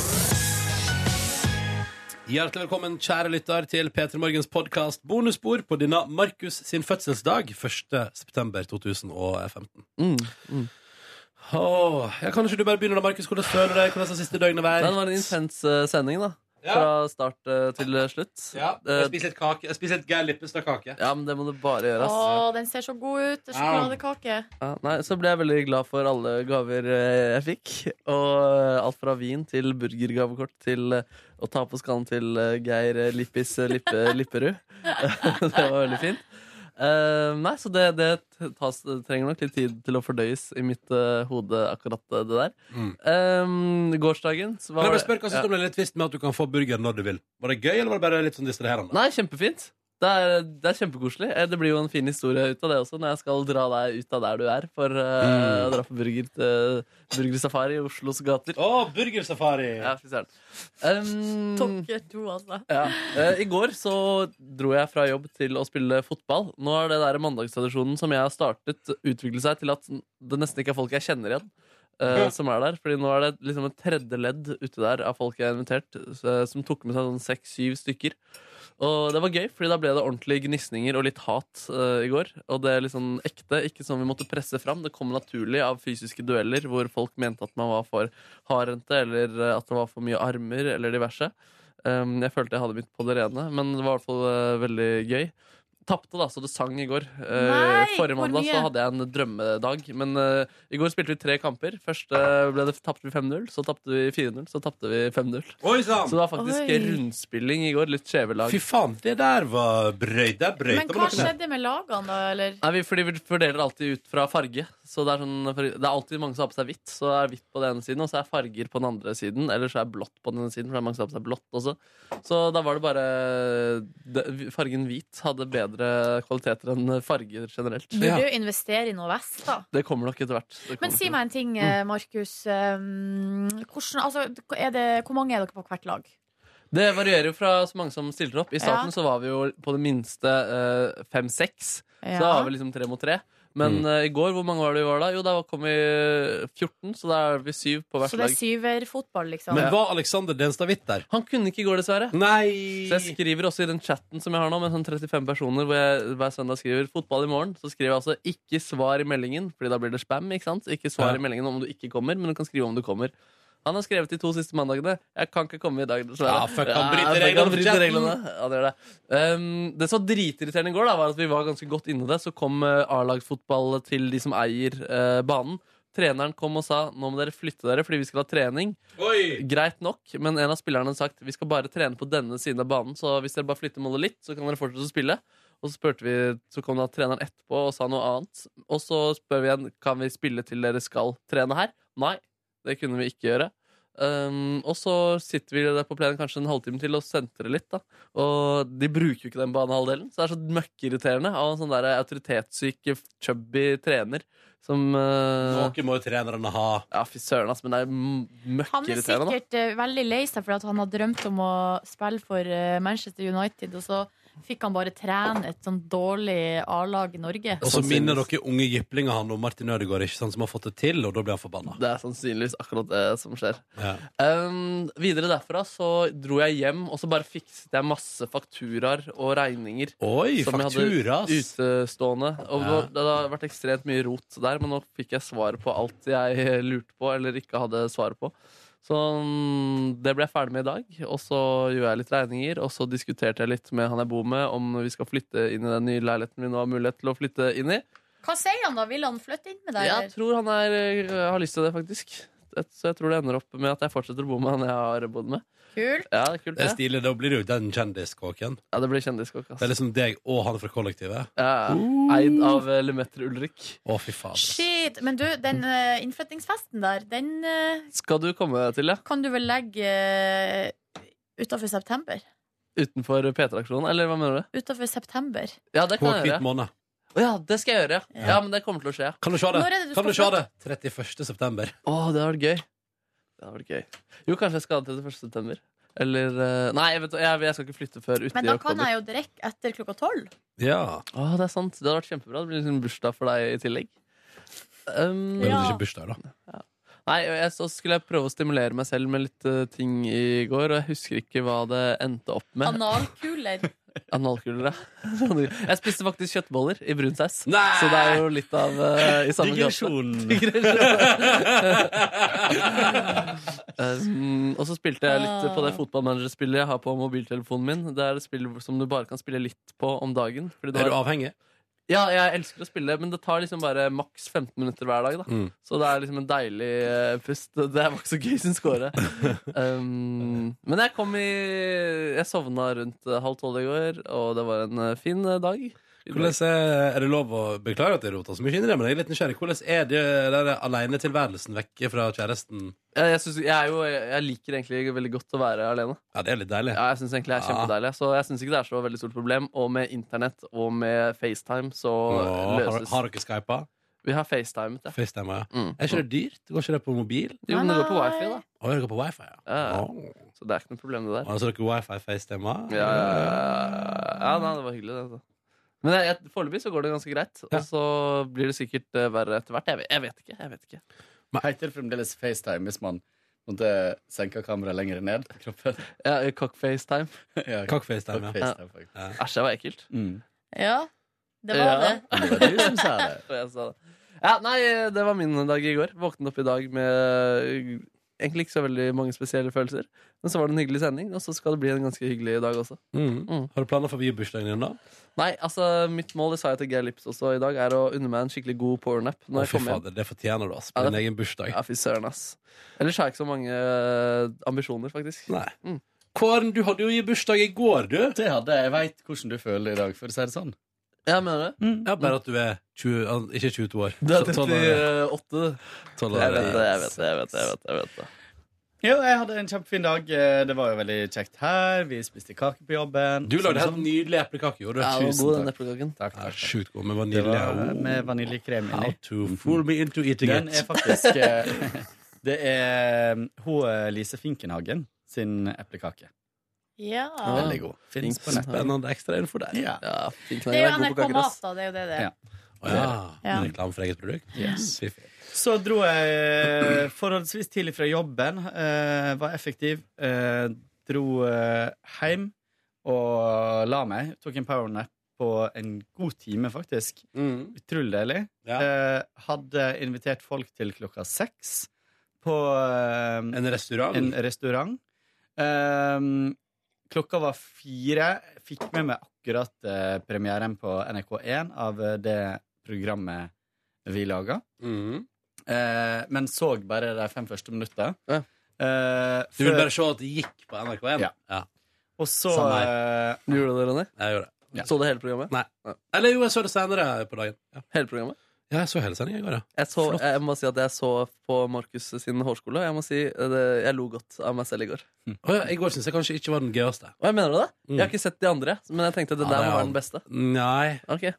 Speaker 2: Hjertelig velkommen, kjære lytter, til P3 Morgens podkast Bonusspor på denne Markus sin fødselsdag 1.9.2015.
Speaker 3: Mm,
Speaker 2: Åh, ja, kan ikke du bare begynne da, Markus? Hvordan føler du deg? Hvordan har siste døgnet vært?
Speaker 3: Den var en intens eh, sending, da.
Speaker 2: Ja.
Speaker 3: Fra start eh, til eh, slutt.
Speaker 2: Ja,
Speaker 3: Eh,
Speaker 2: jeg spiser litt kake. Jeg spiser litt Geir Lippestad-kake.
Speaker 3: ja, men det må du bare gjøre, ass.
Speaker 4: Å, den ser så god ut. Sjokoladekake.
Speaker 3: Ja, nei, så ble jeg veldig glad for alle gaver eh, jeg fikk. Og eh, alt fra vin til burgergavekort til eh, å *laughs* ta på skallen til eh, Geir eh, Lippis eh, Lippe, Lipperud. det var veldig fint. Eh, nei, så det, det tas, det trenger nok litt tid til å fordøyes i mitt eh, hode, akkurat det der. Eh, gårsdagen så
Speaker 2: Men
Speaker 3: var
Speaker 2: Mm. jeg bare
Speaker 3: det-
Speaker 2: spør, Hva syns du om den lille tvisten med at du kan få burger når du vil? Var det gøy, eller var det bare litt sånn distraherende?
Speaker 3: Nei, kjempefint. Det er, det er kjempekoselig. Eh, Det blir jo en fin historie ut av det også, når jeg skal dra deg ut av der du er for eh,
Speaker 2: Mm.
Speaker 3: å dra på burger, eh, burgersafari i Oslos gater.
Speaker 2: Å, burgersafari!
Speaker 3: Ja, fy søren.
Speaker 4: Mm.
Speaker 3: Um,
Speaker 4: Tokker to, altså.
Speaker 3: ja. Eh, I går så dro jeg fra jobb til å spille fotball. Nå har det der mandagstradisjonen som jeg har startet, utviklet seg til at det nesten ikke er folk jeg kjenner igjen. eh,
Speaker 2: Ja.
Speaker 3: som er der, fordi Nå er det liksom et tredje ledd ute der av folk jeg har invitert, så- som tok med seg sånn seks-syv stykker. Og det var gøy, fordi da ble det ordentlige gnisninger og litt hat eh, i går. Og det er litt sånn ekte, ikke som vi måtte presse fram. Det kom naturlig av fysiske dueller hvor folk mente at man var for hardhendte, eller eh, at det var for mye armer, eller diverse. Um, jeg følte jeg hadde mitt på det rene, men det var i hvert fall eh, veldig gøy. Tapte, da, så det sang i går. Eh,
Speaker 12: Nei,
Speaker 3: Forrige
Speaker 12: hvor
Speaker 3: mandag så
Speaker 12: mye?
Speaker 3: hadde jeg en drømmedag. Men eh, i går spilte vi tre kamper. Først eh, ble det, tapte vi 5-0, så tapte vi 4-0, så tapte vi 5-0.
Speaker 2: Oi,
Speaker 3: Så det var faktisk
Speaker 4: Oi.
Speaker 3: rundspilling i går. Litt skjeve lag.
Speaker 2: Fy faen, det der var brøy. Der brøyta
Speaker 4: Men hva skjedde med lagene, da? Eller?
Speaker 3: Nei, vi, fordi vi fordeler alltid ut fra farge. Så det er, sånn, for- det er alltid mange som har på seg hvitt. Så er hvitt på den ene siden, og så er farger på den andre siden. Eller så er blått på den ene siden, for det er mange som har på seg blått også. Så da var det bare det- Fargen hvit hadde bedre kvaliteter enn farger generelt.
Speaker 4: Burde jo investere i noe vest, da.
Speaker 3: Det kommer nok etter hvert. Det
Speaker 4: Men
Speaker 3: kommer
Speaker 4: si
Speaker 3: nok.
Speaker 4: meg en ting,
Speaker 3: Mm.
Speaker 4: eh, Markus. Um, Hvordan, altså, er det, hvor mange er dere på hvert lag?
Speaker 3: Det varierer jo fra så mange som stiller opp. I starten
Speaker 4: Ja.
Speaker 3: så var vi jo på det minste eh, fem-seks. Så da
Speaker 4: Ja.
Speaker 3: var vi liksom tre mot tre. Men
Speaker 4: Mm.
Speaker 3: eh, i går, hvor mange var det vi var da? Jo, da kom vi 14, så da er vi syv på hvert
Speaker 4: Så det
Speaker 3: lag.
Speaker 4: er syverfotball, liksom?
Speaker 2: Men var Alexander Denstad Hvitt der?
Speaker 3: Han kunne ikke i går, dessverre.
Speaker 2: Nei
Speaker 3: Så jeg skriver også i den chatten som jeg har nå, med sånn 35 personer, hvor jeg hver søndag skriver 'fotball i morgen', så skriver jeg altså 'ikke svar i meldingen', fordi da blir det spam. ikke sant? Ikke svar
Speaker 2: Ja.
Speaker 3: i meldingen om du ikke kommer, men du kan skrive om du kommer. Han har skrevet de to siste mandagene. 'Jeg kan ikke komme i dag, dessverre'.
Speaker 2: Ja, fuck, han bryter
Speaker 3: fuck,
Speaker 2: reglene
Speaker 3: han
Speaker 2: for
Speaker 3: bryter
Speaker 2: chatten.
Speaker 3: reglene. Ja, det gjør det. Um, det som var dritirriterende i går, da, var at vi var ganske godt inne i det. Så kom eh, A-lagsfotball til de som eier eh, banen. Treneren kom og sa nå må dere flytte dere fordi vi skal ha trening. Greit nok, men en av spillerne hadde sagt vi skal bare trene på denne siden av banen, så hvis dere bare flytter målet litt, så kan dere fortsette å spille. Og så, spurte vi, så kom da treneren etterpå og sa noe annet. Og så spør vi igjen kan vi spille til dere skal trene her. Nei, det kunne vi ikke gjøre. Um, og så sitter vi der på plenen kanskje en halvtime til og sentrer litt. da Og de bruker jo ikke den banehalvdelen, så det er så møkkirriterende av en sånn der autoritetssyk, chubby trener som uh,
Speaker 2: Noe må jo trenerne ha.
Speaker 3: Ja, fy søren, ass, men det er m-
Speaker 4: Han er
Speaker 3: møkkirriterende. da.
Speaker 4: sikkert eh, veldig lei seg for at han har drømt om å spille for eh, Manchester United, og så fikk han bare trene et sånn dårlig A-lag i Norge.
Speaker 2: Og så
Speaker 3: sånn
Speaker 2: minner dere unge jyplinger han om Martin Ødegaard, ikke sant, som har fått det til, og da blir han forbanna.
Speaker 3: Det er sannsynligvis akkurat det som skjer.
Speaker 2: Ja.
Speaker 3: Um, videre derfra så dro jeg hjem, og så bare fikset jeg masse fakturaer og regninger.
Speaker 2: Oi,
Speaker 3: som
Speaker 2: faktura, ass.
Speaker 3: jeg hadde utestående. Og
Speaker 2: Ja.
Speaker 3: Det har vært ekstremt mye rot der, men nå fikk jeg svar på alt jeg *laughs* lurte på, eller ikke hadde svar på. Så mm, det ble jeg ferdig med i dag, og så gjorde jeg litt regninger. Og så diskuterte jeg litt med han jeg bor med, om vi skal flytte inn i den nye leiligheten vi nå har mulighet til å flytte inn i.
Speaker 4: Hva sier han da? Vil han flytte inn med deg?
Speaker 3: Jeg tror han er, øh, har lyst til det, faktisk. Et- Så jeg tror det ender opp med at jeg fortsetter å bo med han jeg har bodd med.
Speaker 4: Kult.
Speaker 3: Ja, det er kult
Speaker 2: Det er stilig. Da blir det jo den kjendiskåken.
Speaker 3: Ja, det blir kjendiskåk, ass.
Speaker 2: Det er liksom deg og han fra kollektivet.
Speaker 3: Ja, Eid av øh, Lemaitre Ulrik.
Speaker 2: Å, fy fader.
Speaker 4: Shit! Men du, den eh, innflyttingsfesten der, den eh,
Speaker 3: Skal du komme deg til, ja?
Speaker 4: kan du vel legge eh, utenfor september?
Speaker 3: Utenfor P3-aksjonen, eller hva mener du?
Speaker 4: Utenfor september.
Speaker 3: Ja, det kan jeg
Speaker 2: Kåkehvit
Speaker 3: gjøre.
Speaker 2: måned.
Speaker 3: Å ja, det skal jeg gjøre. ja. Ja, men det kommer til å skje.
Speaker 2: Kan du se det?
Speaker 4: Når er det du
Speaker 2: kan
Speaker 4: skal
Speaker 2: du se det?
Speaker 4: flytte?
Speaker 2: 31. september.
Speaker 3: Å, det hadde vært gøy. Det hadde vært gøy. Jo, kanskje jeg skal ha det 31. september. Eller øh, Nei, jeg, vet, jeg, jeg skal ikke flytte før uti
Speaker 4: Men da kan
Speaker 3: oktober.
Speaker 4: jeg jo drikke etter klokka tolv.
Speaker 2: Ja.
Speaker 3: Å, det er sant. Det hadde vært kjempebra. Det blir liksom bursdag for deg i tillegg. Um,
Speaker 2: Men det er ikke bursdag, da.
Speaker 3: Nei, jeg, så skulle jeg prøve å stimulere meg selv med litt eh, ting i går, og jeg husker ikke hva det endte opp med.
Speaker 4: Analkuler.
Speaker 3: Analkuler, ja. *laughs* Jeg spiste faktisk kjøttboller i brun saus, så det er jo litt av eh, i samme
Speaker 2: Digresjon.
Speaker 3: Um, og så spilte jeg litt på det fotballmanagerspillet jeg har på mobiltelefonen min. Det er et spill som du bare kan spille litt på om dagen. fordi
Speaker 2: Er du
Speaker 3: har-
Speaker 2: avhengig?
Speaker 3: Ja, jeg elsker å spille, men det tar liksom bare maks 15 minutter hver dag. da
Speaker 2: Mm.
Speaker 3: Så det er liksom en deilig eh, pust. Det var ikke så gøy som
Speaker 2: *laughs*
Speaker 3: skåre. Um, men jeg kom i Jeg sovna rundt eh, halv tolv i går, og det var en eh, fin eh, dag.
Speaker 2: Hvordan er, er det lov å beklage at jeg rota så mye inn i det, men jeg er litt nysgjerrig. Hvordan er det der alenetilværelsen vekke fra kjæresten?
Speaker 3: Jeg, jeg, synes, jeg, er jo, jeg, jeg liker egentlig veldig godt å være alene.
Speaker 2: Ja, det er litt deilig.
Speaker 3: Ja, jeg synes egentlig det er
Speaker 2: Ja.
Speaker 3: kjempedeilig Så jeg syns ikke det er så veldig stort problem. Og med internett og med FaceTime så
Speaker 2: Nå, har,
Speaker 3: løses
Speaker 2: har dere skypa?
Speaker 3: Vi har FaceTimet, ja. Mm.
Speaker 2: FaceTime, ja. Er ikke det dyrt? Går ikke det på mobil?
Speaker 4: Ah,
Speaker 3: Jo, men det går på wifi, da.
Speaker 2: Å, det går på wifi, ja.
Speaker 3: Ja,
Speaker 2: Å.
Speaker 3: Så det er ikke noe problem, det der.
Speaker 2: Å, Så dere wifi-facetime?
Speaker 3: Ja, ja, ja. ja nei, det var hyggelig, det. altså. Men jeg- jeg- foreløpig så går det ganske greit. Og så blir det sikkert eh, verre etter hvert. Jeg, vet- jeg vet ikke. jeg vet ikke
Speaker 12: Heter det fremdeles FaceTime hvis man måtte senke kameraet lenger ned? i kroppen?
Speaker 3: ja, Cockfacetime.
Speaker 12: ja,
Speaker 2: Cockfacetime, ja.
Speaker 12: cockfacetime, faktisk.
Speaker 3: Æsj, det var ekkelt.
Speaker 10: Mm.
Speaker 4: Ja, det var
Speaker 3: Ja,
Speaker 4: det.
Speaker 12: det var du som sa det.
Speaker 3: Og jeg sa det. Ja, nei, det var min dag i går. Våknet opp i dag med egentlig ikke så veldig mange spesielle følelser. Men så var det en hyggelig sending, og så skal det bli en ganske hyggelig dag også.
Speaker 2: Mm. Har du planer for biobursdagen din, da?
Speaker 3: Nei, altså, mitt mål, det sa jeg til Geir Lips også i dag, er å unne meg en skikkelig god powernap
Speaker 2: Å,
Speaker 3: når jeg
Speaker 2: fy
Speaker 3: kommer hjem.
Speaker 2: fader, det fortjener du, ass.
Speaker 3: Ja,
Speaker 2: På
Speaker 3: det-
Speaker 2: din egen bursdag.
Speaker 3: Ja, fy søren, ass. Ellers har jeg ikke så mange eh, ambisjoner, faktisk.
Speaker 2: Nei. Kåren, du hadde jo i bursdag i går, du.
Speaker 12: Det hadde jeg. Jeg veit hvordan du føler i dag, for å si det sånn.
Speaker 3: Ja, mener du?
Speaker 2: Ja, bare at du er 20, al- ikke 22 år.
Speaker 3: Du er eh,
Speaker 2: Så tolv år,
Speaker 3: 38.
Speaker 2: tolv år,
Speaker 12: Jeg vet det, jeg
Speaker 2: yes.
Speaker 12: vet det, jeg vet det, jeg vet
Speaker 3: det, jeg vet det.
Speaker 12: Jo, jeg hadde en kjempefin dag. Eh, Det var jo veldig kjekt her. Vi spiste kake på jobben.
Speaker 2: Du lagde
Speaker 12: Sånn,
Speaker 2: helt
Speaker 12: sånn.
Speaker 2: nydelig eplekake. gjorde du?
Speaker 12: Ja, det var
Speaker 2: Tusen
Speaker 12: god, den
Speaker 2: takk.
Speaker 3: eplekaken.
Speaker 12: Takk, takk, takk.
Speaker 2: Sjukt god med
Speaker 12: Det
Speaker 2: vanilje.
Speaker 12: var med vaniljekrem
Speaker 2: How
Speaker 12: inni.
Speaker 2: to fool me into eating
Speaker 12: Den
Speaker 2: it.
Speaker 12: er faktisk eh, Det er hun eh, Lise Finkenhagen sin eplekake.
Speaker 4: Ja.
Speaker 12: Veldig god. Fins på nettet.
Speaker 2: Spennende ekstrainfo der.
Speaker 12: Ja.
Speaker 4: Det er jo NRK Mat, da. Det er jo det det er.
Speaker 12: Ja.
Speaker 2: Å ja.
Speaker 4: Ja.
Speaker 2: Reklame for eget produkt?
Speaker 12: Yes.
Speaker 2: Fiffig.
Speaker 12: Så dro jeg eh, forholdsvis tidlig fra jobben. eh, var effektiv. eh, dro eh, hjem og la meg. Tok en powernap på en god time, faktisk.
Speaker 3: Mm.
Speaker 12: Utrolig deilig. Eh, hadde invitert folk til klokka seks på eh,
Speaker 2: En restaurant?
Speaker 12: En restaurant. Eh, klokka var fire. Fikk med meg akkurat eh, premieren på NRK1 av eh, det programmet vi laga.
Speaker 2: Mm.
Speaker 12: Eh, men så bare de fem første minuttene. Eh,
Speaker 2: Du vil
Speaker 12: før-
Speaker 2: bare se at det gikk på NRK1?
Speaker 12: Ja. Og så
Speaker 2: Samme
Speaker 12: eh,
Speaker 3: Du gjorde det, Ronny?
Speaker 2: Jeg gjorde det.
Speaker 3: Så du hele programmet?
Speaker 2: Nei. Eller jo, jeg så det senere på dagen. Ja.
Speaker 3: Hele programmet?
Speaker 2: Ja, jeg så hele sendingen i går, ja.
Speaker 3: Jeg, så, jeg må si at jeg så på Markus sin hårskole, og jeg må si eh, det, jeg lo godt av meg selv i går.
Speaker 2: Å ja, I går syns jeg kanskje ikke var den gøyeste.
Speaker 3: Hva mener du det?
Speaker 2: Mm.
Speaker 3: Jeg har ikke sett de andre, men jeg tenkte at det
Speaker 2: Ja,
Speaker 3: der
Speaker 2: det
Speaker 3: må
Speaker 2: er
Speaker 3: være
Speaker 2: han.
Speaker 3: den beste.
Speaker 2: Nei.
Speaker 3: Ok.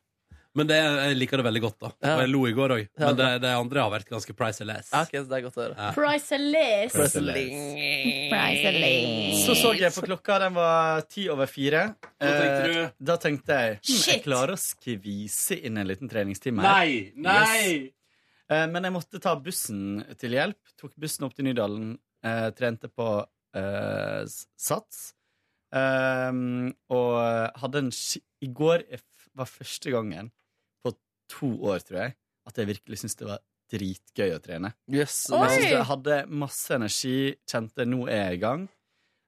Speaker 2: Men det, jeg liker det veldig godt, da.
Speaker 3: Ja.
Speaker 2: Og jeg lo i går òg.
Speaker 3: Ja,
Speaker 2: Men det,
Speaker 3: bra.
Speaker 2: det andre har vært ganske priceless.
Speaker 3: Ja, ok, så det er godt å høre.
Speaker 4: Priceless.
Speaker 12: Priceless.
Speaker 4: Priceless.
Speaker 12: Så så jeg på klokka, den var ti over fire.
Speaker 2: tenkte
Speaker 12: Eh, da tenkte jeg hm,
Speaker 2: Shit.
Speaker 12: Jeg klarer å skvise inn en liten treningstime. her.
Speaker 2: Nei! Nei!
Speaker 12: Eh, Men jeg måtte ta bussen til hjelp. Tok bussen opp til Nydalen. eh, trente på eh, s- Sats. Ehm, og hadde en ski I går er f- var første gangen på to år, tror jeg, at jeg virkelig syntes det var dritgøy å trene.
Speaker 3: Yes,
Speaker 12: jeg,
Speaker 3: nice.
Speaker 12: syntes jeg hadde masse energi, kjente nå er jeg i gang.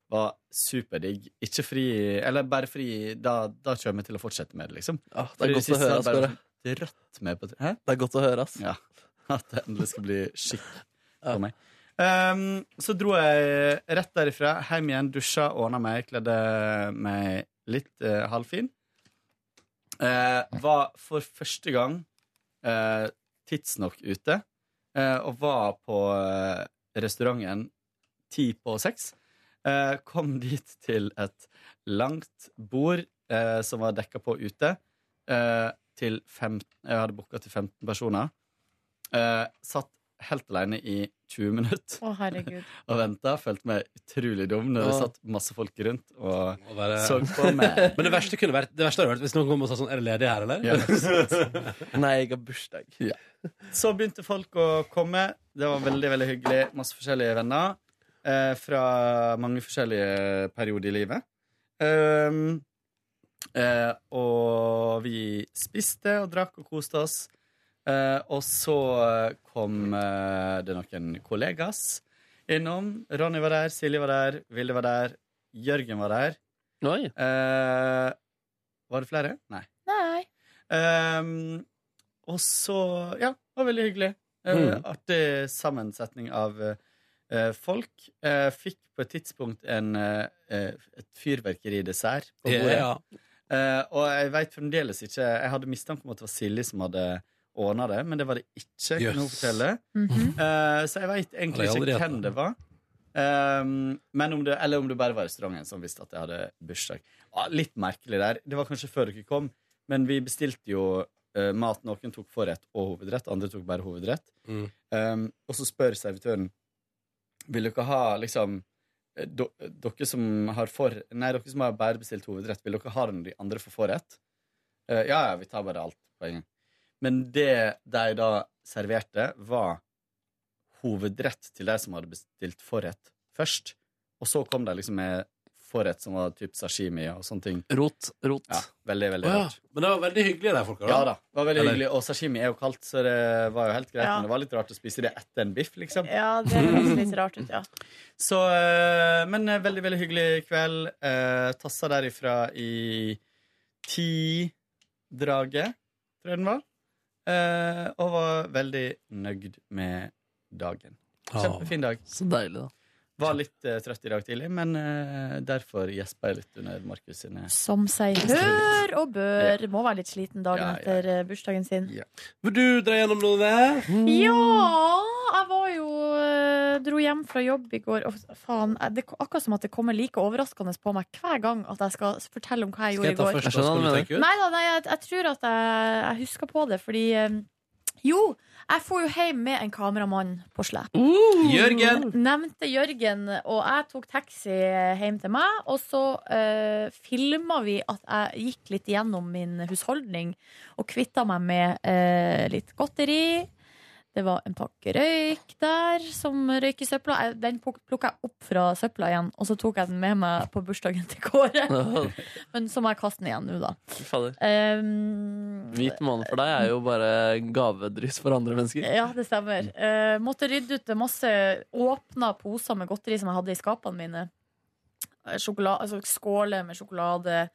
Speaker 12: Var superdigg. Ikke fri Eller bare fri Da, da kommer jeg til å fortsette med det, liksom.
Speaker 3: Ah,
Speaker 12: For
Speaker 3: det er godt å
Speaker 12: siste
Speaker 3: høre,
Speaker 12: har jeg bare
Speaker 3: Asbjørn.
Speaker 12: fått Rødt med på Hæ?
Speaker 3: Det er godt å høre, ass.
Speaker 12: Ja. *laughs* At det endelig skal bli skikk på meg. Ehm, så dro jeg rett derifra, hjem igjen, dusja, ordna meg, kledde meg litt eh, halvfin. Eh, var for første gang eh, tidsnok ute, eh, og var på eh, restauranten ti på seks. Eh, kom dit til et langt bord eh, som var dekka på ute, eh, til fem, jeg hadde booka til 15 personer. Eh, satt helt alene i 20 minutter
Speaker 4: Å, herregud.
Speaker 12: og venta. Følte meg utrolig dum når det
Speaker 2: Ja.
Speaker 12: satt masse folk rundt og,
Speaker 2: Bare-
Speaker 12: så på meg.
Speaker 2: *laughs* Men det verste kunne vært Det verste hadde vært hvis noen kom og sa sånn Er det ledig her, eller? *laughs*
Speaker 12: Ja,
Speaker 3: Nei, jeg har bursdag.
Speaker 12: Så begynte folk å komme. Det var veldig veldig hyggelig. Masse forskjellige venner eh, fra mange forskjellige perioder i livet. Ehm, eh, og vi spiste og drakk og koste oss. Eh, og så eh, kom eh, det noen kollegas innom. Ronny var der, Silje var der, Vilde var der, Jørgen var der. Eh, var det flere? Nei.
Speaker 4: Nei.
Speaker 12: Ehm, og så Ja, det var veldig hyggelig. Eh,
Speaker 2: Mm.
Speaker 12: Artig sammensetning av eh, folk. Eh, fikk på et tidspunkt en, eh, et fyrverkeridessert på
Speaker 2: Ja,
Speaker 12: bordet.
Speaker 2: ja.
Speaker 12: Eh, og jeg vet fremdeles ikke Jeg hadde mistanke om at det var Silje som hadde ordna det, men det var det ikke.
Speaker 13: Jøss.
Speaker 12: Kan hun fortelle
Speaker 4: Mhm.
Speaker 12: Eh, Så jeg veit egentlig
Speaker 13: Hadde jeg
Speaker 12: ikke
Speaker 13: aldri
Speaker 12: hvem
Speaker 13: hatt
Speaker 12: det var. Eh, men om det, eller om det bare var restauranten som visste at jeg hadde bursdag. Ah, litt merkelig der. Det var kanskje før dere kom, men vi bestilte jo eh, mat. Noen tok forrett og hovedrett, andre tok bare hovedrett.
Speaker 2: Mm.
Speaker 12: Um, og så spør servitøren Vil dere ha liksom eh, do, Dere som har for Nei, dere som har bare bestilt hovedrett Vil dere ha den de andre får forrett? Eh, ja, ja, vi tar bare alt på en gang Men det de da serverte Var hovedrett Til de som hadde bestilt forrett Først, og så kom de liksom med Forrett som var typ sashimi og sånne ting
Speaker 3: Rot, rot
Speaker 12: Ja, veldig, veldig
Speaker 2: Å ja.
Speaker 12: rart
Speaker 2: Men det var veldig hyggelig, de folka.
Speaker 12: ja da, det var veldig
Speaker 2: Eller-
Speaker 12: hyggelig Og sashimi er jo kaldt, så det var jo helt greit
Speaker 4: Ja.
Speaker 12: Men det var litt rart å spise det etter en biff, liksom
Speaker 4: Ja, det høres litt rart ut, ja.
Speaker 12: Så, eh, men eh, veldig, veldig hyggelig kveld. Eh, tassa derifra i ti-draget, tror jeg den var. Eh, og var veldig nøyd med dagen.
Speaker 2: Ah.
Speaker 12: Kjempefin dag.
Speaker 3: Så *laughs* deilig, da.
Speaker 12: Var litt eh, trøtt i dag tidlig, men eh, derfor gjespa jeg litt under Markus sine
Speaker 4: Som seg hør og bør. Må være litt sliten dagen
Speaker 12: Ja, ja.
Speaker 4: etter eh, bursdagen sin.
Speaker 2: Vil du dra gjennom noe der?
Speaker 4: Mm. Ja! Jeg var jo eh, Dro hjem fra jobb i går. Og faen, jeg- det, akkurat som at det kommer like overraskende på meg hver gang at jeg skal fortelle om hva jeg
Speaker 3: Skal
Speaker 4: gjorde i
Speaker 3: jeg ta
Speaker 4: går.
Speaker 3: først, da, så kan du Jeg skjønner hva du tenke ut?
Speaker 4: Nei da, nei, jeg, jeg tror at jeg, jeg husker på det, fordi eh, Jo, jeg får jo hjem med en kameramann på slep.
Speaker 2: Jørgen!
Speaker 4: Nevnte Jørgen, og jeg tok taxi hjem til meg. Og så uh, filma vi at jeg gikk litt gjennom min husholdning og kvitta meg med eh, litt godteri. Det var en pakke røyk der som røyk i søpla. Jeg- Den plukka jeg opp fra søpla igjen, og så tok jeg den med meg på bursdagen til Kåre.
Speaker 3: *laughs*
Speaker 4: Men så må jeg kaste den igjen nå, da.
Speaker 3: Fy fader.
Speaker 4: Um,
Speaker 3: Hvit måned for deg er jo bare gavedryss for andre mennesker.
Speaker 4: Ja, det stemmer. Eh, måtte rydde ut masse åpna poser med godteri som jeg hadde i skapene mine. Eh, Sjokola- altså skåler med sjokolade,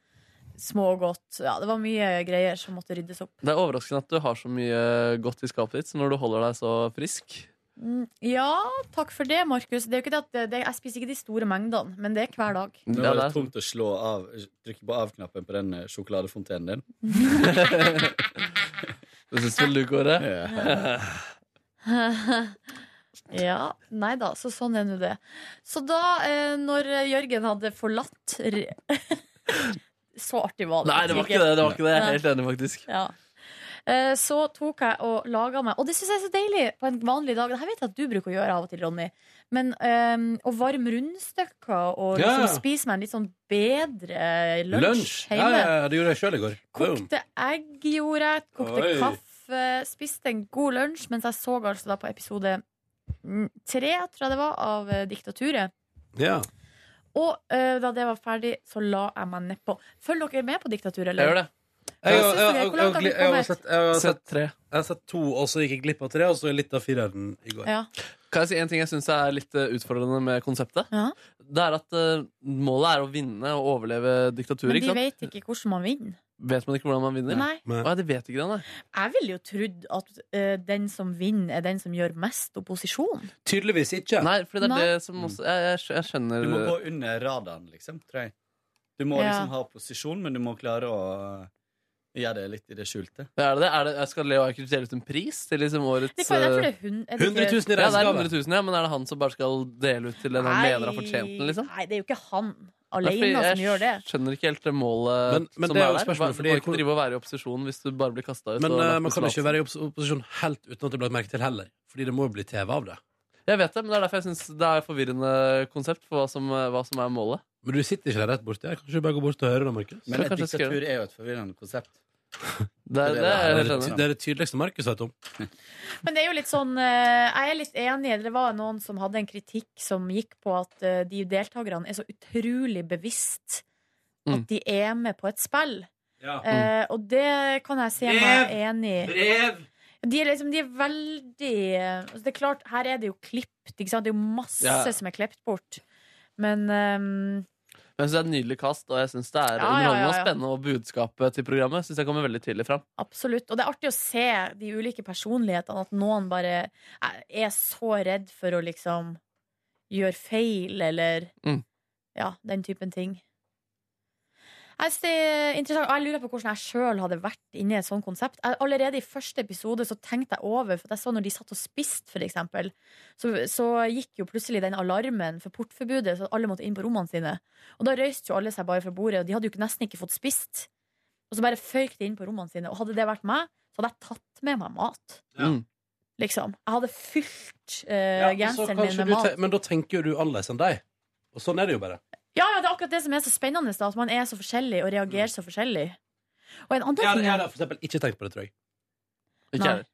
Speaker 4: smågodt. Ja, det var mye greier som måtte ryddes opp.
Speaker 3: Det er overraskende at du har så mye godt i skapet ditt så når du holder deg så frisk.
Speaker 4: Mm, Ja, takk for det, Markus. Det er jo ikke det at det, det, jeg spiser ikke de store mengdene, men det er hver *laughs* dag.
Speaker 12: Nå var det tungt å slå av, trykke på av-knappen på den eh, sjokoladefontenen din.
Speaker 3: det syns vel du, Kåre?
Speaker 4: ja, nei da, så sånn er nå det. Så da, eh, når Jørgen hadde forlatt re- *laughs* Så artig var det.
Speaker 3: Nei, det var ikke det. det, var ikke det. Jeg er helt enig, faktisk.
Speaker 4: Ja. Eh, Så tok jeg og laga meg Og det syns jeg er så deilig på en vanlig dag. Det her vet jeg at du bruker å gjøre av og til, Ronny. Men eh, å varme rundstykker og
Speaker 2: Ja,
Speaker 4: liksom
Speaker 2: ja.
Speaker 4: spise meg en litt sånn bedre lunsj,
Speaker 2: Lunsj. Ja,
Speaker 4: hjemme.
Speaker 2: ja, ja, det gjorde jeg sjøl i går. Boom.
Speaker 4: Kokte egg gjorde jeg, kokte
Speaker 2: Oi.
Speaker 4: kaffe, spiste en god lunsj mens jeg så altså da på episode mm, tre, tror jeg det var, av eh, Diktaturet.
Speaker 2: Ja.
Speaker 4: Og eh, da det var ferdig, så la jeg meg nedpå. Følger dere med på Diktaturet, eller?
Speaker 2: Jeg gjør det.
Speaker 4: Jeg,
Speaker 2: Jeg, har- jeg,
Speaker 4: Hvor
Speaker 2: har-
Speaker 4: langt har
Speaker 2: jeg,
Speaker 4: dere
Speaker 2: har- jeg har
Speaker 4: kommet?
Speaker 2: sett, jeg har
Speaker 3: Sett
Speaker 2: sett tre. Jeg har sett to, og så gikk jeg glipp av tre, og så litt av fireren i går.
Speaker 4: Ja.
Speaker 3: Kan jeg si en ting jeg syns er litt eh, utfordrende med konseptet? Det er at eh, målet er å vinne og overleve diktaturet.
Speaker 4: Men de
Speaker 3: Ikke sant?
Speaker 4: vet ikke hvordan man vinner.
Speaker 3: Vet man ikke hvordan man vinner?
Speaker 4: Nei. Nei.
Speaker 3: Å, ja, de vet ikke det, nei.
Speaker 4: Jeg ville jo trodd at eh, den som vinner, er den som gjør mest opposisjon.
Speaker 2: Tydeligvis ikke.
Speaker 3: Nei, for det er
Speaker 4: Nei.
Speaker 3: det som også Jeg, jeg, skj- jeg skjønner
Speaker 12: Du må gå under radaren, liksom, tror jeg. Du må
Speaker 3: Ja.
Speaker 12: liksom ha posisjon, men du må klare å eh, gjøre det litt i det skjulte.
Speaker 3: Ja, Er det det? Er det jeg skal Leo Ajkic dele ut en pris til liksom årets
Speaker 4: Det kan- jeg tror det er
Speaker 3: eh,
Speaker 4: hun- er det ikke- 100 000 i
Speaker 3: Ja, det er
Speaker 4: reisegave.
Speaker 3: 100 000, ja, men er det han som bare skal dele ut til den han mener har fortjent den, liksom?
Speaker 4: Nei, det er jo ikke han
Speaker 3: Nei, fordi
Speaker 4: alene som
Speaker 3: jeg
Speaker 4: gjør det.
Speaker 3: Skjønner ikke helt det målet
Speaker 2: Men- men
Speaker 3: som
Speaker 2: det er
Speaker 3: er,
Speaker 2: jo
Speaker 3: der.
Speaker 2: spørsmålet,
Speaker 3: Hva-
Speaker 2: fordi
Speaker 3: du kan ikke
Speaker 2: hvor-
Speaker 3: drive og være i opposisjon hvis du bare blir kasta ut.
Speaker 2: Men eh,
Speaker 3: og lagt
Speaker 2: man
Speaker 3: på
Speaker 2: kan ikke
Speaker 3: salaten.
Speaker 2: være i opps- opposisjon helt uten at det blir lagt merke til heller. Fordi det må jo bli TV av det.
Speaker 3: Jeg vet det, men det er derfor jeg syns det er et forvirrende konsept for hva som, eh, hva som er målet.
Speaker 2: Men du sitter ikke der rett borti her. Kanskje du bare går bort og hører det, Markus?
Speaker 3: Men et diktatur
Speaker 12: er jo et forvirrende konsept.
Speaker 3: Det er det, jeg
Speaker 2: det,
Speaker 3: skjønner.
Speaker 2: det er det tydeligste Markus vet om.
Speaker 4: Men det er jo litt sånn eh, Jeg er litt enig. Det var noen som hadde en kritikk som gikk på at eh, de deltakerne er så utrolig bevisst at
Speaker 3: Mm.
Speaker 4: de er med på et spill.
Speaker 2: Ja.
Speaker 4: Eh, og det kan jeg si meg enig i.
Speaker 2: Brev!
Speaker 4: De er liksom, de er veldig altså Det er klart, her er det jo klipt, ikke sant? Det er jo masse
Speaker 3: Ja.
Speaker 4: som er klippet bort. Men ehm,
Speaker 3: Men jeg synes det er et nydelig kast, og jeg syns det er
Speaker 4: Ja, ja,
Speaker 3: underholdende
Speaker 4: ja, ja.
Speaker 3: og spennende. Og budskapet til programmet synes jeg kommer veldig tidlig fram.
Speaker 4: Absolutt. Og det er artig å se de ulike personlighetene. At noen bare er- er så redd for å liksom gjøre feil, eller
Speaker 3: Mm.
Speaker 4: ja, den typen ting. Jeg synes det er interessant, og jeg lurer på hvordan jeg sjøl hadde vært inne i et sånt konsept. Jeg, allerede i første episode så tenkte jeg over, for at jeg så når de satt og spiste, for eksempel, så, så gikk jo plutselig den alarmen for portforbudet, så alle måtte inn på rommene sine. Og da røyste jo alle seg bare fra bordet, og de hadde jo ikke- nesten ikke fått spist. Og så bare føyk de inn på rommene sine. Og hadde det vært meg, så hadde jeg tatt med meg mat.
Speaker 2: Mm.
Speaker 4: Liksom. Jeg hadde fylt eh,
Speaker 2: Ja, så
Speaker 4: genseren min
Speaker 2: kanskje
Speaker 4: med
Speaker 2: du
Speaker 4: mat.
Speaker 2: te- men da tenker jo du annerledes enn deg. Og sånn er det jo bare.
Speaker 4: Ja, ja, det er akkurat det som er så spennende, da, at man er så forskjellig og
Speaker 2: Mm.
Speaker 4: reagerer så forskjellig. Og en annen
Speaker 2: Jeg hadde,
Speaker 4: ting
Speaker 2: jeg
Speaker 4: er
Speaker 2: hadde for eksempel ikke tenkt på det, tror jeg.
Speaker 3: Ikke
Speaker 4: Nei.
Speaker 3: jeg heller.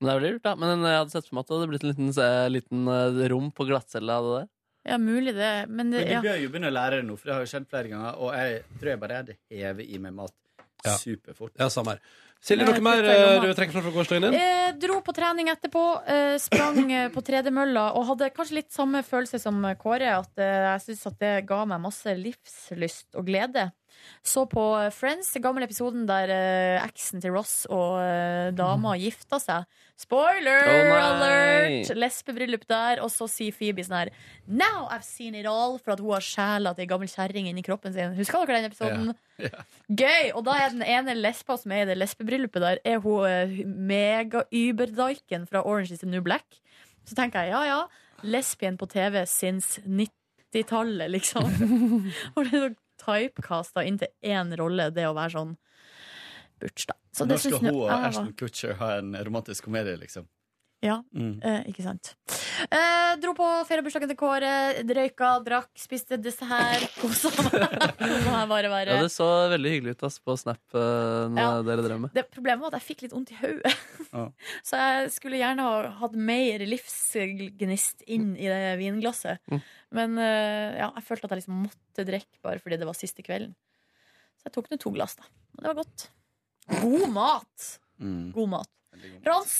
Speaker 3: Men det er jo lurt, da. Men eh, jeg hadde sett for meg at det hadde blitt en liten, eh, liten eh, rom på glattcella av det der.
Speaker 4: Ja, mulig det, men det
Speaker 12: Men
Speaker 4: ja.
Speaker 12: du bør jo begynne å lære det nå, for det har jo skjedd flere ganger. Og jeg tror jeg bare hadde hevet i meg mat superfort.
Speaker 2: Ja, samme her. Silje,
Speaker 4: Ja,
Speaker 2: noe mer
Speaker 4: det er
Speaker 2: eh,
Speaker 4: gammelt.
Speaker 2: du vil trekke fra fra gårsdagen din?
Speaker 4: Eh, dro på trening etterpå, eh, sprang eh, på tredemølla og hadde kanskje litt samme følelse som Kåre, at eh, jeg syns at det ga meg masse livslyst og glede. Så på eh, Friends, den gamle episoden der eh, eksen til Ross og eh, dama gifta seg. Spoiler
Speaker 7: Å, nei!
Speaker 4: alert! Lesbebryllup der, og så sier Phoebe sånn her Now I've seen it all! For at hun har sjela til ei gammel kjerring inni kroppen sin. Husker dere den episoden?
Speaker 12: *laughs*
Speaker 4: Gøy! Og da er den ene lesba som er i det lesbebryllupet der, er hun eh, mega-überdaiken fra Orange is the New Black. Så tenker jeg ja, ja. Lesbien på TV since 90-tallet,
Speaker 12: *laughs*
Speaker 4: liksom. Og det er så typecasta inn til én rolle, det å være sånn butch, da. Så
Speaker 12: Når
Speaker 4: det
Speaker 12: skal
Speaker 4: synes jeg
Speaker 12: hun og
Speaker 4: var-
Speaker 12: Ashton Kutcher ha en romantisk komedie, liksom?
Speaker 4: Ja,
Speaker 12: Mm.
Speaker 4: eh, ikke sant. Eh, dro på feriebursdagen til Kåre, røyka, drakk, spiste dessert, kosa meg. *laughs* Må jeg bare være.
Speaker 3: Ja, det så veldig hyggelig ut ass, på Snap eh, når
Speaker 4: Ja.
Speaker 3: dere drev med.
Speaker 4: Det Problemet var at jeg fikk litt vondt i hodet.
Speaker 12: Ja.
Speaker 4: *laughs* Så jeg skulle gjerne ha hatt mer livsgnist inn i det vinglasset.
Speaker 3: Mm.
Speaker 4: Men eh, ja, jeg følte at jeg liksom måtte drikke bare fordi det var siste kvelden. Så jeg tok nå to glass, da. Og det var godt. God mat!
Speaker 12: mm.
Speaker 4: God mat. Frans,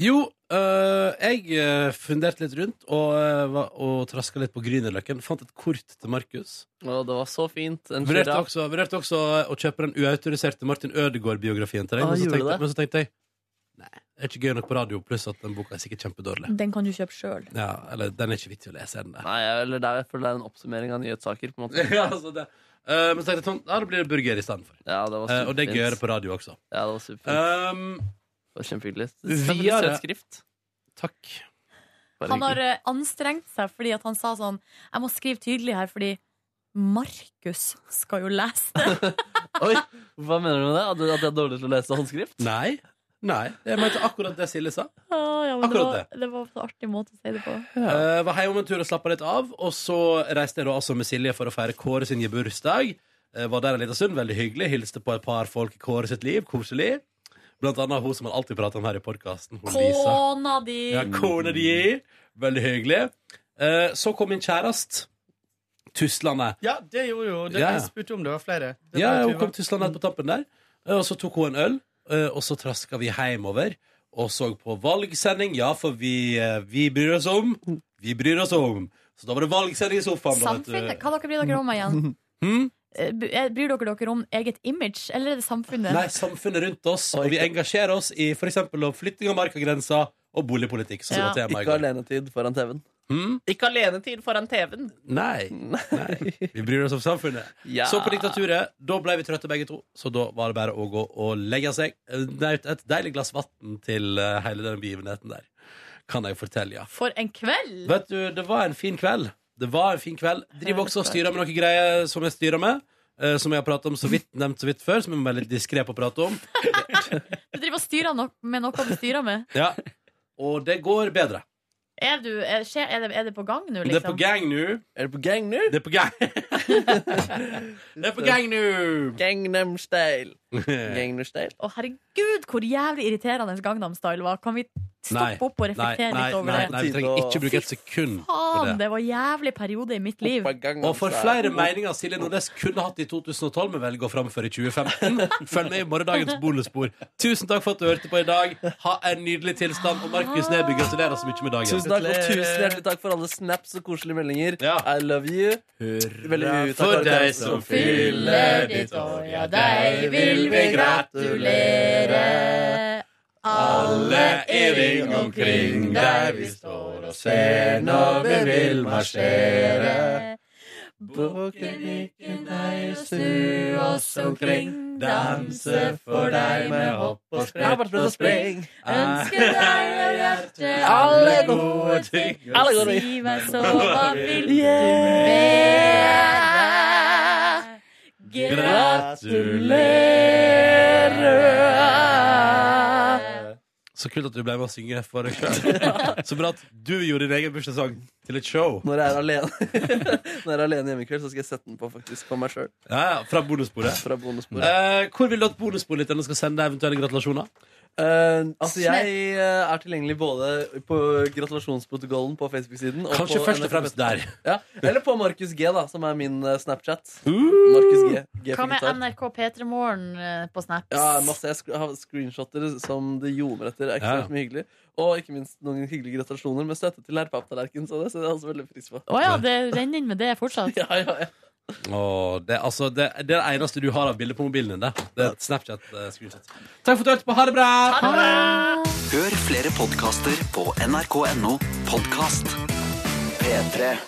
Speaker 2: Jo,
Speaker 4: eh,
Speaker 2: øh, jeg øh, funderte litt rundt og, øh, var- og traska litt på Grünerløkken. Fant et kort til Markus.
Speaker 3: Og det var så fint. En
Speaker 2: Vurderte
Speaker 3: giraff.
Speaker 2: også, vurderte også eh, å kjøpe den uautoriserte Martin Ødegaard-biografien til deg.
Speaker 3: Ah,
Speaker 2: men, så
Speaker 3: gjorde du
Speaker 2: tenkte,
Speaker 3: det?
Speaker 2: men så tenkte jeg Nei, det er ikke gøy nok på radio, pluss at den boka er sikkert kjempedårlig.
Speaker 4: den kan du kjøpe sjøl.
Speaker 2: Ja, eller den er ikke vits i å lese, er den der.
Speaker 3: Nei, eller det er, for det er en oppsummering av nyhetssaker, på en *laughs* måte.
Speaker 2: *laughs* Ja, altså det. Eh, men så tenkte jeg sånn, ja, da blir det burger i stedet for.
Speaker 3: Ja, det var
Speaker 2: Eh, og det er
Speaker 3: superfint.
Speaker 2: gøyere på radio også.
Speaker 3: Ja, det var superfint.
Speaker 2: Um,
Speaker 3: det var kjempehyggelig.
Speaker 2: videre-
Speaker 3: Søt skrift.
Speaker 2: Takk.
Speaker 4: Han har eh, anstrengt seg fordi at han sa sånn Jeg må skrive tydelig her fordi Markus skal jo lese
Speaker 2: *laughs*
Speaker 4: det.
Speaker 3: Oi, hva mener du med det? At du- At jeg er dårlig til å lese håndskrift?
Speaker 2: Nei. Nei. Jeg mente akkurat det Silje sa.
Speaker 4: Å, ja, men det,
Speaker 2: Akkurat
Speaker 4: var, det var en artig måte å si det på.
Speaker 2: Eh, var hjemme om en tur og slappa litt av, og så reiste jeg da altså med Silje for å feire Kåre sin bursdag. Eh, var der en liten stund, veldig hyggelig. Hilste på et par folk i Kåre sitt liv. Koselig. Blant annet hun som man alltid prater om her i podkasten.
Speaker 4: Kona di!
Speaker 2: Ja, kona di. Veldig hyggelig. Eh, så kom min kjæreste. Tuslende.
Speaker 12: Ja, det gjorde jo det.
Speaker 2: Ja.
Speaker 12: Jeg spurte om det var flere. Det
Speaker 2: Ja,
Speaker 12: var
Speaker 2: hun
Speaker 12: Tuva.
Speaker 2: kom tuslende på tappen der. Eh, Og så tok hun en øl, eh, og så traska vi hjemover og så på valgsending. Ja, for vi, eh, vi bryr oss om. Vi bryr oss om. Så da var det valgsending i sofaen. Da, vet du.
Speaker 4: Samfunnet, hva dere bryr dere om igjen?
Speaker 2: *laughs* Hm?
Speaker 4: Eh, b- eh, Bryr dere dere om eget image, eller er det samfunnet?
Speaker 2: Nei, samfunnet rundt oss, og vi engasjerer oss i f.eks. flytting av markagrensa og boligpolitikk. Som
Speaker 3: Ja.
Speaker 2: var tema i
Speaker 3: Ikke
Speaker 2: går.
Speaker 3: alenetid foran TV-en.
Speaker 2: Hm?
Speaker 3: Ikke alenetid foran TV-en!
Speaker 2: Nei. Nei. Vi bryr oss om samfunnet.
Speaker 3: Ja.
Speaker 2: Så på Diktaturet, da ble vi trøtte begge to, så da var det bare å gå og legge seg. Det er et deilig glass vann til eh, hele den begivenheten der, kan jeg fortelle, ja.
Speaker 4: For en kveld!
Speaker 2: Vet du, det var en fin kveld. Det var en fin kveld. Driver også og styrer med noen greier som jeg styrer med. eh, som jeg har pratet om så vidt nevnt så vidt før, som jeg må være litt diskré på å prate om.
Speaker 4: Du driver og styrer nok med noe du styrer med.
Speaker 2: Ja. Og det går bedre.
Speaker 4: Er, du, er, skjer- er, det, er det på gang nå,
Speaker 2: Det er på
Speaker 4: liksom?
Speaker 2: gang nå.
Speaker 3: Er det på gang nå?
Speaker 2: Det er på gang. *laughs* det er på gang nå!
Speaker 3: Gangnam Style. Gangnam Style.
Speaker 4: Å, herregud, hvor jævlig irriterende Gangnam Style var. Kan vi
Speaker 2: Nei.
Speaker 4: stoppe opp og reflektere
Speaker 2: nei,
Speaker 4: litt over
Speaker 2: nei,
Speaker 4: det?
Speaker 2: Nei, vi trenger ikke bruke et sekund på
Speaker 4: Faen,
Speaker 2: det.
Speaker 4: det var jævlig periode i mitt liv.
Speaker 2: Og for flere meninger Silje Nordnes kunne hatt i 2012, men velger å framføre i 2015. Følg med i morgendagens bonusspor. Tusen takk for at du hørte på i dag. Ha en nydelig tilstand. Og Markus Neby, gratulerer så mye med dagen.
Speaker 3: Tusen takk, og tusen hjertelig takk for alle snaps og koselige meldinger. I love you. Veldig mye takk
Speaker 2: for deg som fyller ditt
Speaker 3: år.
Speaker 4: Ja, deg vil vi gratulere.
Speaker 2: Alle i ring omkring der vi står og ser når vi vil marsjere.
Speaker 14: Bukken ikke deg,
Speaker 4: snu oss omkring. Danse for deg med hopp og sprett og spring. Ønske deg av hjertet alle gode ting.
Speaker 14: Alle gode ting.
Speaker 4: Si meg så hva vil du være? Gratulerer.
Speaker 2: Så kult at du ble med å synge for deg sjøl. Så bra at du gjorde din egen bursdagssang til et show.
Speaker 3: Når jeg er alene *laughs* Når jeg er alene hjemme i kveld, så skal jeg sette den på faktisk på meg sjøl.
Speaker 2: Ja, ja, fra bonusbordet.
Speaker 3: Fra bonusbordet.
Speaker 2: Eh, hvor vil du at bonusbordlytterne skal sende deg eventuelle gratulasjoner?
Speaker 3: altså, jeg eh, er tilgjengelig både på gratulasjonsprotokollen på Facebook-siden og
Speaker 2: Kanskje
Speaker 3: på
Speaker 2: først og
Speaker 3: NRK.
Speaker 2: fremst der.
Speaker 3: Ja, *laughs* Eller på Markus G, da, som er min eh, Snapchat. Markus G. G
Speaker 15: Hva
Speaker 3: for
Speaker 15: med
Speaker 3: gitar.
Speaker 15: NRK P3 Morgen eh, på Snaps?
Speaker 3: Ja, masse. Jeg sk- har screenshotter som det ljomer etter. Ekstremt mye hyggelig. Og ikke minst noen hyggelige gratulasjoner med støtte til Lerpaptallerken. Så det setter jeg også veldig pris på. *laughs*
Speaker 15: Å ja, det renner inn med det fortsatt.
Speaker 3: ja, ja, ja.
Speaker 2: Åh, det, altså, det, det er det eneste du har av bilder på mobilen din. Det, det er et eh, Snapchat-screenshot. Takk for at du hørte på. Ha det bra!
Speaker 4: Ah!
Speaker 10: Hør flere podkaster på nrk.no podkast. P3.